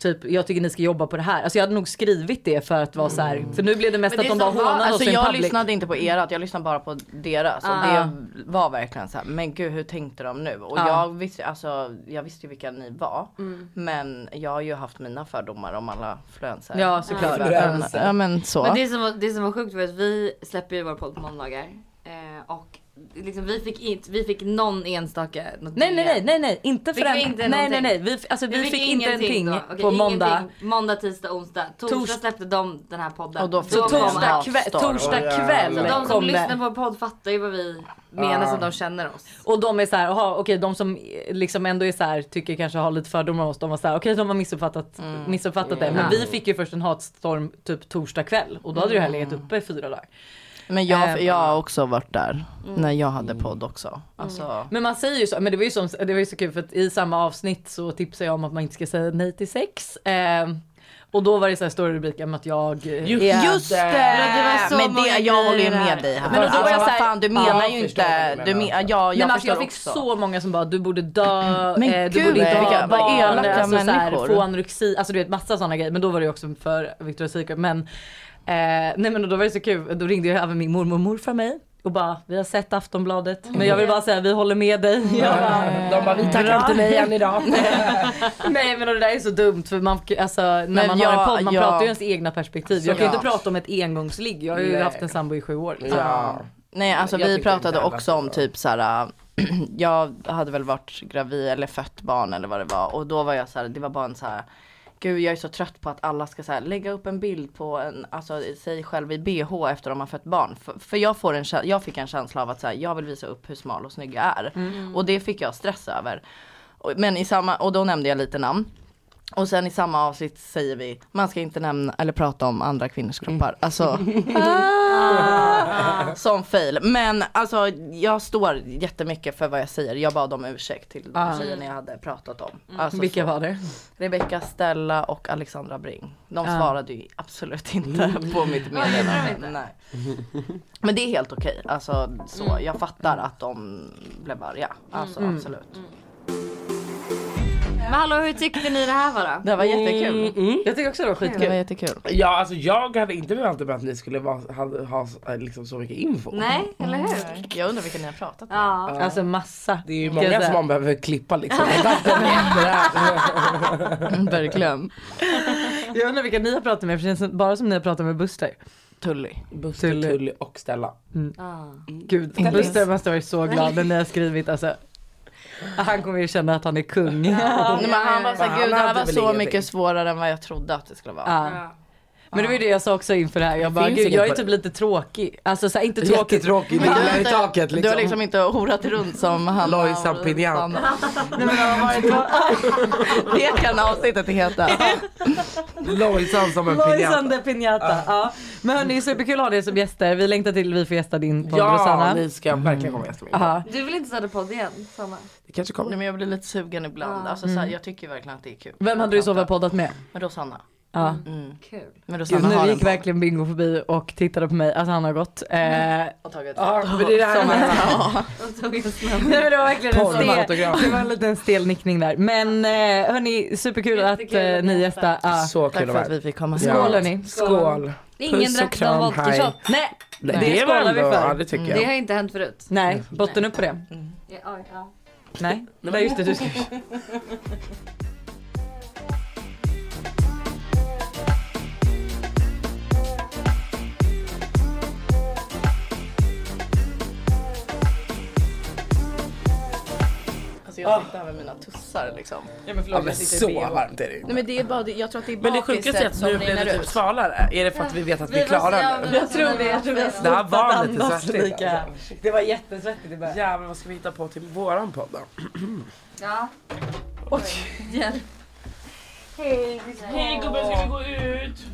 [SPEAKER 2] Typ jag tycker ni ska jobba på det här. Alltså jag hade nog skrivit det för att vara så här. För nu blev det mest
[SPEAKER 1] Men det
[SPEAKER 2] att de
[SPEAKER 1] är
[SPEAKER 2] bara
[SPEAKER 1] som var-
[SPEAKER 2] hånade oss
[SPEAKER 4] Alltså
[SPEAKER 2] i
[SPEAKER 4] jag
[SPEAKER 2] public.
[SPEAKER 4] lyssnade inte på erat, jag lyssnade bara på deras. Och
[SPEAKER 1] Ah.
[SPEAKER 4] det var verkligen så här, men gud hur tänkte de nu? Och
[SPEAKER 2] Ah. Mm.
[SPEAKER 4] jag, visste, alltså, jag visste ju vilka ni var. Men jag har ju haft mina fördomar om alla influencer.
[SPEAKER 2] Ja såklart.
[SPEAKER 4] Men, ja men så.
[SPEAKER 1] Men det som, var, det som var sjukt var att vi släpper ju vår podd på måndagar. Eh, och liksom, vi, fick inte, vi fick någon enstaka. något
[SPEAKER 2] Nej nej
[SPEAKER 1] DM.
[SPEAKER 2] nej nej nej inte
[SPEAKER 1] Fick
[SPEAKER 2] för
[SPEAKER 1] vi inte
[SPEAKER 2] en, nej nej nej.
[SPEAKER 1] någonting?
[SPEAKER 2] Vi, alltså, vi,
[SPEAKER 1] Vi
[SPEAKER 2] fick, inte
[SPEAKER 1] ingenting
[SPEAKER 2] någonting
[SPEAKER 1] då. Okej,
[SPEAKER 2] på måndag.
[SPEAKER 1] ingenting. Måndag, tisdag, onsdag. Torsdag,
[SPEAKER 2] Tors-
[SPEAKER 1] släppte de den här podden.
[SPEAKER 4] Och då fick
[SPEAKER 1] Då
[SPEAKER 4] vi
[SPEAKER 1] kom
[SPEAKER 4] en
[SPEAKER 2] Torsdag,
[SPEAKER 1] allt.
[SPEAKER 2] kväll,
[SPEAKER 4] Hatstorm.
[SPEAKER 2] torsdag
[SPEAKER 3] Åh,
[SPEAKER 2] kväll
[SPEAKER 3] jävlar.
[SPEAKER 1] Alltså, De som
[SPEAKER 2] kom det.
[SPEAKER 1] lyssnar på vår podd fattar ju vad vi menar som de känner oss.
[SPEAKER 2] Och de är så här, aha, okej de som eh, liksom ändå är så här, tycker kanske har lite fördomar om oss, de var så här, okej de har missuppfattat, missuppfattat det. Men vi fick ju först en hatstorm typ torsdag kväll och då hade det här legat uppe i fyra dagar.
[SPEAKER 4] Men jag,
[SPEAKER 2] Ehm. Mm.
[SPEAKER 4] jag har också varit där när jag hade podd också. Alltså,
[SPEAKER 2] Men man säger ju så, men det var ju, som, det var ju så kul för att i samma avsnitt så tipsade jag om att man inte ska säga nej till sex. Eh, och då var det så här stora rubriker om att jag eh,
[SPEAKER 3] Just-
[SPEAKER 2] är...
[SPEAKER 4] Just det!
[SPEAKER 1] det var så
[SPEAKER 4] men
[SPEAKER 1] många
[SPEAKER 4] det, jag håller ju
[SPEAKER 1] grejer
[SPEAKER 4] med
[SPEAKER 1] där.
[SPEAKER 4] dig här.
[SPEAKER 2] Men då
[SPEAKER 4] alltså,
[SPEAKER 2] var jag
[SPEAKER 4] vad
[SPEAKER 2] så här-
[SPEAKER 4] fan, du menar
[SPEAKER 3] jag
[SPEAKER 4] ju
[SPEAKER 3] förstår vad
[SPEAKER 4] inte.
[SPEAKER 3] du
[SPEAKER 4] Du men,
[SPEAKER 3] menar.
[SPEAKER 4] ja, jag
[SPEAKER 2] Nej, men alltså,
[SPEAKER 4] förstår
[SPEAKER 2] jag fick
[SPEAKER 4] också.
[SPEAKER 2] så många som bara du borde dö,
[SPEAKER 4] Men
[SPEAKER 2] eh, du
[SPEAKER 4] gud,
[SPEAKER 2] borde inte
[SPEAKER 4] vilka-
[SPEAKER 2] ha
[SPEAKER 4] vad
[SPEAKER 2] barn,
[SPEAKER 4] elaka
[SPEAKER 2] alltså, så här,
[SPEAKER 4] människor.
[SPEAKER 2] få anorexi, alltså du vet massa sådana grejer. Men då var det ju också för Victoria's Secret. Men, eh, nej men då var det så kul, då ringde ju även min mormor och morfar mig och bara vi har sett Aftonbladet men jag vill bara säga vi håller med dig.
[SPEAKER 4] Mm.
[SPEAKER 2] Jag bara,
[SPEAKER 3] De bara, vi tackar inte nej än idag.
[SPEAKER 2] Nej men och det där är så dumt för man, alltså, när
[SPEAKER 4] Men
[SPEAKER 2] man har
[SPEAKER 4] jag-
[SPEAKER 2] en podd man
[SPEAKER 4] jag-
[SPEAKER 2] pratar ju ens egna perspektiv. Jag kan ju inte
[SPEAKER 4] Såklart.
[SPEAKER 2] prata om ett engångsligg, jag har ju
[SPEAKER 3] Nej.
[SPEAKER 2] haft en sambo i sju år. liksom.
[SPEAKER 3] Ja.
[SPEAKER 4] Nej alltså
[SPEAKER 3] Jag
[SPEAKER 4] vi
[SPEAKER 3] tycker
[SPEAKER 4] pratade
[SPEAKER 3] inte alla
[SPEAKER 4] också om
[SPEAKER 3] ska-
[SPEAKER 4] typ så här. äh, jag hade väl varit gravid eller fött barn eller vad det var och då var jag så här, det var bara en så här Gud jag är så trött på att alla ska så här, lägga upp en bild på en, alltså sig själv i bh efter de har fött barn. För, för jag, får en, kä- jag fick en känsla av att så här, jag vill visa upp hur smal och snygg jag är. Och det fick jag stress över. Och- Men i samma, och då nämnde jag lite namn. Och sen i samma avsnitt säger vi, man ska inte nämna eller prata om andra kvinnors kroppar. Alltså, ah, som fail. Men alltså jag står jättemycket för vad jag säger. Jag bad om ursäkt till de tjejerna jag hade pratat om. Alltså,
[SPEAKER 2] Vilka
[SPEAKER 4] så.
[SPEAKER 2] var det?
[SPEAKER 4] Rebecca, Stella och Alexandra Bring. De svarade ju absolut inte på mitt meddelande. Nej. Men det är helt okej. Alltså, så jag fattar att de blev arga. Alltså, absolut.
[SPEAKER 1] Men hallå hur tyckte ni det här var då?
[SPEAKER 4] Det var
[SPEAKER 2] Mm.
[SPEAKER 4] jättekul. Mm.
[SPEAKER 2] Jag tycker också det var
[SPEAKER 4] Det
[SPEAKER 2] skitkul.
[SPEAKER 4] var jättekul.
[SPEAKER 3] Ja alltså jag hade inte förväntat mig att ni skulle vara, hade, ha eh, liksom, så mycket info.
[SPEAKER 1] Nej, eller hur?
[SPEAKER 4] Jag undrar vilka ni har pratat med.
[SPEAKER 1] Ja.
[SPEAKER 2] Alltså massa.
[SPEAKER 3] Det är ju
[SPEAKER 2] Kan jag
[SPEAKER 3] många som
[SPEAKER 2] säga.
[SPEAKER 3] man behöver klippa liksom. Det där stämmer inte där.
[SPEAKER 4] Verkligen.
[SPEAKER 2] Jag undrar vilka ni har pratat med för det känns bara som ni har pratat med Buster.
[SPEAKER 4] Tully.
[SPEAKER 3] Buster, Tully och Stella.
[SPEAKER 1] Ah.
[SPEAKER 2] Gud, Buster måste ha varit så glad när ni har skrivit alltså. Han kommer ju känna att han är kung.
[SPEAKER 4] Nej, men han var så
[SPEAKER 3] Fan,
[SPEAKER 4] här, gud det
[SPEAKER 3] han
[SPEAKER 4] här
[SPEAKER 3] hade
[SPEAKER 4] var
[SPEAKER 3] väl
[SPEAKER 4] så
[SPEAKER 3] ingenting."
[SPEAKER 4] mycket svårare än vad jag trodde att det skulle vara.
[SPEAKER 2] Ja. Men det var ju det jag sa också inför det här. Jag bara,
[SPEAKER 3] finns
[SPEAKER 2] gud
[SPEAKER 3] ingen
[SPEAKER 2] jag är
[SPEAKER 3] på
[SPEAKER 2] typ
[SPEAKER 3] det."
[SPEAKER 2] lite tråkig. Alltså så här, inte tråkig.
[SPEAKER 3] Jättetråkigt, det
[SPEAKER 4] Du har
[SPEAKER 3] är i
[SPEAKER 4] inte-
[SPEAKER 3] taket
[SPEAKER 4] Du har
[SPEAKER 3] liksom.
[SPEAKER 4] liksom inte horat runt som han
[SPEAKER 3] Lojsan Pinjan.
[SPEAKER 4] Nej, men det, har varit... det kan avsnittet heta.
[SPEAKER 3] Lojsan som en
[SPEAKER 2] Lojsan
[SPEAKER 3] pinjata.
[SPEAKER 2] de Piñata. Ja. Men hörni, superkul att ha dig som gäster. Vi längtar till vi får gästa din podd
[SPEAKER 3] Ja,
[SPEAKER 2] Rosanna.
[SPEAKER 3] ni ska verkligen komma och gästa mig.
[SPEAKER 2] Ja.
[SPEAKER 1] Du vill inte starta podd igen Sanna?
[SPEAKER 3] Det kanske
[SPEAKER 4] Nej,
[SPEAKER 3] kommer.
[SPEAKER 4] men jag blir lite sugen ibland. Alltså, så här,
[SPEAKER 3] Mm.
[SPEAKER 4] jag tycker verkligen att det är kul.
[SPEAKER 2] Vem hade du i så fall poddat med?
[SPEAKER 4] Men Rosanna.
[SPEAKER 2] Ja.
[SPEAKER 1] Kul.
[SPEAKER 4] Men
[SPEAKER 2] Gud,
[SPEAKER 4] Rosanna har
[SPEAKER 2] nu
[SPEAKER 4] en
[SPEAKER 2] gick
[SPEAKER 4] podd
[SPEAKER 2] verkligen Bingo förbi och tittade på mig. Alltså han har gått. Eh,
[SPEAKER 4] och tagit
[SPEAKER 3] Ja, men det är det här med
[SPEAKER 1] Och tog en snabb.
[SPEAKER 2] Nej men det var verkligen en
[SPEAKER 3] Porr med
[SPEAKER 2] stel,
[SPEAKER 3] autograf.
[SPEAKER 2] det var en liten stel nickning där. Men eh, hörni, superkul att
[SPEAKER 1] Jättekul
[SPEAKER 2] eh,
[SPEAKER 1] att
[SPEAKER 2] ni
[SPEAKER 1] ni
[SPEAKER 2] gästar. Ah.
[SPEAKER 3] Så kul
[SPEAKER 4] Tack
[SPEAKER 3] att
[SPEAKER 4] för
[SPEAKER 3] vara
[SPEAKER 4] att
[SPEAKER 3] här.
[SPEAKER 4] vi fick komma.
[SPEAKER 3] Ja.
[SPEAKER 2] Skål hörni.
[SPEAKER 3] Skål.
[SPEAKER 1] Ingen
[SPEAKER 3] Puss och
[SPEAKER 1] drack någon
[SPEAKER 3] kram,
[SPEAKER 1] vodka
[SPEAKER 3] hej.
[SPEAKER 1] shot.
[SPEAKER 2] Nej,
[SPEAKER 3] Nej,
[SPEAKER 2] Det
[SPEAKER 3] det var
[SPEAKER 2] skålar vi
[SPEAKER 3] ändå,
[SPEAKER 2] för.
[SPEAKER 3] ja det tycker
[SPEAKER 1] Det har
[SPEAKER 3] jag.
[SPEAKER 1] inte hänt förut.
[SPEAKER 2] nej, botten upp på det.
[SPEAKER 1] Ja, ja.
[SPEAKER 2] Nej, nej just det du ska.
[SPEAKER 4] Alltså, jag sitter här med mina tussar liksom.
[SPEAKER 3] Ja, men så varmt är det inte.
[SPEAKER 4] Nej men det är bara, det- jag tror att det är
[SPEAKER 3] Men det
[SPEAKER 4] bakiset
[SPEAKER 3] sjukaste är att nu blev det typ svalare. Är det för att vi vet att vi klarar nu?
[SPEAKER 1] Jag tror det. Jag tror det.
[SPEAKER 3] Det här var lite svettigt.
[SPEAKER 2] lika.
[SPEAKER 3] alltså.
[SPEAKER 2] Det var jättesvettigt i början.
[SPEAKER 3] Jävlar vad ska vi hitta på till våran podd då?
[SPEAKER 1] Ja.
[SPEAKER 2] Oj.
[SPEAKER 1] Hjälp.
[SPEAKER 3] Hej gubben ska vi gå ut?